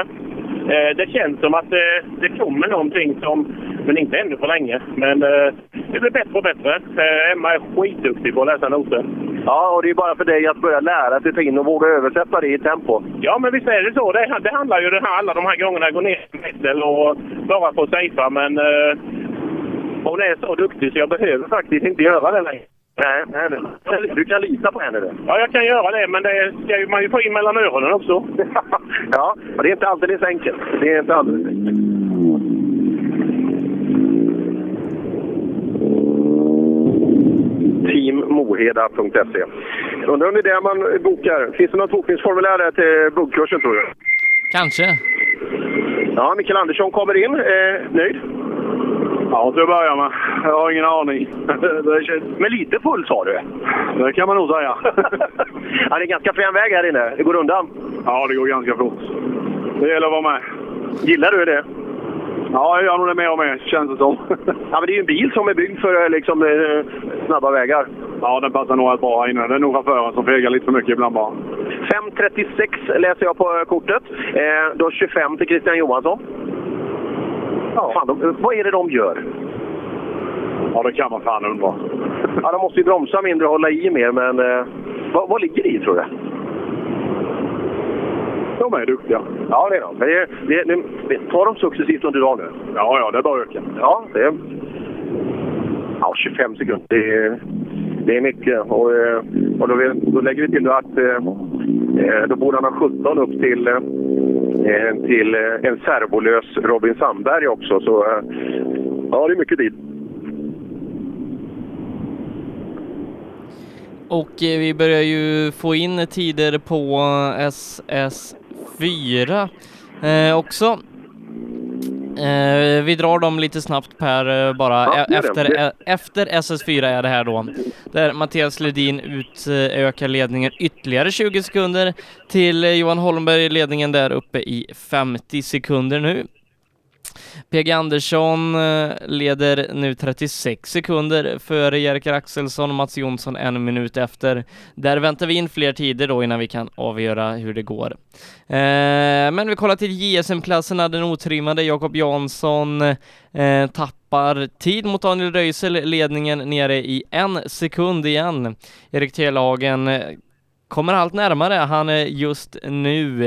S17: Eh, Det känns som att eh, det kommer någonting som... Men inte ännu för länge. Men eh, det blir bättre och bättre. Eh, Emma är skitduktig på att läsa noter.
S4: Ja, och det är bara för dig att börja lära sig ta in och våga översätta det i tempo.
S12: Ja, men visst är det så. Det, det handlar ju det här, alla de här gångerna jag går ner i medel och bara får safea. Men eh, hon är så duktig så jag behöver faktiskt inte göra det längre.
S4: Nej, nej, nej. Du kan lita på henne. Du.
S12: Ja, jag kan göra det, men det ska ju man ju få in mellan öronen också.
S4: ja, och det är inte alldeles enkelt. Det är inte alldeles enkelt. Teammoheda.se. E. Undrar om det är där man bokar. Finns det något bokningsformulär där till buggkursen tror du?
S5: Kanske.
S4: Ja, Mikael Andersson kommer in. Eh, nöjd?
S12: Ja, till att börja med. Jag har ingen aning.
S4: Men lite full sa du?
S12: Det kan man nog säga.
S4: ja, det är ganska frän väg här inne. Det går undan.
S12: Ja, det går ganska fort. Det gäller att vara med.
S4: Gillar du det?
S12: Ja, jag gör nog det mer och mer, känns det som.
S4: ja, men det är ju en bil som är byggd för eh, liksom, eh, snabba vägar.
S12: Ja, den passar nog rätt bra här inne. Det är nog chauffören som fegar lite för mycket ibland bara.
S4: 5.36 läser jag på eh, kortet. Eh, då 25 till Christian Johansson. Ja. Fan, de, eh, vad är det de gör?
S12: Ja, det kan man fan undra.
S4: ja, de måste ju bromsa mindre och hålla i mer, men eh, vad, vad ligger det i tror du?
S12: De är duktiga.
S4: Ja, det är de. Men det, det, det, det, tar de successivt under dagen nu?
S12: Ja, ja, det bör öka.
S4: Ja, det är... Ja, 25 sekunder. Det är, det är mycket. Och, eh, och då, vill- då lägger vi till då att eh, eh, då borde han ha 17 upp till, eh, till eh, en servolös Robin Sandberg också. Så eh, ja, det är mycket tid.
S5: Och eh, vi börjar ju få in tider på eh, SS4 eh, också. Eh, vi drar dem lite snabbt Per, eh, bara
S4: Ja,
S5: E-
S4: gör det.
S5: efter,
S4: Det-
S5: e- efter SS4 är det här då. Där Mattias Ledin utökar ledningen ytterligare 20 sekunder till eh, Johan Holmberg i ledningen där uppe i 50 sekunder nu. PG Andersson eh, leder nu 36 sekunder före Jerker Axelsson och Mats Jonsson en minut efter. Där väntar vi in fler tider då innan vi kan avgöra hur det går. Eh, men vi kollar till JSM-klasserna, den otrimmade Jakob Jansson eh, tappar tid mot Daniel Röisel, ledningen nere i en sekund igen. Erik Telhagen eh, kommer allt närmare. Han är just nu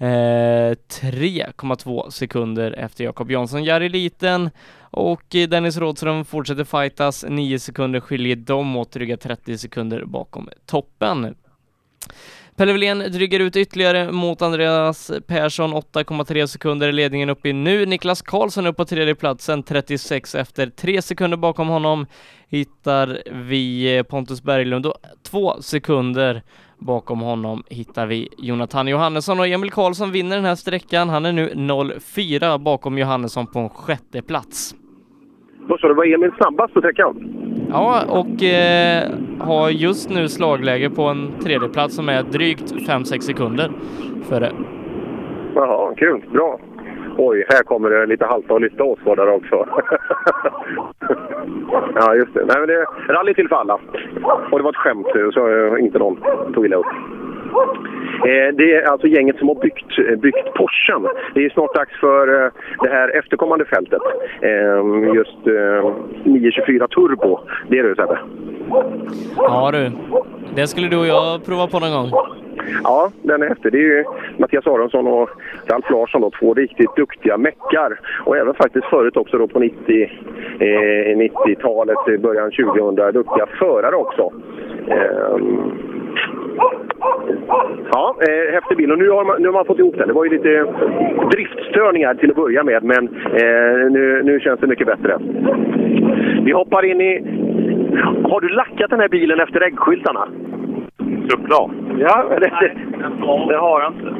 S5: eh, 3,2 sekunder efter Jakob Jansson. Jari Liten och eh, Dennis Rådström fortsätter fightas. 9 sekunder skiljer dem åt, dryga 30 sekunder bakom toppen. Pelle Wilén dryger ut ytterligare mot Andreas Persson, 8,3 sekunder är ledningen uppe i nu. Niklas Karlsson upp på tredje platsen, 36 efter, 3 sekunder bakom honom hittar vi Pontus Berglund och 2 sekunder bakom honom hittar vi Jonathan Johannesson och Emil Karlsson vinner den här sträckan. Han är nu 0,4 bakom Johannesson på en sjätte plats.
S4: Vad sa du, var Emil snabbast på sträckan?
S5: Ja, och eh, har just nu slagläge på en tredje plats som är drygt 5-6 sekunder före.
S4: Jaha, kul. Bra. Oj, här kommer det lite halta och lyfta åskådare också. ja, just det. Nej, men det rally till för alla. Och det var ett skämt, så eh, inte någon tog illa upp. Eh, det är alltså gänget som har byggt, eh, byggt Porschen. Det är snart dags för eh, det här efterkommande fältet. Eh, just eh, 924 Turbo. Det är du, Sebbe.
S5: Ja du, det skulle du och jag prova på någon gång.
S4: Ja, den är häftig. Det är ju Mattias Aronsson och Ralf Larsson, då, två riktigt duktiga meckar. Och även faktiskt förut också då på 90, eh, 90-talet, i början 2000, duktiga förare också. Ehm, ja, eh, häftig bil. Och nu har, man, nu har man fått ihop den. Det var ju lite driftstörningar till att börja med, men eh, nu, nu känns det mycket bättre. Vi hoppar in i... Har du lackat den här bilen efter äggskyltarna?
S18: Såklart.
S4: Ja, det, det,
S18: Det har jag inte.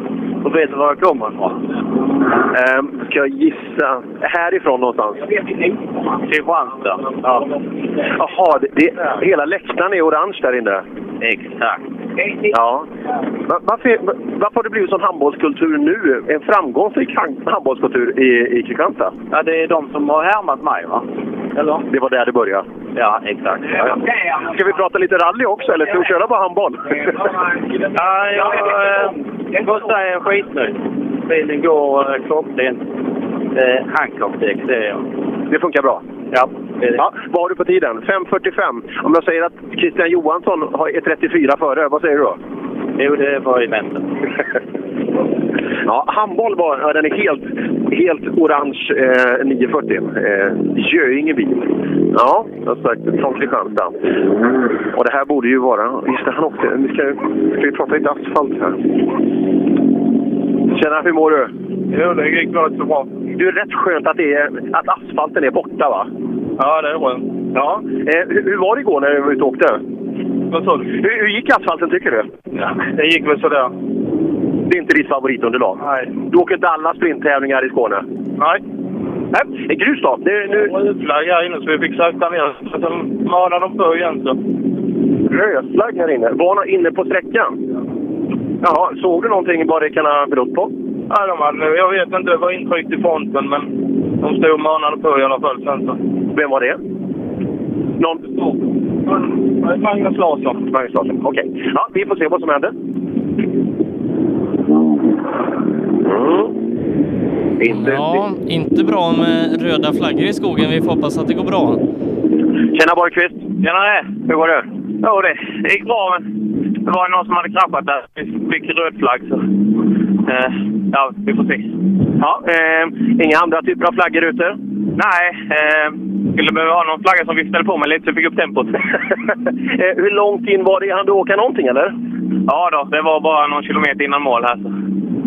S18: Och vet du var jag kommer ifrån?
S4: Ehm, ska jag gissa? Härifrån någonstans?
S18: Kristianstad.
S4: Ja. Jaha, det, det, hela läktaren är orange där inne?
S18: Exakt.
S4: Ja. Va- Varför, va- varför har det blivit sån handbollskultur nu? En framgångsrik han- handbollskultur i, i Kristianstad?
S18: Ja, det är de som har härmat mig, va? Eller?
S4: Det var där det började.
S18: Ja, exakt.
S4: Ja, ja. Ska vi prata lite rally också, eller ska vi köra bara handboll?
S18: Ja, jag eh, måste säga en skit nu. Bilen går eh, klockrent. Eh, Handkoppdäck, det är jag.
S4: Det funkar bra? Ja. ja. Vad har du på tiden? 5.45. Om jag säger att Christian Johansson har- är 34 före, vad säger du då? Jo, det var i väntan. ja, handboll var, ja, den är helt, helt orange eh, 940. Eh, Göingebil. Ja, som sagt, från Kristianstad. Mm. Och det här borde ju vara... Just det, han åkte. Vi ska, ska vi prata lite asfalt här. Tjena, hur mår du? Jo, det gick bra så bra. Du, är rätt skönt att, det är, att asfalten är borta, va? Ja, det är skönt. Ja. Eh, hur, hur var det igår när du var ute och åkte? Vad sa du? Hur, hur gick asfalten, tycker du? Ja, det gick väl sådär. Det är inte ditt favoritunderlag? Nej. Du åker inte alla sprinttävlingar i Skåne? Nej. Nej, det är grus då? Nu, nu... Det var rödflagg här inne så vi fick sakta ner så att de manade dem på igen. Så. Rödflagg här inne? Var någon inne på sträckan? Jaha, såg du någonting vad det kan ha berott på? Ja, de hade, jag vet inte. Det var intryckt i fronten, men de stod och manade på i alla fall sen så. Vem var det? Någon? Magnus Larsson. Magnus Larsson, okej. Ja, vi får se vad som händer. Mm. Inte...
S5: Ja, inte bra med röda flaggor i skogen. Vi får hoppas att det går bra.
S4: Tjena Borgqvist!
S12: Tjenare! Hur går det? Jo, det det gick bra, men det var någon som hade kraschat där. Vi fick röd flagg, så... Eh, ja, vi får se.
S4: Ja, eh, inga andra typer av flaggor ute?
S12: Nej, eh, skulle behöva ha någon flagga som viftade på mig lite så jag fick upp tempot.
S4: Eh, hur långt in var det? Han du åka någonting eller?
S12: ja då, det var bara någon kilometer innan mål här. Så.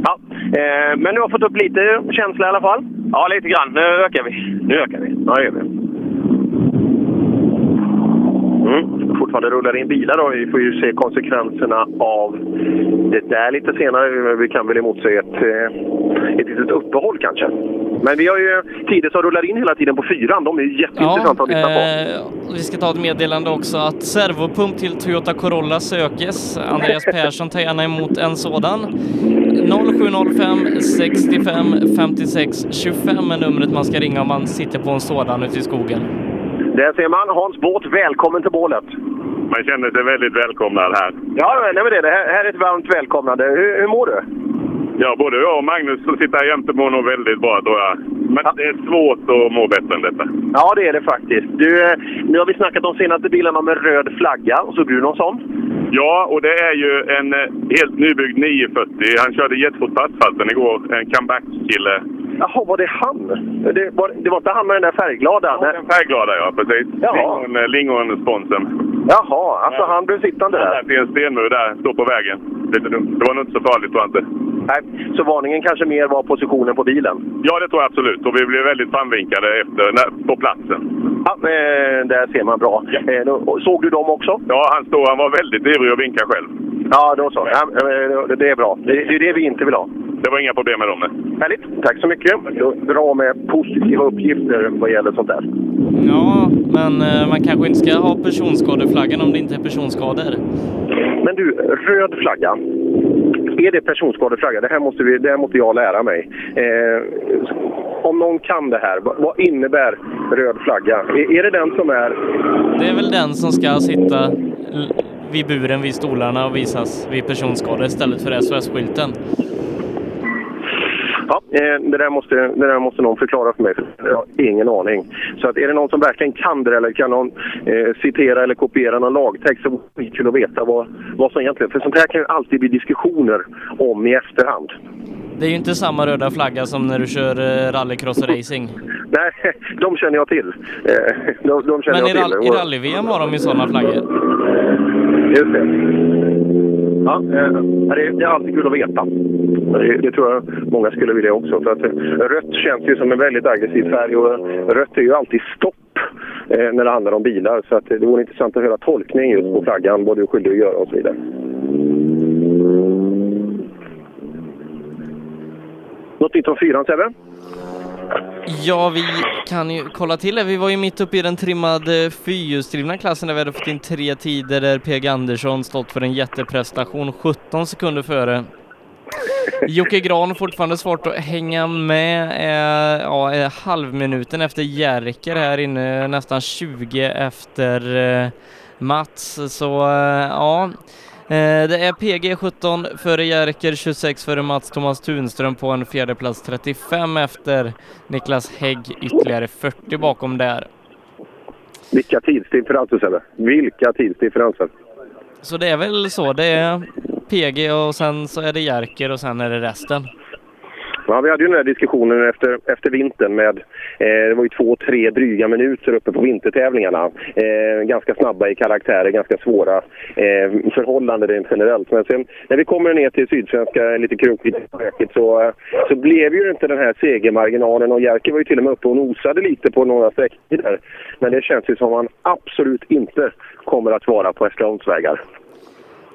S4: Ja, eh, men du har fått upp lite känsla i alla fall?
S12: Ja, lite grann. Nu ökar vi.
S4: Nu ökar vi. Ja, det gör vi. Mm. Fortfarande rullar in bilar då. Vi får ju se konsekvenserna av det där lite senare. Vi kan väl emotse ett, eh, ett litet uppehåll kanske. Men vi har ju tider som rullar in hela tiden på fyran. De är ju jätteintressanta att lyssna på.
S5: eh, vi ska ta ett meddelande också att servopump till Toyota Corolla sökes. Andreas Persson tar gärna emot en sådan. 0705 65 56 25 är numret man ska ringa om man sitter på en sådan ute i skogen.
S4: Där ser man Hans Båt. Välkommen till bålet!
S9: Man känner sig väldigt välkomnad här.
S4: Ja, nej, men det, det här, här är ett varmt välkomnande. Hur, hur mår du?
S9: Ja, både jag och Magnus som sitter här jämte mår nog väldigt bra tror jag. Men det är svårt att må bättre än detta.
S4: Ja, det är det faktiskt. Du, eh, nu har vi snackat om senaste bilarna med röd flagga. Och så du någon sån?
S9: Ja, och det är ju en eh, helt nybyggd 940. Han körde jättefort på asfalten igår. En comeback-kille.
S4: Jaha, var det han? Det var, det var inte han med den där färgglada? Ja,
S9: den färgglada ja, precis.
S4: Jaha.
S9: Lingon, eh, Lingon-sponsen.
S4: Jaha, alltså han blev sittande där.
S9: Det är en stenmur där, står på vägen. Lite dumt. Det var nog inte så farligt tror jag inte.
S4: Nej, så varningen kanske mer var positionen på bilen?
S9: Ja, det tror jag absolut. Och vi blev väldigt framvinkade efter, när, på platsen.
S4: Ja, eh, där ser man bra. Eh, då- såg du dem också?
S9: Ja, han stod, han var väldigt ivrig att vinka själv.
S4: Ja, då så. Ja, eh, det- det är bra. Det, det är det vi inte vill ha.
S9: Det var inga problem med dem. nej.
S4: Härligt. Tack så mycket. Bra med positiva uppgifter vad gäller sånt där.
S5: Ja, men eh, man kanske inte ska ha personskadeflaggan om det inte är personskador.
S4: Men du, röd flagga. Är det personskadeflagga? Det här måste, vi, det här måste jag lära mig. Eh, om någon kan det här, vad, vad innebär röd flagga? Är, är det den som är...
S5: Det är väl den som ska sitta l- vid buren vid stolarna och visas vid personskador istället för SOS-skylten.
S4: Ja, eh, det, där måste, det där måste någon förklara för mig. för Jag har ingen aning. Så att, är det någon som verkligen kan det eller kan någon eh, citera eller kopiera någon lagtext så vore det kul att veta vad, vad som egentligen... För sånt här kan ju alltid bli diskussioner om i efterhand.
S5: Det är ju inte samma röda flagga som när du kör eh, rallycross och racing.
S4: Nej, de känner jag till. Eh, De, de känner
S5: Men
S4: jag
S5: i,
S4: till.
S5: rall- i
S4: Och-
S5: rally-VM har de ju sådana flaggor.
S4: Just det. Ja, eh, det, det är alltid kul att veta. Det, det tror jag många skulle vilja också. För att eh, rött känns ju som en väldigt aggressiv färg och eh, rött är ju alltid stopp eh, när det handlar om bilar. Så att eh, det vore intressant att höra tolkning just på flaggan, vad du är skyldig att göra och så vidare. Något nytt om fyran, Sebbe?
S5: Ja, vi kan ju kolla till det. Vi var ju mitt uppe i den trimmade fyrhjulsdrivna klassen där vi hade fått in tre tider där PG Andersson stått för en jätteprestation 17 sekunder före. Jocke Gran fortfarande svårt att hänga med. Eh, ja, eh, halvminuten efter Jerker här inne, nästan 20 efter eh, Mats. Så eh, ja, eh, det är PG 17 före Jerker, 26 före Mats Thomas Tunström på en fjärdeplats, 35 efter Niklas Hägg, ytterligare 40 bakom där.
S4: Vilka tidsdifferenser, Sebbe. Vilka tidsdifferenser.
S5: Så det är väl så. Det är PG och sen så är det Jerker och sen är det resten.
S4: Ja, vi hade ju den här diskussionen efter, efter vintern med, eh, det var ju två, tre dryga minuter uppe på vintertävlingarna. Eh, ganska snabba i karaktärer, ganska svåra eh, förhållanden rent generellt. Men sen när vi kommer ner till Sydsvenska, lite krokigt och stökigt, så, eh, så blev ju inte den här segermarginalen och Jerker var ju till och med uppe och nosade lite på några sträckor där. Men det känns ju som han absolut inte kommer att vara på Hässleholms vägar.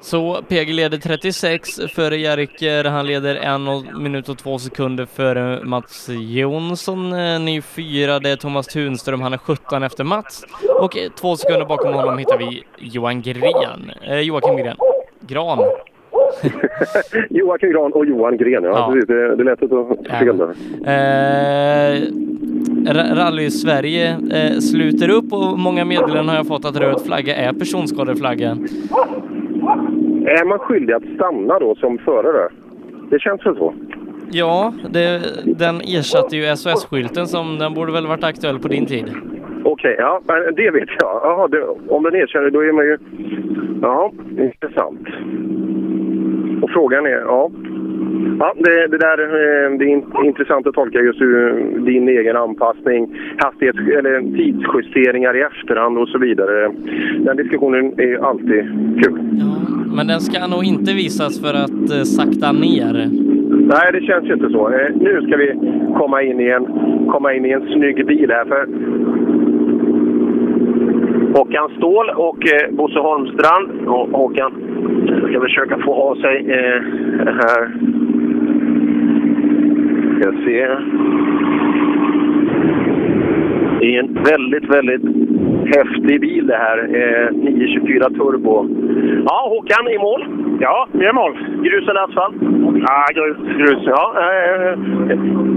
S5: Så PG leder 36 före Jerker. Han leder en och- minut och två sekunder före Mats Jonsson. eh, Ny fyra, det är Thomas Tunström. Han är 17 efter Mats. Och eh, två sekunder bakom honom hittar vi Johan Gren. Eh, Joakim Gren. Gran.
S4: Joakim Gran och Johan Gren, ja,
S5: Ja.
S4: Precis, det, det lät så fel.
S5: Eh, Ra- Rally-Sverige eh, sluter upp och många meddelanden har jag fått att röd flagga är personskadeflaggan.
S4: Är man skyldig att stanna då som förare? Det känns väl så?
S5: Ja, det, den ersatte ju SOS-skylten som den borde väl varit aktuell på din tid.
S4: Okej, ja, men det vet jag. Jaha, det, om den erkänner då är man ju... Ja, intressant. Och frågan är, ja... Ja, det, det där eh, det är in- intressant att tolka just hur din egen anpassning, hastighets eller tidsjusteringar i efterhand och så vidare. Den diskussionen är ju alltid kul.
S5: Men den ska nog inte visas för att eh, sakta ner.
S4: Nej, det känns ju inte så. Eh, nu ska vi komma in i en, komma in i en snygg bil här. För
S12: Håkan Ståhl och eh, Bosse Holmstrand. Och Håkan ska försöka få av sig eh, det här. Ska se. Det är en väldigt, väldigt häftig bil det här. Eh, 924 Turbo. Ja, Håkan i mål. Ja, vi är i mål. Grus eller asfalt? Ja, grus. grus ja. Eh,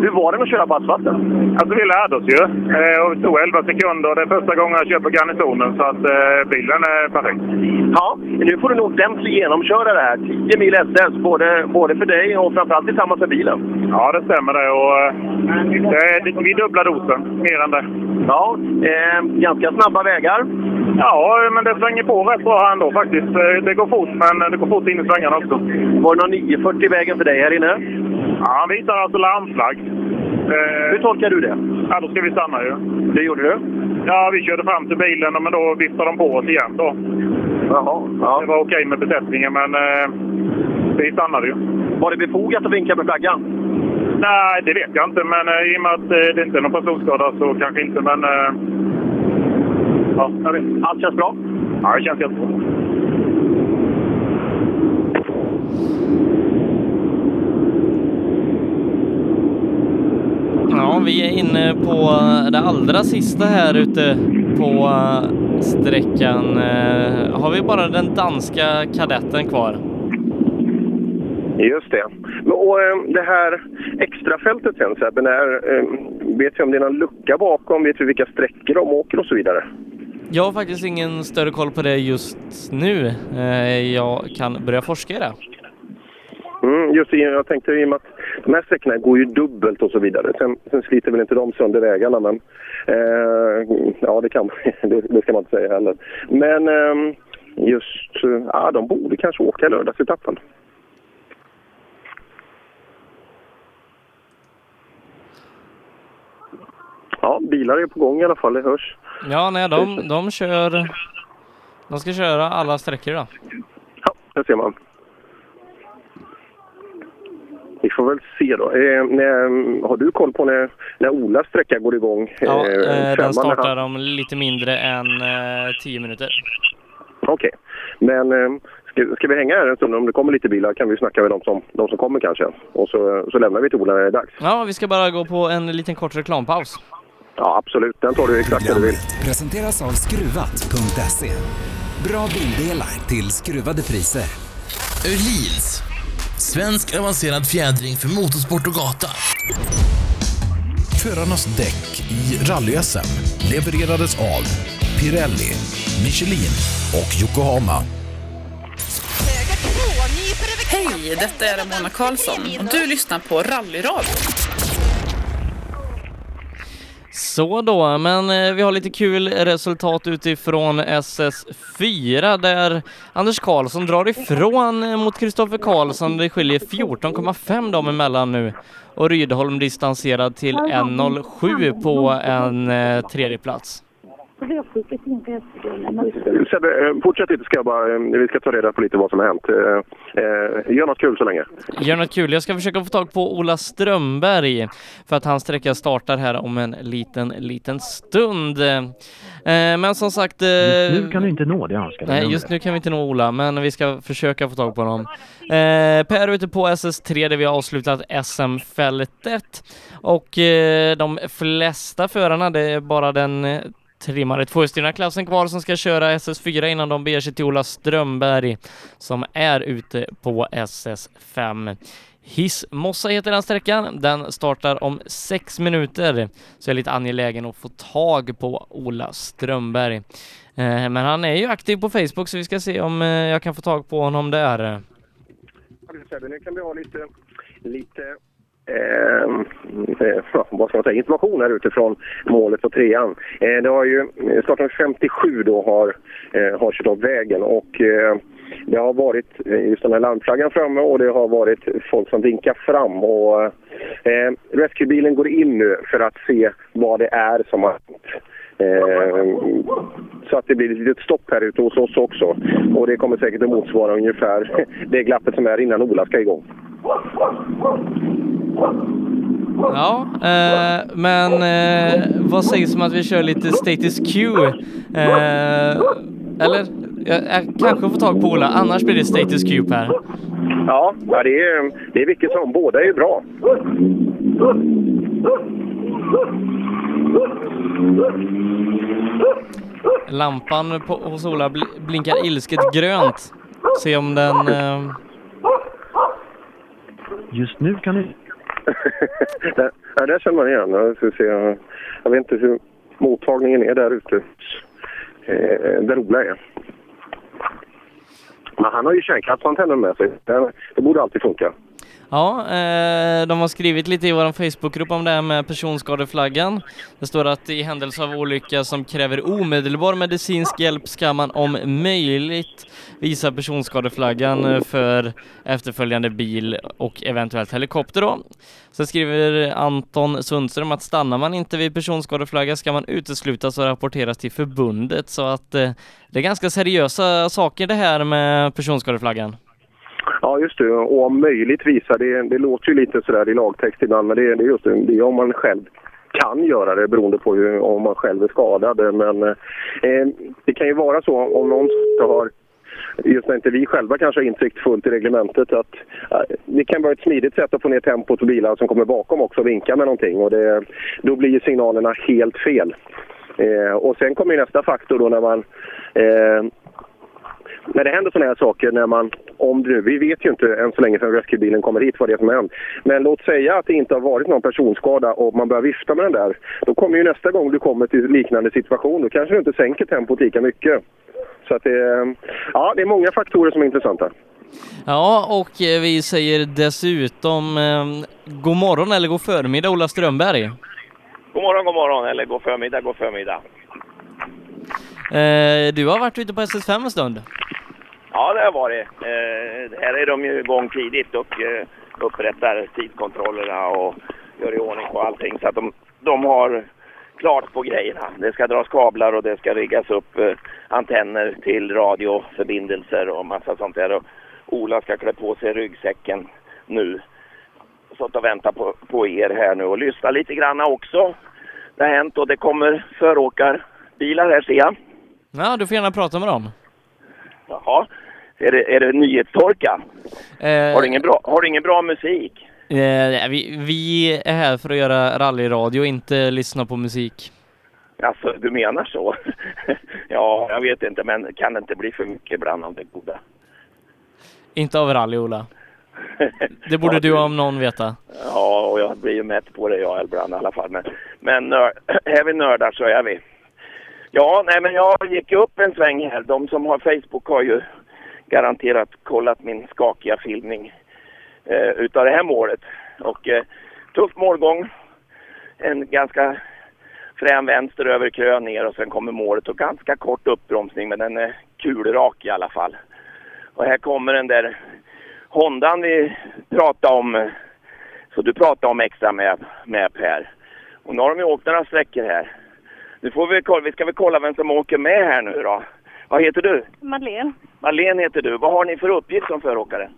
S12: hur var det att köra på asfalten?
S9: Alltså vi lärde oss ju. Eh, Och vi tog 11 sekunder och det är första gången jag kör på garnisonen så att eh, bilen är perfekt.
S12: Ja, nu får du en ordentlig genomkörare här. 10 mil SS, både, både för dig och framförallt tillsammans med bilen.
S9: Ja, det stämmer det. Och, eh, det är, vi dubblar dosen, mer än det.
S12: Ja, Eh, ganska snabba vägar.
S9: Ja, men det svänger på rätt bra här ändå faktiskt. Eh, Det går fort, men det går fort in i svängarna också.
S12: Var det någon 940 vägen för dig här inne?
S9: Ja, han visar alltså larmflagg. Hur
S12: tolkar du det?
S9: Ja, då ska vi stanna ju.
S12: Det gjorde du?
S9: Ja, vi körde fram till bilen men då viftade de på oss igen då.
S12: Jaha.
S9: Det var okej med besättningen men eh, vi stannade ju.
S12: Var det befogat att vinka med flaggan?
S9: Nej, det vet jag inte. Men eh, i och med att eh, det inte är någon personskada så kanske inte. Men eh, ja, jag vet.
S12: allt känns bra.
S9: Ja, det känns jättebra.
S5: Ja, vi är inne på det allra sista här ute på eh, sträckan. Eh, Har vi bara den danska kadetten kvar?
S4: Just det. Men, Och eh, det här extrafältet sen Sebbe, när, eh, vet vi om det är någon lucka bakom? Vet vi vilka sträckor de åker och så vidare?
S5: Jag har faktiskt ingen större koll på det just nu. Eh, Jag kan börja forska i det.
S4: Mm, just det, jag tänkte i och med att de här sträckorna går ju dubbelt och så vidare. Sen, sen sliter väl inte de sönder vägarna, men eh, ja, det, kan, det, det ska man inte säga heller. Men eh, just, eh, ja, de borde kanske åka lördagsetappen. Ja, bilar är på gång i alla fall, det hörs.
S5: Ja, nej, de, de kör... De ska köra alla sträckor då.
S4: Där ser man. Vi får väl se då. Eh, när, har du koll på när, när Olas sträcka går igång?
S5: Ja, eh, den
S4: femman när han-
S5: startar om lite mindre än eh, 10 minuter.
S4: Okej. Men eh, ska, ska vi hänga här en stund? Om det kommer lite bilar kan vi snacka med de som, de som kommer kanske. Och så, så lämnar vi till Ola när det är dags.
S5: Ja, vi ska bara gå på en liten kort reklampaus.
S4: Ja, absolut. Den tar du exakt där du vill.
S19: Presenteras av Skruvat.se. Bra bildelar till skruvade priser.
S2: Öhlins. Svensk avancerad fjädring för motorsport och gata.
S3: Förarnas däck i rally levererades av Pirelli, Michelin och Yokohama.
S7: Hej, detta är Ramona Karlsson och du lyssnar på Rallyradio.
S5: Så då, men eh, vi har lite kul resultat utifrån SS4 där Anders Karlsson drar ifrån eh, mot Kristoffer Karlsson. Det skiljer 14,5 dem emellan nu och Rydholm distanserad till 1.07 på en eh, tredje plats.
S4: Sebbe, eh, fortsätt lite ska jag bara, eh, vi ska ta reda på lite vad som har hänt. Eh, eh, Gör något kul så länge.
S5: Gör något kul. Jag ska försöka få tag på Ola Strömberg för att hans sträcka startar här om en liten, liten stund. Eh, Men som sagt... eh,
S20: Nu kan du inte nå det önskade
S5: Nej, just nu kan vi inte nå Ola, men vi ska försöka få tag på honom. Eh, per är ute på SS3 där vi har avslutat SM-fältet. Och eh, de flesta förarna, det är bara den eh, trimmade tvåhjulsdrivna klassen kvar som ska köra SS4 innan de beger sig till Ola Strömberg som är ute på SS5. Hissmossa heter den sträckan. Den startar om sex minuter, så jag är lite angelägen att få tag på Ola Strömberg. Eh, Men han är ju aktiv på Facebook, så vi ska se om eh, jag kan få tag på honom där.
S4: Sebbe, nu kan vi ha lite, lite Eh, eh, vad ska man säga, information här utifrån målet på trean. Eh, det har ju, eh, startnummer 57 då har, eh, har kört av vägen och eh, det har varit eh, just den här larmflaggan framme och det har varit folk som vinkar fram. Och, eh, rescuebilen går in nu för att se vad det är som har hänt. Eh, så att det blir ett litet stopp här ute hos oss också. Och det kommer säkert att motsvara ungefär det glappet som är innan Ola ska igång.
S5: Ja, eh, men eh, vad sägs om att vi kör lite Status Q? Eh, eller? Jag, jag kanske får tag på Ola, annars blir det Status Q Per.
S4: Ja, ja det, är, det är vilket som. Båda är ju bra.
S5: Lampan på, hos Ola bl- blinkar ilsket grönt. Se om den... Eh,
S20: Just nu kan du...
S4: där, ja, där känner man igen. Jag, ska se. jag vet inte hur mottagningen är där ute. Eh, där Ola är. Men han har ju kärnkraftsantennen med sig. Det- Det borde alltid funka.
S5: Ja, eh, de har skrivit lite i vår Facebookgrupp om det här med personskadeflaggan. Det står att i händelse av olycka som kräver omedelbar medicinsk hjälp ska man om möjligt visa personskadeflaggan eh, för efterföljande bil och eventuellt helikopter då. Sen skriver Anton Sundström att stannar man inte vid personskadeflagga ska man uteslutas och rapporteras till förbundet så att eh, det är ganska seriösa saker det här med personskadeflaggan.
S4: Ja, just det. Och om möjligt visa. Det, det låter ju lite sådär i lagtext ibland, men det, det är just det. det är om man själv kan göra det beroende på ju, om man själv är skadad. Men eh, det kan ju vara så om någon har Just när inte vi själva kanske har intryckt fullt i reglementet att eh, det kan vara ett smidigt sätt att få ner tempot på bilar som kommer bakom också och vinka med någonting. Och det, då blir ju signalerna helt fel. Eh, och sen kommer ju nästa faktor då när man eh, när det händer sådana här saker, när man, om det nu, vi vet ju inte än så länge sedan rescuebilen kommer hit vad det är som har hänt. Men låt säga att det inte har varit någon personskada och man börjar vifta med den där. Då kommer ju nästa gång du kommer till liknande situation, då kanske du inte sänker tempot lika mycket. Så att det, ja, det är många faktorer som är intressanta.
S5: Ja, och eh, vi säger dessutom eh, god morgon eller god förmiddag Ola Strömberg.
S8: God morgon, god morgon. Eller god förmiddag, god förmiddag.
S5: Eh, du har varit ute på SS5 en stund.
S8: Ja, det har varit. Eh, här är de ju igång tidigt och eh, upprättar tidkontrollerna och gör i ordning på allting så att de, de har klart på grejerna. Det ska dras kablar och det ska riggas upp eh, antenner till radioförbindelser och massa sånt där. Och Ola ska klä på sig ryggsäcken nu. Stått och väntat på, på er här nu och lyssna lite granna också. Det har hänt och det kommer föråkarbilar här ser jag.
S5: Ja, du får gärna prata med dem.
S8: Jaha. Är det, är det nyhetstorka?
S5: Eh,
S8: Har, du ingen bra, har du ingen bra musik?
S5: eh, nej, vi, vi är här för att göra rallyradio, inte lyssna på musik.
S8: Alltså, du menar så? ja, jag vet inte, men kan det inte bli för mycket ibland av det goda?
S5: Inte av rally, Ola. Det borde du om någon veta.
S8: Ja, och jag blir ju mätt på det jag ibland i alla fall. Men, men nör, är vi nördar så är vi. Ja, nej men jag gick ju upp en sväng här. De som har Facebook har ju garanterat kollat min skakiga filmning eh, utav det här målet. Och eh, tuff målgång. En ganska frän vänster över krön ner och sen kommer målet och ganska kort uppbromsning men den är kulrak i alla fall. Och här kommer den där Hondan vi pratade om, eh, så du pratade om extra med, med Per. Och nu har de ju åkt några sträckor här. Nu får vi kolla, vi ska väl kolla vem som åker med här nu då. Vad heter du?
S6: Madeleine,
S8: Marlene heter du. Vad har ni för uppgift som föråkare?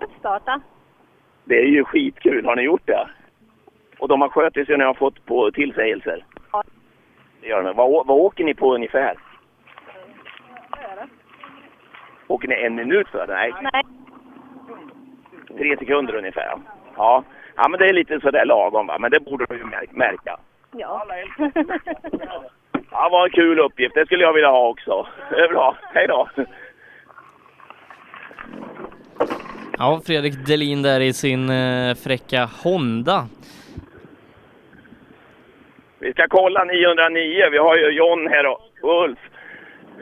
S6: uppstarta.
S8: Det är ju skitkul. Har ni gjort det? Och de har skött sig och ni har fått på tillsägelser?
S6: Ja.
S8: Det gör de. Vad, å- vad åker ni på ungefär? Åker ni en minut för? Nej.
S6: Nej.
S8: Tre sekunder ungefär. ja. Ja. ja, men det är lite sådär lagom va. Men det borde du ju mär- märka.
S6: Ja.
S8: Ja, vad en kul uppgift. Det skulle jag vilja ha också. Det är bra. Hej då!
S5: Ja, Fredrik Delin där i sin eh, fräcka Honda.
S8: Vi ska kolla 909. Vi har ju John här och och Ulf.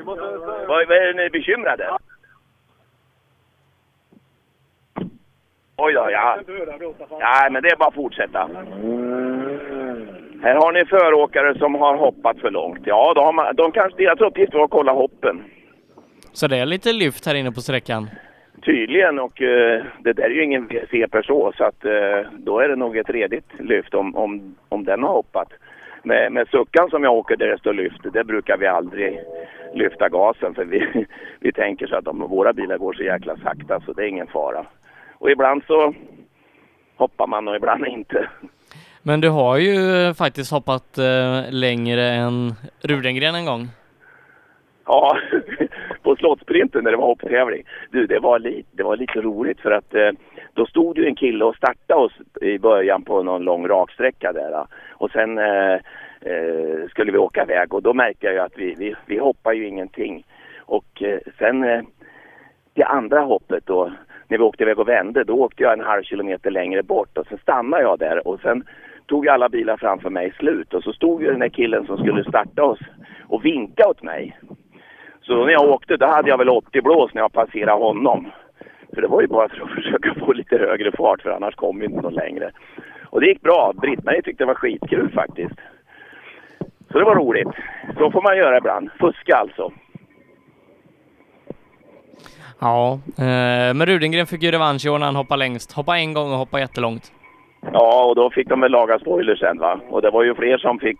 S8: Vad, vad är ni bekymrade? Oj då, ja. Nej, men det är bara att fortsätta. Här har ni föråkare som har hoppat för långt. Ja, de, har, man- de kanske, deras uppgift var att kolla hoppen.
S5: Så det är lite lyft här inne på sträckan.
S8: Tydligen, och eh, det där är ju ingen CPR så, så att eh, då är det nog ett redigt lyft om, om, om den har hoppat. Med, med suckan som jag åker där det står lyft, det brukar vi aldrig lyfta gasen för vi, vi tänker så att om våra bilar går så jäkla sakta så det är ingen fara. Och ibland så hoppar man och ibland inte.
S5: Men du har ju eh, faktiskt hoppat eh, längre än Rudengren en gång.
S8: Ja, på Slottsprinten när det var hopptävling. Du, det var, li- det var lite roligt för att eh, då stod ju en kille och startade oss i början på någon lång raksträcka där. eh. Och sen eh, eh, skulle vi åka iväg och då märkte jag ju att vi, vi, vi hoppar ju ingenting. Och eh, sen eh, det andra hoppet då, när vi åkte iväg och vände, då åkte jag en halv kilometer längre bort och sen stannade jag där och sen tog ju alla bilar framför mig slut och så stod ju den där killen som skulle starta oss och vinka åt mig. Så när jag åkte, då hade jag väl 80 blås när jag passerade honom. För det var ju bara för att försöka få lite högre fart, för annars kom vi inte någon längre. Och det gick bra. Britt-Marie tyckte det var skitkul faktiskt. Så det var roligt. Så får man göra ibland. Fuska alltså.
S5: Ja, eh, men Rudengren fick ju revansch i år när han hoppade längst. Hoppa en gång och hoppa jättelångt.
S8: Ja, och då fick de väl laga spoilers sen va. Och det var ju fler som fick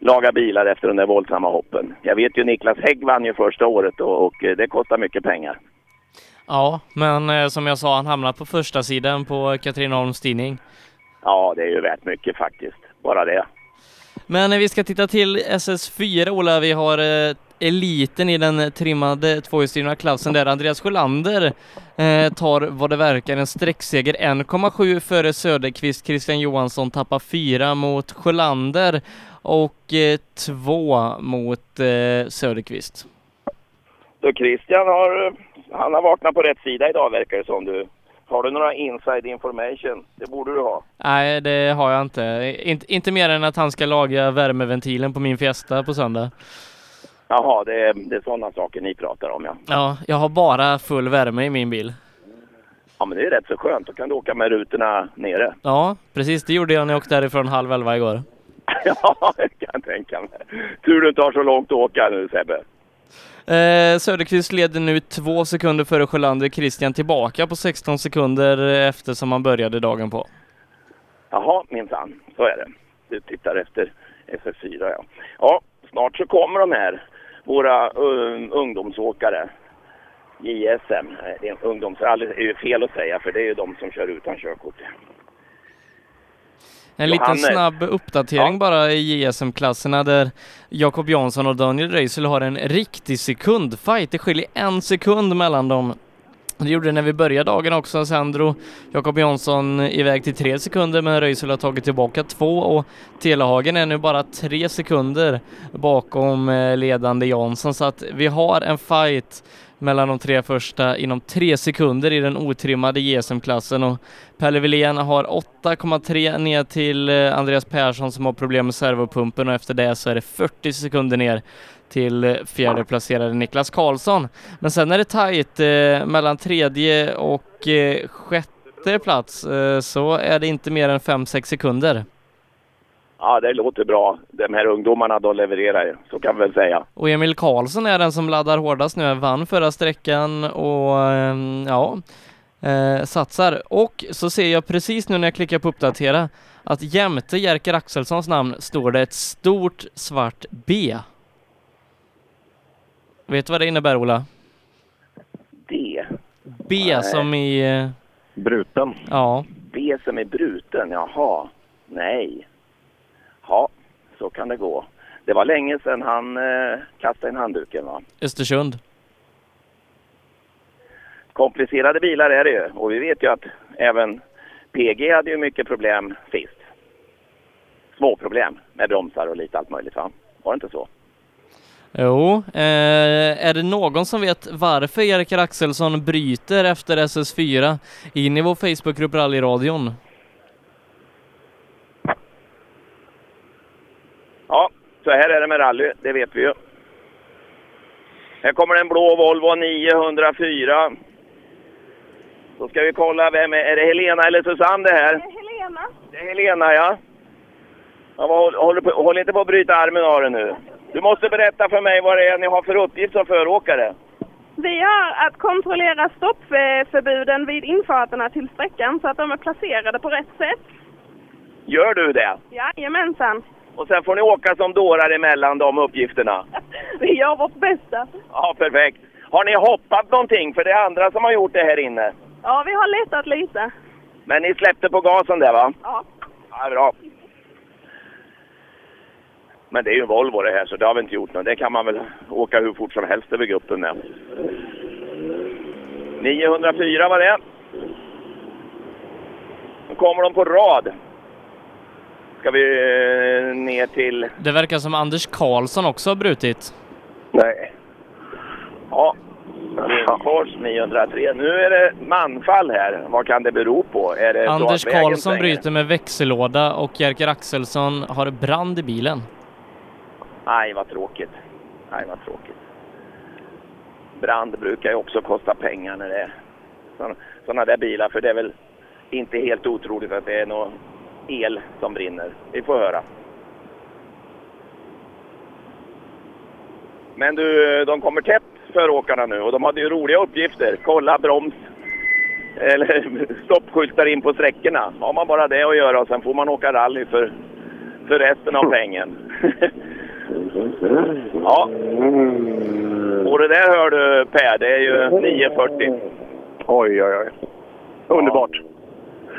S8: laga bilar efter den där våldsamma hoppen. Jag vet ju Niklas Hägg vann ju första året och, och eh, det kostar mycket pengar.
S5: Ja, men eh, som jag sa, han hamnade på första sidan på Katrineholms tidning.
S8: Ja, det är ju värt mycket faktiskt. Bara det.
S5: Men eh, vi ska titta till SS4, Ola. Vi har eh, eliten i den trimmade tvåhjulsdrivna klassen där. Andreas Sjölander eh, tar vad det verkar en sträckseger 1,7 före Söderqvist. Christian Johansson tappar 4 mot Sjölander och eh, 2 mot eh, Söderqvist.
S8: Så Christian har, han har vaknat på rätt sida idag verkar det som du. Har du några inside information? Det borde du ha.
S5: Nej, det har jag inte. Inte, inte mer än att han ska laga värmeventilen på min Fiesta på söndag.
S8: Jaha, det är, det är sådana saker ni pratar om ja.
S5: Ja, jag har bara full värme i min bil.
S8: Ja men det är rätt så skönt, då kan du åka med rutorna nere.
S5: Ja, precis. Det gjorde jag när jag åkte därifrån halv elva igår.
S8: ja, det kan jag tänka mig. Tur du inte har så långt att åka nu Sebbe.
S5: Eh, Söderqvist leder nu två sekunder före Sjölander. Christian tillbaka på 16 sekunder efter som han började dagen på.
S8: Jaha, minsann. Så är det. Du tittar efter SS4 ja. Ja, snart så kommer de här, våra um, ungdomsåkare. JSM, eh, det är en ungdomsrally det är ju fel att säga för det är ju de som kör utan körkort.
S5: En
S8: Johannes.
S5: liten snabb uppdatering bara i JSM-klasserna där Jakob Jansson och Daniel Röisel har en riktig sekundfight. Det skiljer en sekund mellan dem. Det gjorde det när vi började dagen också. Sen drog Jakob Jansson iväg till tre sekunder men Röisel har tagit tillbaka två och Telehagen är nu bara tre sekunder bakom eh, ledande Jansson så att vi har en fight mellan de tre första inom tre sekunder i den otrimmade JSM-klassen och Pelle Wilén har 8,3 ner till eh, Andreas Persson som har problem med servopumpen och efter det så är det 40 sekunder ner till eh, fjärde placerade Niklas Karlsson. Men sen är det tajt eh, mellan tredje och eh, sjätte plats eh, så är det inte mer än 5-6 sekunder.
S9: Ja, det låter bra. De här ungdomarna de levererar ju, så kan vi väl säga.
S5: Och Emil Karlsson är den som laddar hårdast nu, vann förra sträckan och ehm, ja, eh, satsar. Och så ser jag precis nu när jag klickar på uppdatera att jämte Jerker Axelssons namn står det ett stort svart B. Vet du vad det innebär Ola?
S9: D.
S5: B
S9: Nej.
S5: som i... eh,
S9: Bruten.
S5: Ja.
S9: B som är bruten, jaha. Nej. Ja, så kan det gå. Det var länge sedan han eh, kastade in handduken va?
S5: Östersund.
S9: Komplicerade bilar är det ju och vi vet ju att även PG hade ju mycket problem sist. Små problem med bromsar och lite allt möjligt va? Var det inte så?
S5: Jo, eh, är det någon som vet varför Jerker Axelsson bryter efter SS4 in i vår Facebookgrupp Rallyradion?
S9: Ja, så här är det med rally, det vet vi ju. Här kommer en blå Volvo 904. Då ska vi kolla, vem är, är det Helena eller Susanne det här?
S12: Helena?
S9: Det är Helena, ja. ja vad, håll, håll, på- håll inte på att bryta armen av dig nu. Du måste berätta för mig vad det är ni har för uppgift som föråkare.
S12: Vi har att kontrollera stoppförbuden vid infarterna till sträckan så att de är placerade på rätt sätt.
S9: Gör du det?
S12: Jajamensan.
S9: Och sen får ni åka som dårar emellan de uppgifterna.
S12: Vi gör vårt bästa.
S9: Ja, perfekt. Har ni hoppat någonting? För det är andra som har gjort det här inne.
S12: Ja, vi har letat lite.
S9: Men ni släppte på gasen där va?
S12: Ja.
S9: Ja, bra. Men det är ju en Volvo det här så det har vi inte gjort något. Det kan man väl åka hur fort som helst över gruppen med. 904 var det. Nu kommer de på rad. Ska vi eh, ner till...
S5: Det verkar som Anders Karlsson också har brutit.
S9: Nej. Ja. Lindfors 903. Nu är det manfall här. Vad kan det bero på? Är det så att
S5: Anders
S9: vägen
S5: Karlsson
S9: svänger?
S5: bryter med växellåda och Jerker Axelsson har brand i bilen.
S9: Nej, vad tråkigt. Nej, vad tråkigt. Brand brukar ju också kosta pengar när det är sådana där bilar. För det är väl inte helt otroligt att det är någon el som brinner. Vi får höra. Men du, de kommer tätt för åkarna nu och de hade ju roliga uppgifter. Kolla broms eller stoppskyltar in på sträckorna. Har man bara det att göra och sen får man åka rally för, för resten av pengen. Ja. Och det där hör du Per, det är ju 940. Oj, oj, oj. Underbart.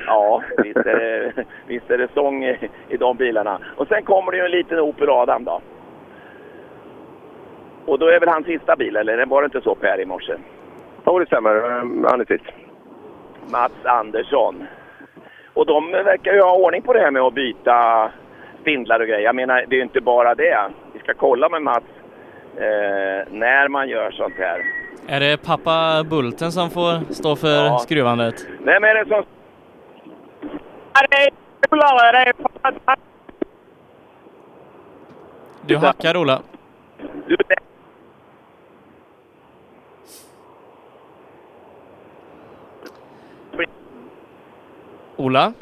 S9: Ja, visst är det, visst är det sång i, i de bilarna. Och sen kommer det ju en liten Opel Adam då. Och då är väl hans sista bil, eller var det inte så Per i morse?
S4: Jo, det stämmer. Ehm, Han är sist.
S9: Mats Andersson. Och de verkar ju ha ordning på det här med att byta spindlar och grejer. Jag menar, det är ju inte bara det. Vi ska kolla med Mats eh, när man gör sånt här.
S5: Är det pappa Bulten som får stå för
S9: Ja.
S5: skruvandet?
S9: Vem är det som...
S8: Det är polare, det är
S5: Du hackar Ola. Ola?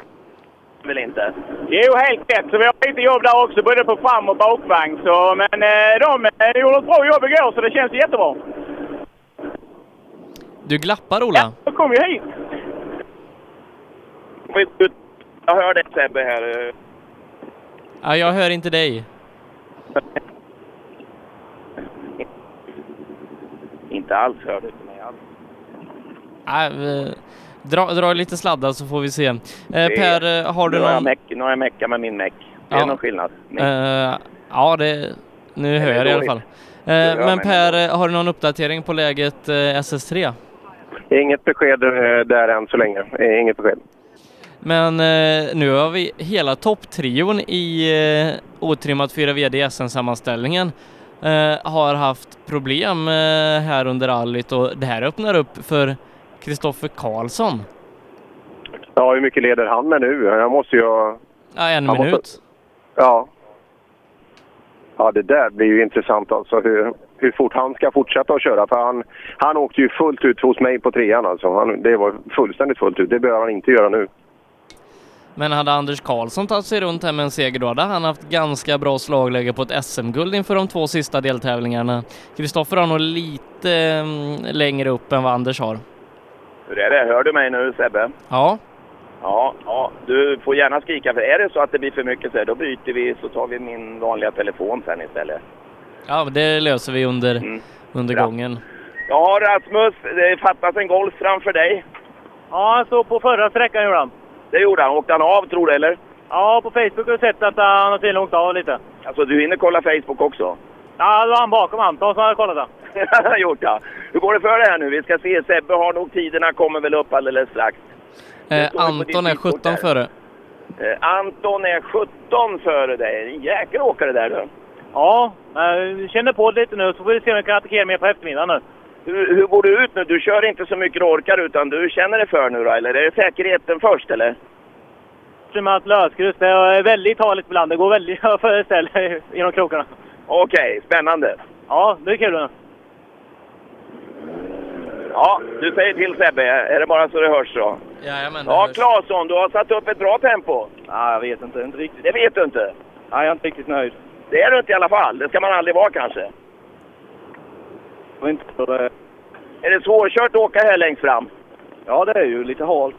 S9: Vill inte.
S8: Jo, helt rätt. Så vi har lite jobb där också, både på fram och bakvagn. Så, men eh, de eh, gjorde ett bra jobb igår, så det känns jättebra.
S5: Du glappar Ola.
S8: De kom ju hit.
S9: Jag hör dig Sebbe här.
S5: Ja, jag hör inte dig.
S9: Inte alls hör du mig alls.
S5: Nej, vi- dra, dra lite sladdar så får vi se. Eh,
S9: Det-
S5: per, eh, har du
S9: nu har jag
S5: någon...
S9: meck, nu har jag meckat med min meck. Det är
S5: Ja.
S9: någon skillnad. Min-
S5: Eh, ja, det, nu hör jag det i alla fall.
S9: dåligt?
S5: Eh,
S9: hör
S5: men
S9: mig.
S5: Per, eh, har du någon uppdatering på läget eh, SS3?
S4: Inget besked eh, där än så länge. Eh, Inget besked.
S5: Men eh, nu har vi hela topptrion i eh, otrimmat 4 VD i SN-sammanställningen eh, har haft problem eh, här under rallyt och det här öppnar upp för Kristoffer Karlsson.
S4: Ja, hur mycket leder han med nu? Han måste ju... ha-
S5: Ja,
S4: han
S5: en
S4: måste-
S5: minut.
S4: Ja. Ja, det där blir ju intressant alltså. Hur, hur fort han ska fortsätta att köra. För han, han åkte ju fullt ut hos mig på trean alltså. Han, det var fullständigt fullt ut. Det behöver han inte göra nu.
S5: Men hade Anders Karlsson tagit sig runt här med en seger då hade han haft ganska bra slagläge på ett SM-guld inför de två sista deltävlingarna. Kristoffer har nog lite mm, längre upp än vad Anders har.
S4: Hur är det? Hör du mig nu Sebbe?
S5: Ja,
S4: Ja, ja, du får gärna skrika. För är det så att det blir för mycket så här, då byter vi så tar vi min vanliga telefon sen istället.
S5: ja men det löser vi under, under gången.
S4: Ja, Rasmus, det fattas en Golf framför dig.
S7: Ja, han stod på förra sträckan gjorde han.
S4: Det gjorde han. Åkte han av tror du eller?
S7: Ja, på Facebook har jag sett att han har tydligen åkt av lite.
S4: Alltså du hinner kolla Facebook också?
S7: Ja, det var han bakom Anton som hade kollat det.
S4: Han har gjort ja. Hur går det för det här nu? Vi ska se. Sebbe har nog tiderna kommer väl upp alldeles strax.
S5: Eh,
S4: står ju på
S5: Anton
S4: ditt
S5: är 17 före.
S4: Eh, Anton är 17 före dig. En jäkla åkare där du.
S7: Ja, jag känner på det lite nu så får vi se om jag kan attackera mer på eftermiddagen nu.
S4: Hur, hur går du ut nu? Du kör inte så mycket du orkar utan du känner dig för nu då, eller? Är det säkerheten först eller?
S7: Trimmat lösgrus, det är väldigt taligt ibland. Det går väldigt för ställ genom krokarna.
S4: Okej, spännande.
S7: Ja, det är kul. nu.
S4: Ja, du säger till Sebbe. Är det bara så det hörs så?
S5: Jajamän,
S4: Ja, Claesson, du har satt upp ett bra tempo.
S21: Ja, jag vet inte. Inte riktigt.
S4: Det vet du inte?
S21: Nej, jag är inte riktigt nöjd.
S4: Det är du inte i alla fall. Det ska man aldrig vara kanske.
S21: Jag vet inte eh, hur det...
S4: Är det svårkört att åka här längst fram?
S21: Ja, det är ju lite halt.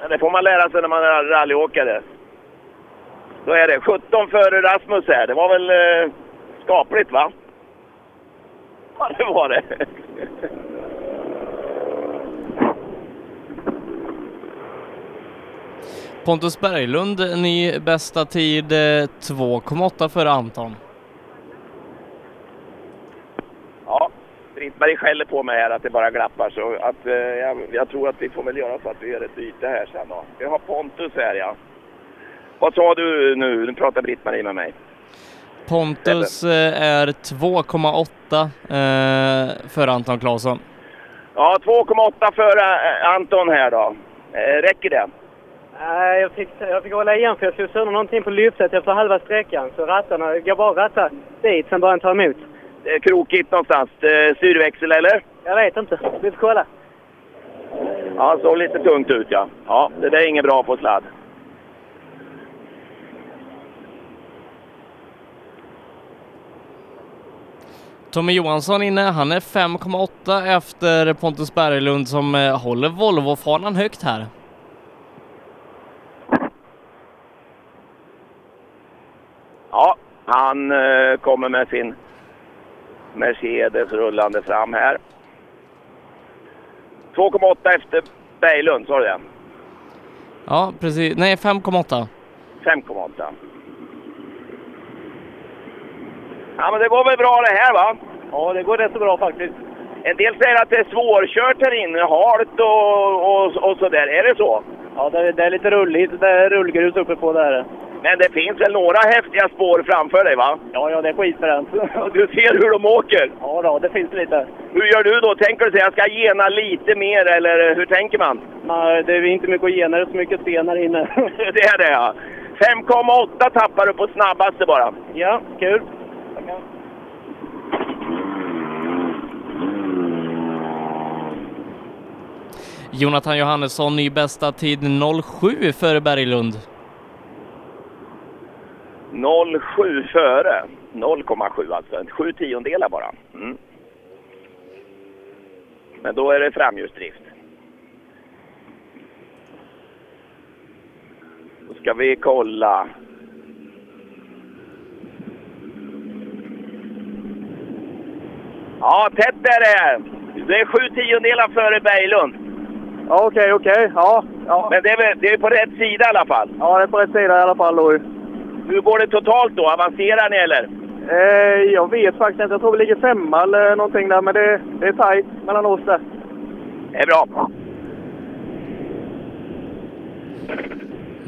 S4: Men det får man lära sig när man är rallyåkare. Då är det 17 före Rasmus här. Det var väl eh, skapligt va? Ja, det var det.
S5: Pontus Berglund, ny bästa tid eh, 2,8 före Anton.
S4: Ja, Britt-Marie skäller på mig här att det bara glappar. Så att, eh, jag, jag tror att vi får väl göra så att vi gör ett byte här sen då. Vi har Pontus här ja. Vad sa du nu? Nu pratar Britt-Marie med mig.
S5: Pontus eh, är 2,8 eh, före Anton Claesson.
S4: Ja, 2,8 före eh, Anton här då. Eh, räcker det?
S8: Nej, jag fick, jag fick hålla igen för jag slog sönder någonting på lyftet efter halva sträckan. Så rattarna, jag bara ratta dit, sen började den ta emot.
S4: Det är krokigt någonstans. Eh, styrväxel eller?
S8: Jag vet inte. Vi får kolla.
S4: Ja, såg lite tungt ut ja. Ja, det där är inget bra på sladd.
S5: Tommy Johansson inne, han är 5,8 efter Pontus Berglund som eh, håller Volvo-fanan högt här.
S4: Ja, han eh, kommer med sin Mercedes rullande fram här. 2,8 efter Berglund, sa du det?
S5: Ja, precis. Nej, 5,8.
S4: 5,8. Ja, men det går väl bra det här va? Ja, det går rätt så bra faktiskt. En del säger att det är svårkört här inne, halt och, och, och sådär. Är det så?
S8: Ja, det är, det är lite rulligt. Det är rullgrus uppe på där.
S4: Men det finns väl några häftiga spår framför dig va?
S8: Ja, ja, det är skitfränt.
S4: Du ser hur de åker?
S8: Ja, då, det finns lite.
S4: Hur gör du då? Tänker du säga jag ska gena lite mer eller hur tänker man?
S8: Nej, det är inte mycket att ge när det är så mycket sten här inne.
S4: Det är det ja. 5,8 tappar du på snabbaste bara.
S8: ja, kul.
S5: Jonathan Johannesson, ny bästa tid 0,7 före Berglund.
S4: 0,7 före. 0,7 alltså. 7 tiondelar bara. Mm. Men då är det framhjulsdrift. Då ska vi kolla. Ja, tätt är det. Det är 7 tiondelar före Berglund.
S21: Ja, okej, okej. Ja, ja.
S4: Men det är, väl- det är på rätt sida i alla fall.
S21: Ja, det är på rätt sida i alla fall då ju.
S4: Hur går det totalt då? Avancerar ni eller?
S21: Eh, jag vet faktiskt inte. Jag tror vi ligger femma eller någonting där, men det, det är tajt mellan oss där.
S4: Det är bra.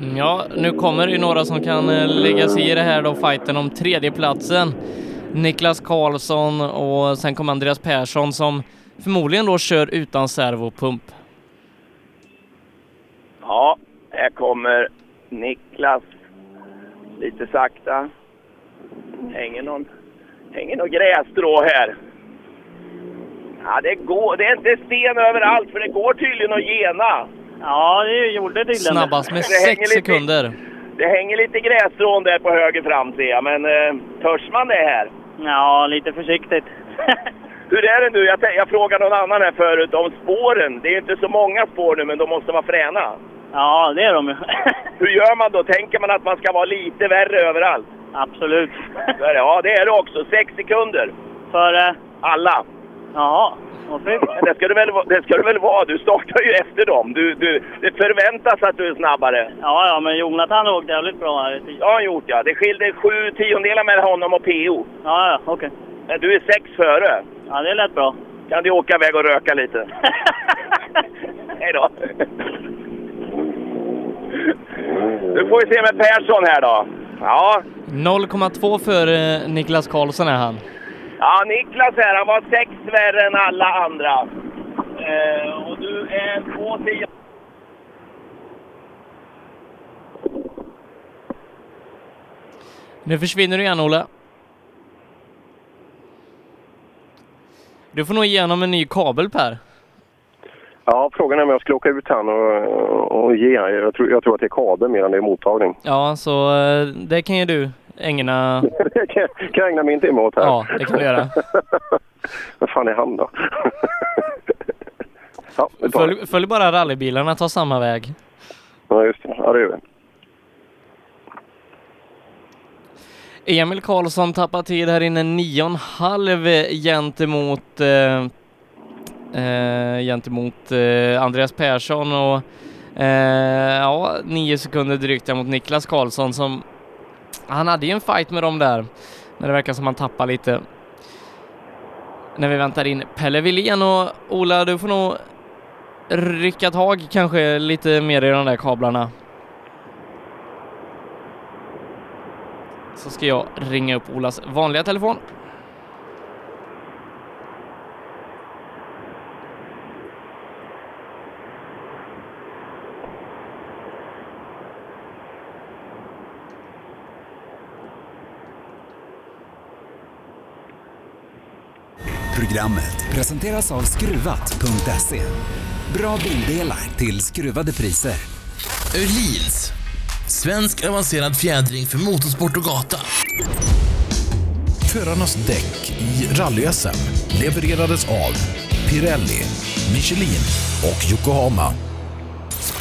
S5: Mm, Ja, nu kommer det ju några som kan eh, lägga sig i det här då, fighten om tredjeplatsen. Niklas Karlsson och sen kommer Andreas Persson som förmodligen då kör utan servopump.
S4: Ja, här kommer Niklas. Lite sakta. Hänger någon, hänger någon grässtrå här. Ja, det, går, det är inte sten överallt, för det går tydligen att gena.
S22: Ja, det gjorde Dylan.
S5: Snabbast med
S8: Det hänger
S5: sex
S8: lite-
S5: sekunder.
S8: Det hänger lite grässtrån där på höger fram ser jag, men eh, törs man det här?
S22: Ja, lite försiktigt.
S8: Hur är det nu? Jag, tän- jag frågade någon annan här förut om spåren. Det är ju inte så många spår nu, men de måste vara fräna.
S22: Ja, det är de ju.
S8: Hur gör man då? Tänker man att man ska vara lite värre överallt?
S22: Absolut.
S8: Så är det. Ja, det är det också. Sex sekunder.
S22: Före?
S8: Alla.
S22: eh, Ja, vad fint.
S8: Men Det ska, du väl, va- det ska du väl vara? Du startar ju efter dem. Du, du, det förväntas att du är snabbare.
S22: Ja, ja, men Jonathan åkte jävligt bra här. i tid.
S8: Det har han gjort, ja. Det skilde sju tiondelar mellan honom och PO.
S22: Ja, ja, okej.
S8: Men Du är sex före.
S22: Ja, det lät bra.
S8: Kan du åka iväg och röka lite? Hej då. Nu får vi se med Persson här då. Ja,
S5: 0,2 för eh, Niklas Karlsson är han.
S8: ja Niklas här, han var sex värre än alla andra. Eh, och du är två tiondelar...
S5: Nu försvinner du igen, Olle. Du får nog igenom en ny kabel, Per.
S4: Ja, frågan är om jag skulle åka ut han och, och ge han. Jag tror, jag tror att det är kabel mer än det är mottagning.
S5: Ja, så eh, det kan ju du ägna...
S4: Det kan, jag- kan jag ägna min timme åt här.
S5: Ja, det kan du göra.
S4: Vad fan är han då? ja, vi tar det.
S5: Följ, följ bara rallybilarna, ta samma väg.
S4: Ja, just det. Ja, det gör vi.
S5: Emil Karlsson tappar tid här inne 9,5 gentemot, eh, eh, gentemot eh, Andreas Persson och eh, ja, 9 sekunder drygt där mot Niklas Karlsson som han hade ju en fight med dem där, men det verkar som han tappar lite. När vi väntar in Pelle Wilén och Ola, du får nog rycka tag kanske lite mer i de där kablarna. så ska jag ringa upp Olas vanliga telefon.
S1: Programmet presenteras av Skruvat.se. Bra bildelar till skruvade priser.
S2: Öhlins. Svensk avancerad fjädring för motorsport och gata.
S3: Förarnas däck i rally levererades av Pirelli, Michelin och Yokohama.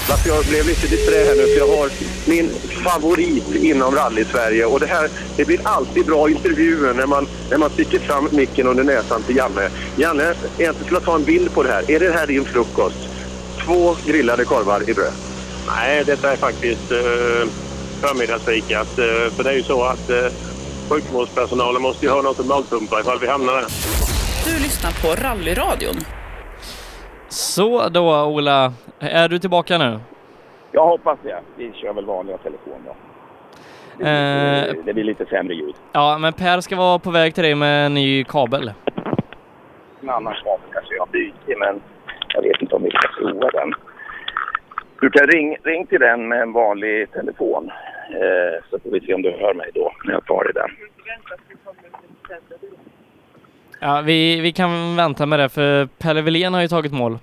S4: Fast jag blev lite disträ här nu för jag har min favorit inom rally-Sverige. Och det här, det blir alltid bra intervjuer när man, när man sticker fram micken under näsan till Janne. Janne, jag skulle ta en bild på det här. Är det här din frukost? Två grillade korvar i bröd.
S12: Nej, detta är faktiskt eh, förmiddagsfikat. Eh, för det är ju så att eh, sjukvårdspersonalen måste ju ha något att magpumpa ifall vi hamnar där.
S23: Du lyssnar på rallyradion.
S5: Så då Ola, är du tillbaka nu?
S8: Jag hoppas det. Vi kör väl vanliga telefon då.
S5: Eh,
S8: Det blir lite sämre ljud.
S5: ja, men Per ska vara på väg till dig med en ny kabel.
S8: En annan kabel kanske jag byter, men jag vet inte om vi ska prova den. Du kan ring, ring till den med en vanlig telefon, eh, så får vi se om du hör mig då när jag tar i den.
S5: Ja, vi, vi kan vänta med det för Pelle Wilén har ju tagit mål.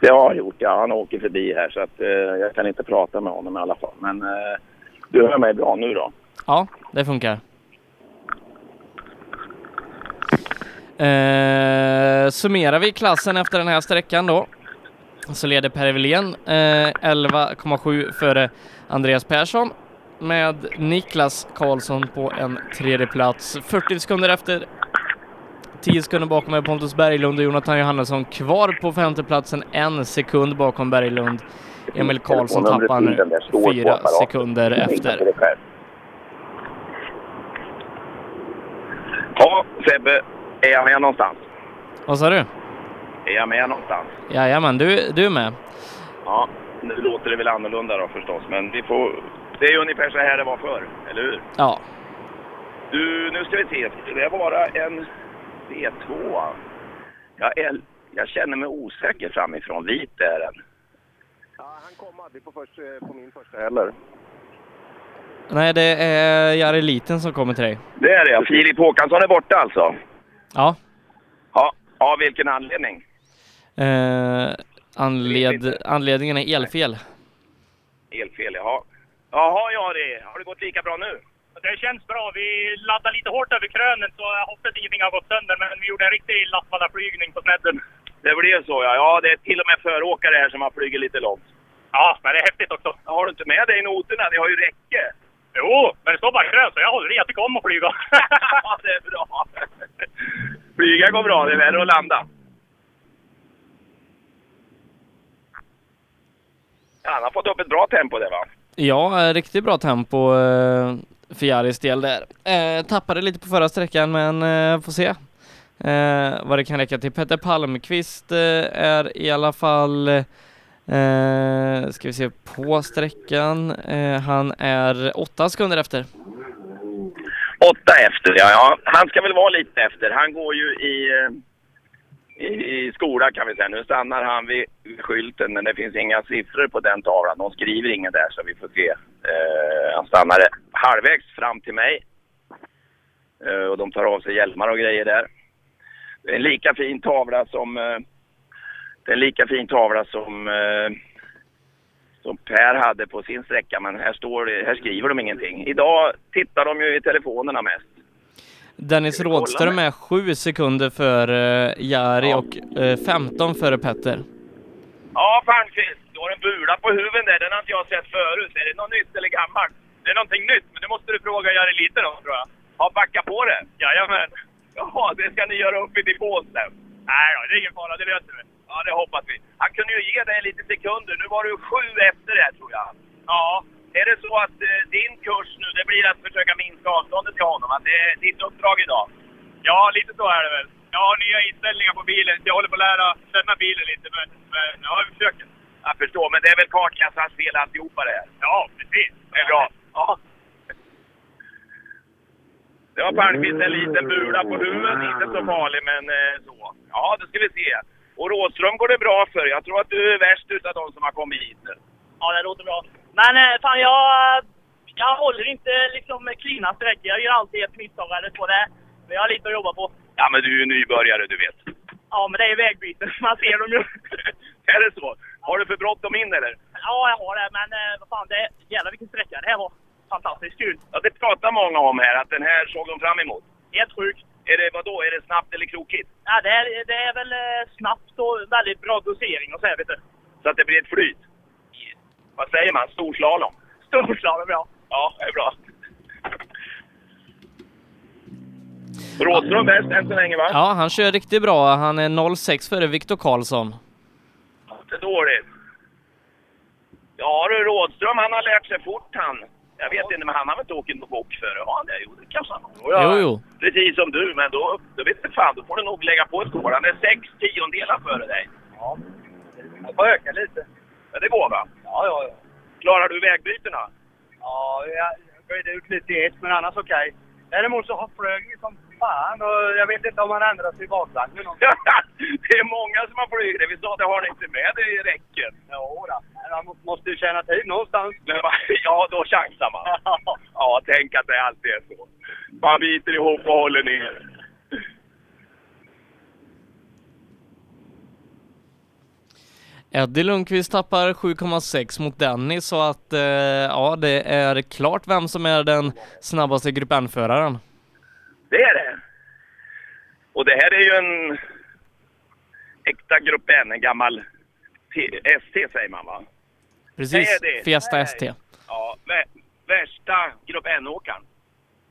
S8: Det har jag gjort, ja. Han åker förbi här, så att, eh, jag kan inte prata med honom i alla fall. Men eh, du hör mig bra nu då?
S5: Ja, det funkar. Eh, summerar vi klassen efter den här sträckan då. Så leder Per Evelén eh, 11,7 före Andreas Persson med Niklas Karlsson på en tredje plats. 40 sekunder efter 10 sekunder bakom är Pontus Berglund och Jonathan Johannesson kvar på femteplatsen, en sekund bakom Berglund. Emil Karlsson tappar nu fyra sekunder efter.
S8: Ja, Sebbe, är jag med någonstans?
S5: Vad sa du?
S8: Är jag med någonstans?
S5: Jajamän, du, du är med.
S8: Ja, nu låter det väl annorlunda då förstås, men vi får... Det är ungefär så här det var förr, eller hur?
S5: Ja,
S8: Du, nu ska vi se. Skulle det vara en V2? Jag, är, jag känner mig osäker framifrån. Vit är den.
S4: Eller?
S5: Nej, det är Jari Liten som kommer till dig.
S8: Det är det, ja. Filip Håkansson är borta alltså?
S5: Ja.
S8: Ja, av vilken anledning?
S5: Eh, Anled, anledningen är elfel.
S4: Elfel, jaha. Jaha, ja det. Har det gått lika bra nu?
S7: Det känns bra. Vi laddade lite hårt över krönet så jag hoppas ingenting har gått sönder. Men vi gjorde en riktig lastvallaflygning på snedden.
S4: Det blev så ja. Ja, det är till och med föråkare här som har flugit lite långt.
S7: Ja, men det är häftigt också.
S4: Har du inte med dig noterna? Ni har ju räcke.
S7: Jo, men det står bara krön så jag håller i. Jag tycker om att flyga.
S4: ja, det är bra. Flyga går bra. Det är värre att landa. Ja, han har fått upp ett bra tempo där va?
S5: Ja, eh, riktigt bra tempo eh, för Jaris del där. Eh, tappade lite på förra sträckan, men eh, får se eh, vad det kan räcka till. Petter Palmqvist eh, är i alla fall, eh, ska vi se, på sträckan. Eh, han är åtta sekunder efter.
S4: Åtta efter, ja, ja. Han ska väl vara lite efter. Han går ju i, eh, i, i skola kan vi säga. Nu stannar han vid skylten, men det finns inga siffror på den tavlan. De skriver ingen där, så vi får se. Eh, han stannar halvvägs fram till mig. Eh, och de tar av sig hjälmar och grejer där. Det är en lika fin tavla som... Eh, det är en lika fin tavla som... Eh, som Per hade på sin sträcka, men här, står, det- här skriver de ingenting. Idag tittar de ju i telefonerna mest.
S5: Dennis Rådström är sju sekunder före eh, Jari och eh, 15 före Petter.
S4: Ja, Palmqvist, du har en bula på huven där. Den har inte jag sett förut. Är det något nytt eller gammalt?
S7: Det är någonting nytt, men det måste du fråga Jari lite då, tror jag.
S4: Ja, backa på det.
S7: Jajamän.
S4: Jaha, det ska ni göra upp i depån sen.
S7: Nej då, det är ingen fara. Det löser vi.
S4: Ja, det hoppas vi. Han kunde ju ge dig lite sekunder. Nu var du sju efter det här, tror jag. Ja. Är det så att eh, din kurs nu, det blir att försöka minska avståndet till honom? Att det är ditt uppdrag idag?
S7: Ja, lite så är det väl. Jag har nya inställningar på bilen, så jag håller på att lära känna bilen lite. Men, men ja, vi försöker.
S4: Jag förstår, men det är väl kartkassans fel alltihopa det här?
S7: Ja, precis.
S4: Det är bra. Ja. Det var Palmqvist en liten bula på huvudet. Inte så farlig, men eh, så. Ja, det ska vi se. Och Rådström går det bra för. Jag tror att du är värst utav de som har kommit hit nu.
S7: Ja, det låter bra. Men eh, fan, jag, jag håller inte liksom cleana sträckor. Jag gör alltid ett misstag eller två. Det, men jag har lite att jobba på.
S4: Ja, men du är ju nybörjare, du vet.
S7: Ja, men det är ju vägbyten. Man ser dem ju.
S4: Är det så? Har du för bråttom in, eller?
S7: Ja, jag har det. Men eh, vad fan, det, jävlar vilken sträcka det här var. Fantastiskt kul.
S4: Ja, det pratar många om här, att den här såg de fram emot.
S7: Helt sjukt.
S4: Är det, vadå, är det snabbt eller krokigt?
S7: Ja, det, är, det är väl eh, snabbt och väldigt bra dosering och så här, vet du.
S4: Så att det blir ett flyt? Vad säger man? Storslalom?
S7: Storslalom, ja.
S4: Ja, det är bra. Rådström bäst än så länge, va?
S5: Ja, han kör riktigt bra. Han är 06 före Viktor Karlsson.
S4: Inte dåligt. Ja du, Rådström han har lärt sig fort han. Jag vet inte, men han har väl inte åkt in på bock före? Har han det? Jo, det kanske han har. Jo, ja.
S5: Jo, jo.
S4: Precis som du, men då, då vet du fan, då får du nog lägga på ett år. Han är sex tiondelar före dig. Ja, jag får öka lite. Men det går va? Ja, ja, ja. Klarar du vägbytena?
S24: Ja, jag gled ut lite i ett, men annars okej. Däremot så flög vi som fan och jag vet inte om han ändrat sig i bakvagnen.
S4: det är många som har flugit det. Vi sa det har ni inte med dig i räcket.
S24: Jo, då. Men han måste ju tjäna tid någonstans.
S4: Men va- ja, då chansar man. Ja, tänk att det alltid är så. Man biter ihop och håller ner.
S5: Eddie Lundqvist tappar 7,6 mot Dennis så att eh, ja, det är klart vem som är den snabbaste Grupp N-föraren.
S4: Det är det. Och det här är ju en äkta Grupp N, en gammal T- ST säger man va?
S5: Precis,
S4: Det är det.
S5: Fiesta ST.
S4: Ja, vä- värsta Grupp N-åkaren.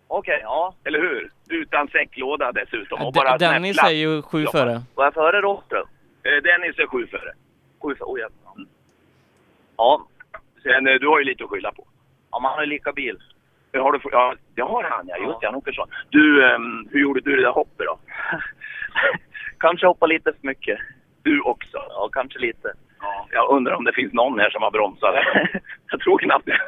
S4: Okej, ja. Eller hur? Utan säcklåda dessutom. Och
S5: De-
S4: bara
S5: Dennis
S4: snärtlapp.
S5: är ju sju före.
S4: Vad är före Rådström? Eh, Dennis är sju före. Sju före? Oh, ja. ja. Sen, eh, du har ju lite att skylla på. Ja, man har ju lika bil. Har du, ja, det har han ja. Just det, han åker så. Du, ehm, hur gjorde du det där hoppet då? kanske hoppa lite för mycket. Du också? Ja, kanske lite. Ja, jag undrar om det finns någon här som har bromsat. jag tror knappt det.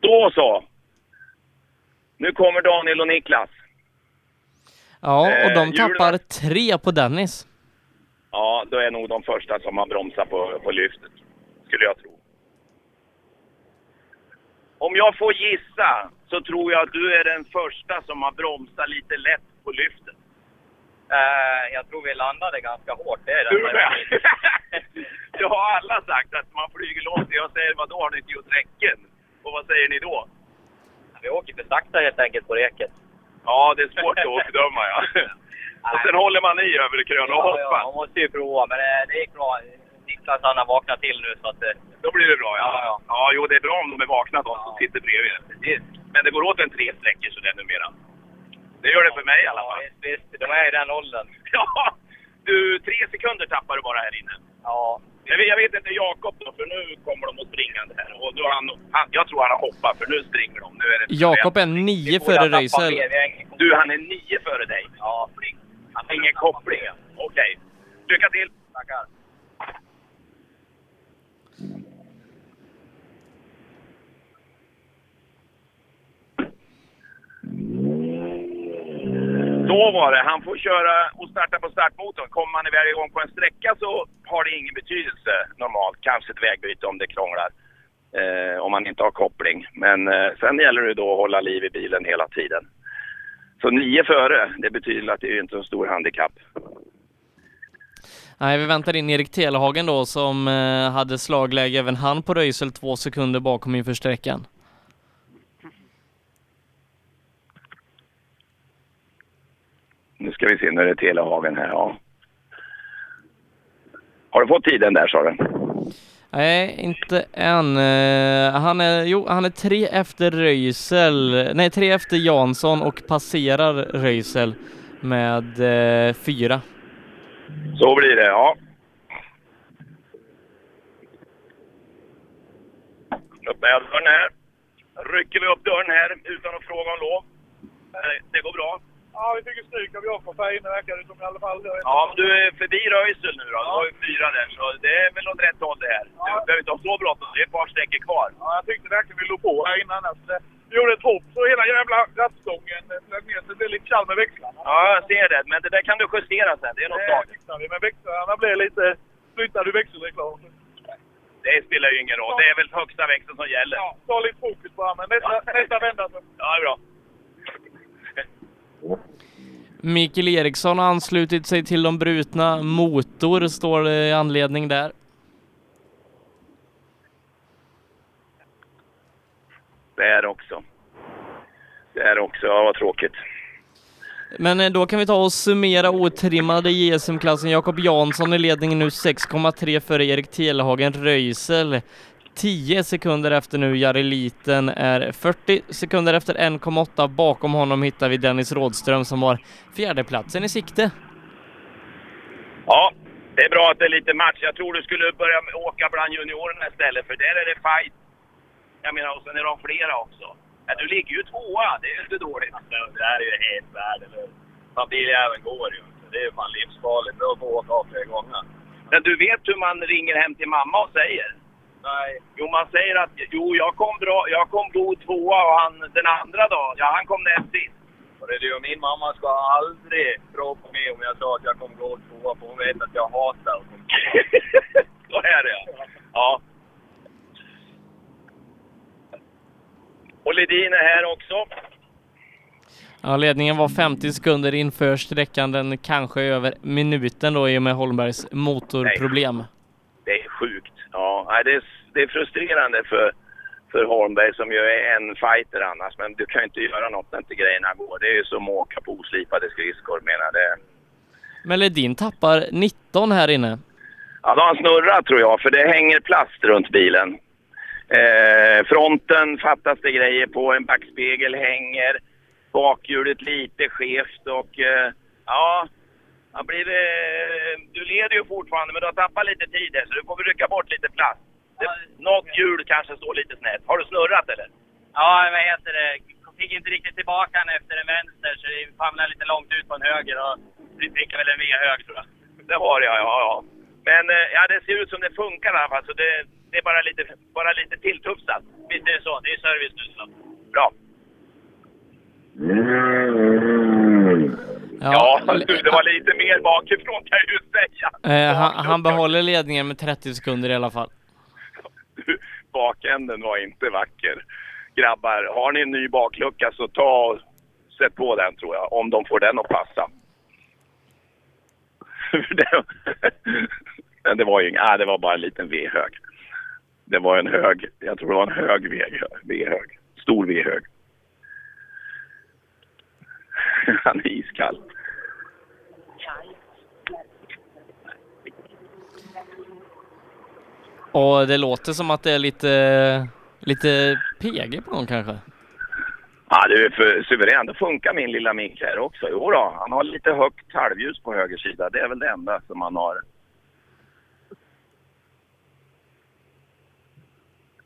S4: Då så! Nu kommer Daniel och Niklas.
S5: Ja, och
S4: Eh,
S5: de
S4: hjulen-
S5: tappar tre på Dennis.
S4: Ja, då är nog de första som har bromsat på, på lyftet, skulle jag tro. Om jag får gissa så tror jag att du är den första som har bromsat lite lätt på lyftet.
S12: Eh, jag tror vi landade ganska hårt. Det är det.
S4: Du med? Det har alla sagt att man flyger långt. Jag säger, vadå har ni inte gjort räcken? Och vad säger ni då?
S12: Vi åker för sakta helt enkelt på reket.
S4: Ja, det är svårt att bedöma ja. Och sen håller man i över krön och
S12: Ja, ja,
S4: hoppar.
S12: man måste ju prova, men det, det gick bra. Niklas han har vaknat till nu så att... eh,
S4: Då blir det bra ja. ja. jo det är bra om de är vakna de som sitter bredvid. Precis. Men det går åt en tre sträckor sådär numera. Det gör det för mig i alla fall.
S12: visst, visst, de är i den åldern.
S4: Ja, du, tre sekunder tappar du bara här inne.
S12: Ja.
S4: Jag vet, jag vet inte Jakob då, för nu kommer de att springa här. Och då har han, han, jag tror han har hoppat, för nu springer de. Nu är det
S5: Jakob är nio före Röisel.
S4: Du, han är nio före dig. Ja, han har ingen koppling. Okej. Lycka till! Tackar. Så var det. Han får köra och starta på startmotorn. Kommer man iväg igång på en sträcka så har det ingen betydelse normalt. Kanske ett vägbyte om det krånglar. Eh, om man inte har koppling. Men eh, sen gäller det då att hålla liv i bilen hela tiden. Så nio före, det betyder att det är inte en stor handikapp.
S5: Nej, vi väntar in Erik Telehagen då som eh, hade slagläge även han på Röisel två sekunder bakom inför sträckan.
S4: Nu ska vi se, nu är det Telehagen här. Ja. Har du fått tiden där sa du?
S5: Nej, inte än. Eh, Han är, jo, han är tre efter Röisel, nej tre efter Jansson och passerar Röisel med eh, fyra.
S4: Så blir det, ja. Öppnar jag dörren här. Rycker vi upp dörren här utan att fråga om lov. Eh, Det går bra.
S7: Ja, vi fick ju stryk av Jakob här inne verkar det som i alla fall. Jag vet
S4: Ja, men
S7: inte.
S4: du är förbi Röisel nu då. Du har ju fyra där, så det är väl åt rätt håll det här. Du behöver inte ha så bråttom. Det är ett par sträckor kvar.
S7: Ja, jag tyckte verkligen vi låg på här innan. Alltså, det- vi gjorde ett hopp så hela jävla rattstången eh, flög ner. Så det blev lite kall med växlarna.
S4: Ja, jag ser det. Men det där kan du justera sen. Det är något
S7: Det
S4: sak.
S7: fixar vi. Men växlarna blev lite... Flyttade du växelreklam?
S4: Det spelar ju ingen roll. Det är väl högsta växeln som gäller.
S7: Ja, ta lite fokus bara. Men nästa, nästa vända så...
S4: Ja, det är bra.
S5: Mikael Eriksson har anslutit sig till de brutna. Motor står det i anledning där.
S4: Där också. Där också. Ja, vad tråkigt.
S5: Men eh, då kan vi ta och summera otrimmade i SM-klassen. Jakob Jansson i ledningen nu 6,3 före Erik Telehagen Röisel. 10 sekunder efter nu, Jari Liten är 40 sekunder efter 1,8. Bakom honom hittar vi Dennis Rådström som har fjärdeplatsen i sikte.
S4: Ja, det är bra att det är lite match. Jag tror du skulle börja med- åka bland juniorerna istället, för där är det fight. Jag menar, och sen är de flera också. Ja, du ligger ju tvåa. Det är ju inte dåligt.
S12: Det här är ju helt värdelöst. Familjejäveln går ju inte. Det är ju fan livsfarligt. Jag får åka av flera gånger.
S4: Men du vet hur man ringer hem till mamma och säger? Nej. Jo, man säger att jo, jag kom, bra, jag kom god tvåa och han den andra dagen, ja han kom näst sist.
S12: Och det är ju min mamma ska aldrig tro på mig om jag sa att jag kommer gå tvåa, för hon vet att jag hatar att komma
S4: Så är det ja. ja. Och Ledin är här också.
S5: Ja, ledningen var 50 sekunder inför sträckan, den kanske över minuten då i och med Holmbergs motorproblem.
S4: Det är sjukt. Ja, nej, det, är, det är frustrerande för, för Holmberg som ju är en fighter annars. Men du kan ju inte göra något när inte grejerna går. Det är ju som att åka på oslipade skridskor menar det.
S5: Men Ledin tappar 19 här inne.
S4: Ja, då har han snurrat tror jag, för det hänger plast runt bilen. Eh, fronten fattas det grejer på, en backspegel hänger, bakhjulet lite skevt och eh, ja, han blir, eh, du leder ju fortfarande men du har tappat lite tid här så du får väl rycka bort lite plast. Det, något hjul kanske står lite snett. Har du snurrat eller?
S12: Ja, vad heter det? Fick inte riktigt tillbaka den efter en vänster så vi famlade lite långt ut på en höger och vi fick väl en V-hög tror jag.
S4: Det har jag, ja. ja. Men eh, ja, det ser ut som det funkar i alla fall så det, det är bara lite, bara lite tilltufsat. Visst är det så? Det är service nu så. Bra. Ja, du, det var lite mer bakifrån kan jag ju säga.
S5: Eh, han, han behåller ledningen med 30 sekunder i alla fall.
S4: Bakänden var inte vacker. grabbar, har ni en ny baklucka så ta och sätt på den tror jag, om de får den att passa. För det- Men det var ju inga, nej, det var bara en liten V-hög. Det var en hög, jag tror det var en hög V- V-hög. Stor V-hög. Han är iskall.
S5: Och det låter som att det är lite, lite PG på gång kanske?
S4: Ja, du är för suverän. Det funkar min lilla Mink här också. Jo då, han har lite högt halvljus på höger sida. Det är väl det enda som han har.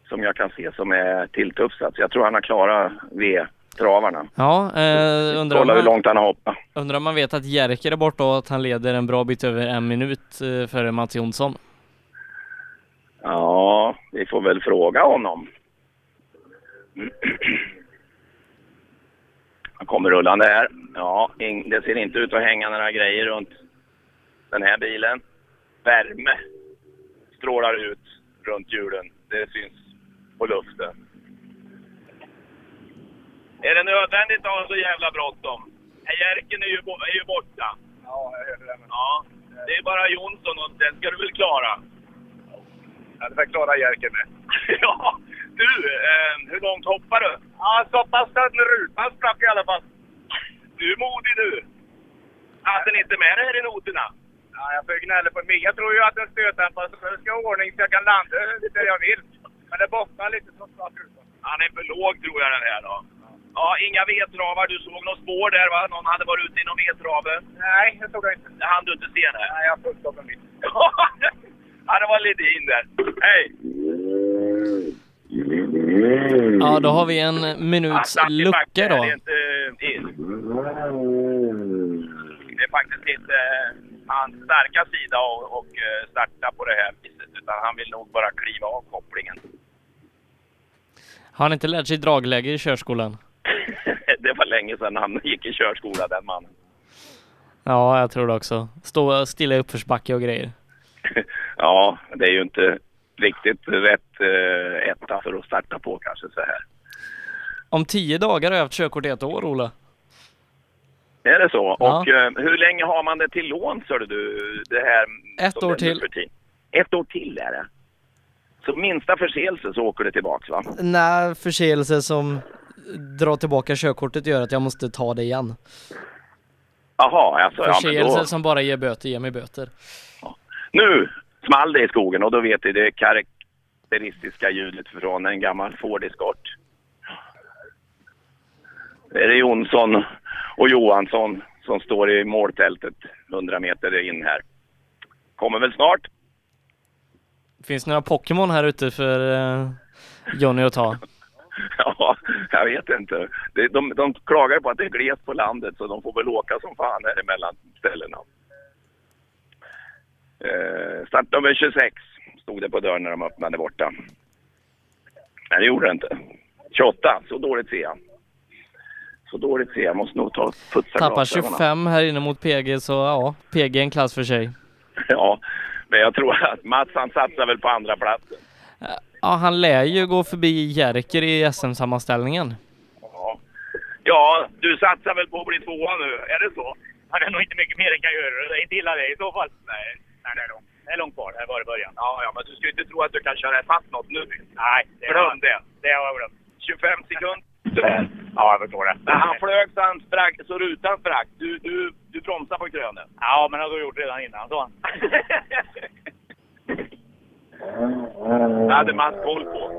S4: Som jag kan se som är tilltufsat. Så jag tror han har klarat V-travarna.
S5: Ja, eh, undrar, om
S4: Kolla hur
S5: man,
S4: långt han har hoppat.
S5: undrar om man vet att Jerker är borta och att han leder en bra bit över en minut eh, före Mats Jonsson.
S4: Ja, vi får väl fråga honom. Han kommer rullande här. Ja, in, det ser inte ut att hänga några grejer runt den här bilen. Värme strålar ut runt hjulen. Det syns på luften.
S25: Är det nödvändigt att ha så jävla bråttom? Jerken är ju, bo- är ju borta. Ja, jag hörde det. Ja, det är bara Jonsson och den ska du väl klara? Ja, det får klara Jerken med. ja, du, eh,
S26: ehm,
S25: hur långt hoppar du? Ja, så pass att rutan sprack i alla fall. Du är modig du. Hade ni inte med det här i noterna? Ja, jag får gnälla på mig. Jag tror ju att en stötdämpare ska ha ordning så jag kan landa där jag vill. Men det bottnar lite så snart ut.
S26: Han är för låg tror jag den här då. Ja, inga vedtravar. Du såg något spår där va? Någon hade varit ute i någon vedtrave.
S25: Nej, det såg jag inte.
S26: Det hann du inte se det?
S25: Nej, jag har fullt upp en bit.
S26: ja, det var Ledin där. Hej!
S5: Ja, då har vi en minuts
S4: Mm.
S5: lucka
S26: Det
S5: då.
S26: är inte in. Det är faktiskt inte eh, hans starka sida och, och eh, starta på det här viset. Utan han vill nog bara kliva av kopplingen.
S5: Har han inte lärt sig dragläge i körskolan?
S4: det var länge sedan han gick i körskola, den mannen.
S5: Ja, jag tror det också. Stå stilla i uppförsbacke och grejer.
S4: Ja, det är ju inte riktigt rätt eh, etta för att starta på kanske så här.
S5: Om tio dagar har jag haft körkort i ett år, Ola.
S4: Är det så?
S5: Ja.
S4: Och eh, hur länge har man det till lån, sa du? Det här,
S5: Ett
S4: som
S5: år
S4: det är nu
S5: till.
S4: för tiden? Ett år till är det. Så minsta förseelse så åker det tillbaks va?
S5: Nej, förseelse som drar tillbaka körkortet gör att jag måste ta det igen.
S4: Jaha, alltså, ja, men
S5: Förseelse
S4: då,
S5: som bara ger böter ger mig böter.
S4: nu small det i skogen och då vet du det karaktäristiska ljudet från en gammal Ford Escort. Det är det Jonsson och Johansson som står i måltältet 100 meter in här. Kommer väl snart.
S5: Finns det några Pokémon här ute för eh, Johnny att ta?
S4: Ja, jag vet inte. Det- De, de klagar på att det är glest på landet så de får väl åka som fan här emellan ställena. Eh, startnummer 26 stod det på dörren när de öppnade borta. Nej, det gjorde det inte. 28, så dåligt ser jag. Så dåligt ser jag. Måste nog ta och putsa
S5: Tappar
S4: glasögonen.
S5: 25 här inne mot PG, så ja, PG är en klass för sig.
S4: Ja, men jag tror att Mats han satsar väl på andra platsen.
S5: Ja, han lär ju gå förbi Jerker i SM-sammanställningen.
S25: Ja, du satsar väl på att bli tvåa nu? Är det så? Ja, det är nog inte mycket mer den kan göra. Det är inte illa det i så fall. Nej, nej det är långt. Det är långt kvar. Det här var det början. Ja, ja, men du ska ju inte tro att du kan köra fast något nu. Nej, det glöm det. Det har jag glömt. 25 sekunder.
S4: Ja, jag förstår det. Han flög så, han sprack, så rutan sprack. Du, du, du bromsade på krönet.
S27: Ja, men det har du gjort redan innan, så.
S4: Det hade Mats koll på.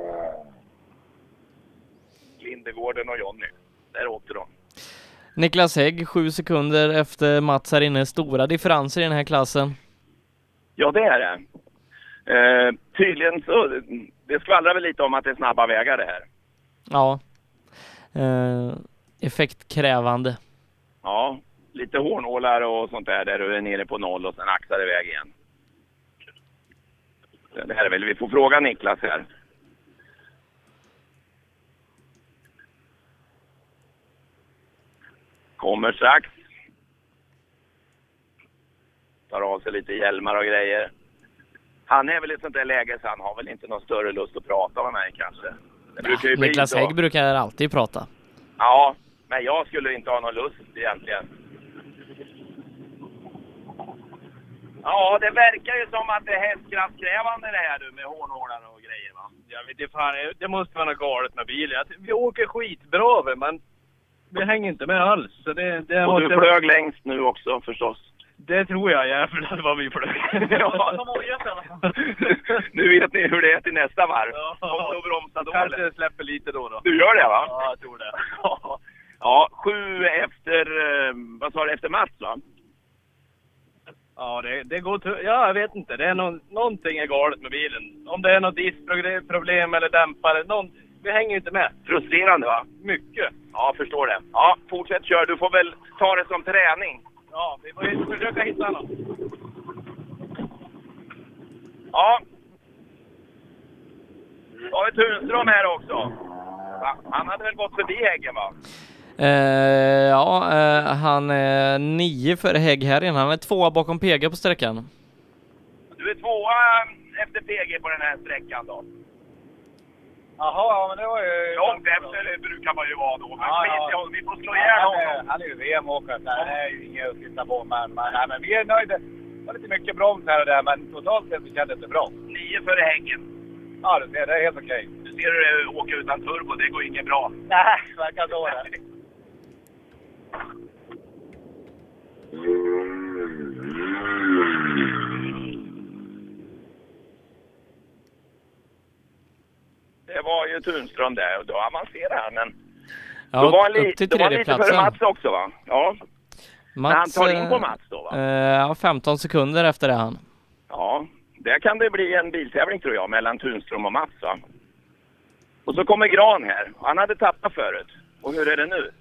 S4: Lindegården och Jonny. Där åkte de.
S5: Niklas Hägg, sju sekunder efter Mats här inne. Stora differenser i den här klassen.
S4: Ja, det är det. Eh, tydligen så... Det skvallrar väl lite om att det är snabba vägar det här.
S5: Ja. Eh, effektkrävande.
S4: Ja, lite hornålar och sånt där där du är nere på noll och sen axar det iväg igen. Det här är väl... Vi får fråga Niklas här. Kommer strax. Tar av sig lite hjälmar och grejer. Han är väl i ett sånt där läge så han har väl inte någon större lust att prata med mig kanske. Det
S28: brukar ju bli
S5: Niklas
S28: så.
S5: Hägg brukar alltid prata.
S28: Ja, men jag skulle inte ha någon lust egentligen.
S4: Ja, det verkar ju som att det är hästkraftkrävande det här du med hårnålar och grejer va?
S7: Jag vet inte fan, det måste vara något galet med bilen. Jag- Vi åker skitbra över, men vi hänger inte med alls. Så det, det
S4: och du
S7: måste-
S4: flög längst nu också förstås.
S7: Det tror jag jävlar vad vi flög.
S4: Ja. nu vet ni hur det är till nästa varv. Om du bromsar då
S7: Kanske
S4: eller?
S7: släpper lite då då.
S4: Du gör det va?
S7: Ja, jag tror det.
S4: Ja. Ja, sju efter, eh, vad sa du, efter Mats va?
S7: Ja, det, det går tu- Ja, jag vet inte. Det är nå- någonting är galet med bilen. Om det är något diskproblem eller dämpare. Någon... Vi hänger inte med.
S4: Frustrerande va?
S7: Mycket.
S4: Ja, förstår det. Ja, fortsätt kör. Du får väl ta det som träning.
S7: Ja, vi får ju försöka hitta något.
S4: Ja. Då har vi Tunström här också. Va? Han hade väl gått förbi Häggen va?
S5: Eh, ja, eh, han är nio före Hägg här innan. Han är tvåa bakom PG på sträckan.
S4: Du är tvåa efter PG på den här sträckan då.
S29: Jaha, ja, men det var ju...
S4: Långt efter brukar man ju vara då. Men
S29: Ja,
S4: skit
S29: ja.
S4: i honom, vi får slå ihjäl
S29: Han är-
S4: honom.
S29: Han är ju VM-åkare, så det är ju inget att titta på. Men, men, nej, men vi är nöjda. Det var lite mycket broms här och där, men totalt sett så kändes det bra.
S4: Nio före Häggen.
S29: Ja, du ser, det är helt okej.
S4: Du ser hur det är att åka utan turbo, det går inget bra.
S29: Nej, verkar så det.
S4: Det var ju Tunström där och då avancerade han. Men
S5: Ja,
S4: då var han
S5: upp
S4: lite-
S5: till
S4: då var han lite före
S5: tredjeplatsen.
S4: Mats också va? Ja. Men han tar in på
S5: eh,
S4: Mats då va?
S5: eh, ja, 15 sekunder efter är han.
S4: Ja, där kan det bli en biltävling tror jag mellan Tunström och Mats va? Och så kommer Gran här. Han hade tappat förut. Och hur är det nu?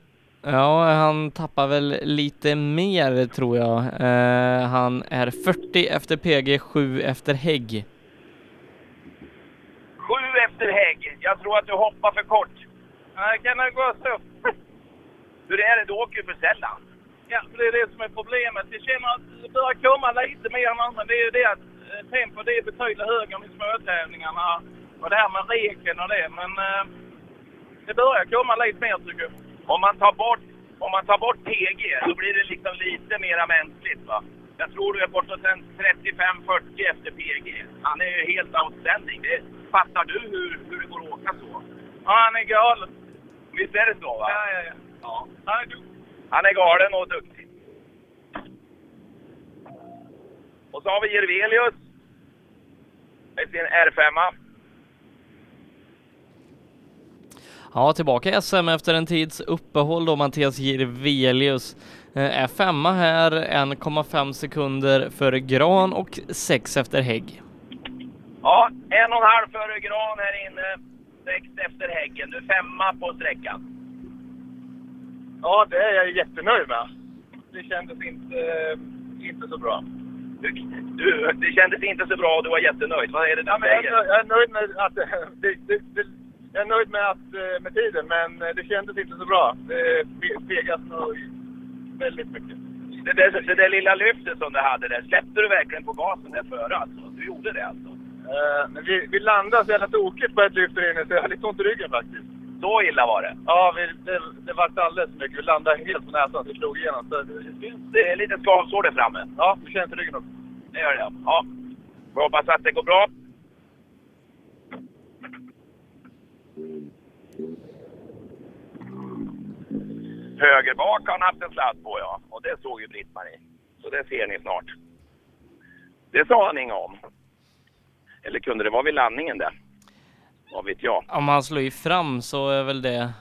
S5: Ja, han tappar väl lite mer tror jag. Eh, han är 40 efter PG, 7 efter Hägg.
S4: Sju efter Hägg. Jag tror att du hoppar för kort. Ja, kan man gå upp? Hur är det? Du åker ju för sällan.
S7: Ja, det är det som är problemet. Vi känner att det börjar komma lite mer nu, men det är ju det att eh, tempot är betydligt högre än i småtävlingarna och det här med reken och det. Men eh, det börjar komma lite mer tycker jag.
S4: Om man tar bort, om man tar bort PG så blir det liksom lite mera mänskligt va? Jag tror du är bortåt en 35-40 efter PG. Han är ju helt outstanding. Det, fattar du hur, hur det går att åka så? Ja, han är galen. Visst är det så va? Ja, ja, ja. Han, är han är galen och duktig. Och så har vi Jirvelius. Med sin R5.
S5: Ja, tillbaka i SM efter en tids uppehåll då Mattias Jirvelius eh, är femma här, 1,5 sekunder före Gran och 6 efter Hägg.
S4: Ja, en och en halv före Gran här inne. Sex efter Häggen. Du är femma på sträckan.
S29: Ja, det är jag jättenöjd med. Det kändes inte, eh, inte så bra.
S4: Du, det kändes inte så bra och du var jättenöjd. Vad är det du
S29: Ja, men jag, är
S4: säger?
S29: nöjd, jag är nöjd med att... Det, det, det, jag är nöjd med, att, eh, med tiden, men eh, det kändes inte så bra. Det spegas nog väldigt mycket.
S4: Det där, det där lilla lyftet som du hade där, släppte du verkligen på gasen där före alltså? Du gjorde det alltså?
S29: Eh, Men vi, vi landade så jävla tokigt på ett lyft där inne, så jag hade lite ont i ryggen faktiskt.
S4: Så illa var det?
S29: Ja, vi, det, det vart alldeles för mycket. Vi landade helt på näsan, så det slog igenom. Så det,
S4: det är lite skavsår där framme.
S29: Ja, det känns i ryggen också.
S4: Det gör det, ja. Vi hoppas att det går bra. Höger bak har han haft en sladd på ja, och det såg ju Britt-Marie. Så det ser ni snart. Det sa han inget om. Eller kunde det vara vid landningen där? Vad vet jag?
S5: Om han slår ju fram så är väl det...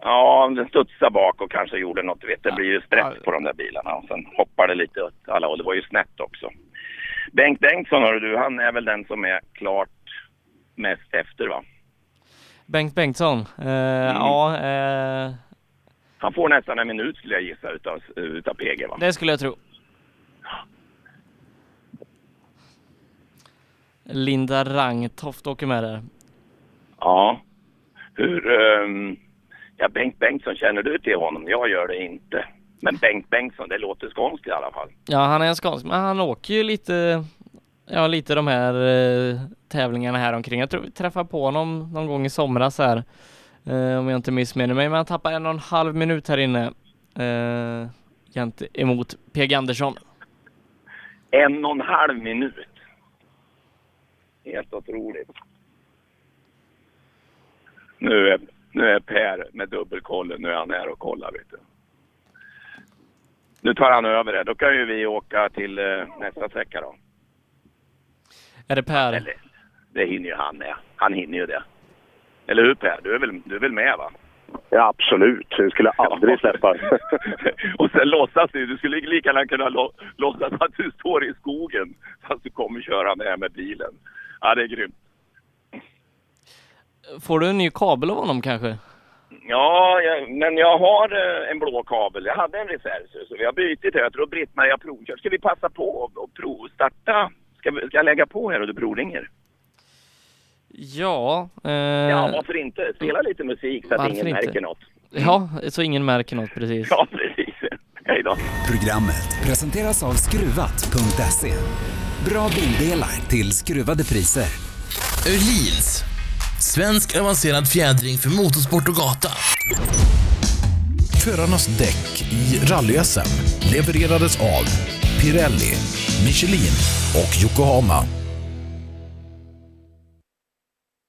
S4: Ja, den studsade bak och kanske gjorde något. Du vet, det blir ju stress på de där bilarna. Och sen hoppar det lite åt alla håll. Det var ju snett också. Bengt Bengtsson, hör du, han är väl den som är klart mest efter va?
S5: Bengt Bengtsson, eh, ja, eh,
S4: Han får nästan en minut skulle jag gissa utav, utav PG va?
S5: det skulle jag tro. Linda Rangtoft åker med där.
S4: Ja. Hur... ehm, ja, Bengt Bengtsson, känner du till honom? Jag gör det inte. Men Bengt Bengtsson, det låter skånskt i alla fall.
S5: Ja, han är en skånsk, men han åker ju lite ja, lite de här eh, tävlingarna här omkring. Jag tror vi träffade på honom någon gång i somras här, eh, om jag inte missminner mig, men han tappade en och en halv minut här inne eh, gent- emot PG Andersson.
S4: En och en halv minut. Helt otroligt. Nu är, nu är Per med dubbelkollen. Nu är han här och kollar. Vet du. Nu tar han över det. Då kan ju vi åka till eh, nästa sträcka då.
S5: Är det Per?
S4: Det hinner ju han med. Han hinner ju det. Eller hur Per? Du är väl, du är väl med va?
S9: Ja, absolut. Jag skulle aldrig släppa.
S4: Och sen låtsas du. Du skulle lika gärna kunna lå, låtsas att du står i skogen. Fast du kommer köra med med bilen. Ja, det är grymt.
S5: Får du en ny kabel av honom kanske?
S4: Ja, jag, men jag har eh, en blå kabel. Jag hade en reserv, så- så vi har bytt det. Jag tror Britt-Maria provkör. Ska vi passa på och- och provstarta? Ska, vi- ska jag lägga på här och du provringer?
S5: Ja, eh,
S4: Ja, varför inte? Spela lite musik så att
S5: varför
S4: ingen
S5: inte?
S4: märker något.
S5: Ja, så ingen märker något precis.
S4: Ja, precis. Hej då.
S30: Programmet presenteras av Skruvat.se. Bra bildelar till skruvade priser.
S31: Öhlins. Svensk avancerad fjädring för motorsport och gata.
S3: Förarnas däck i rally levererades av Pirelli, Michelin och Yokohama.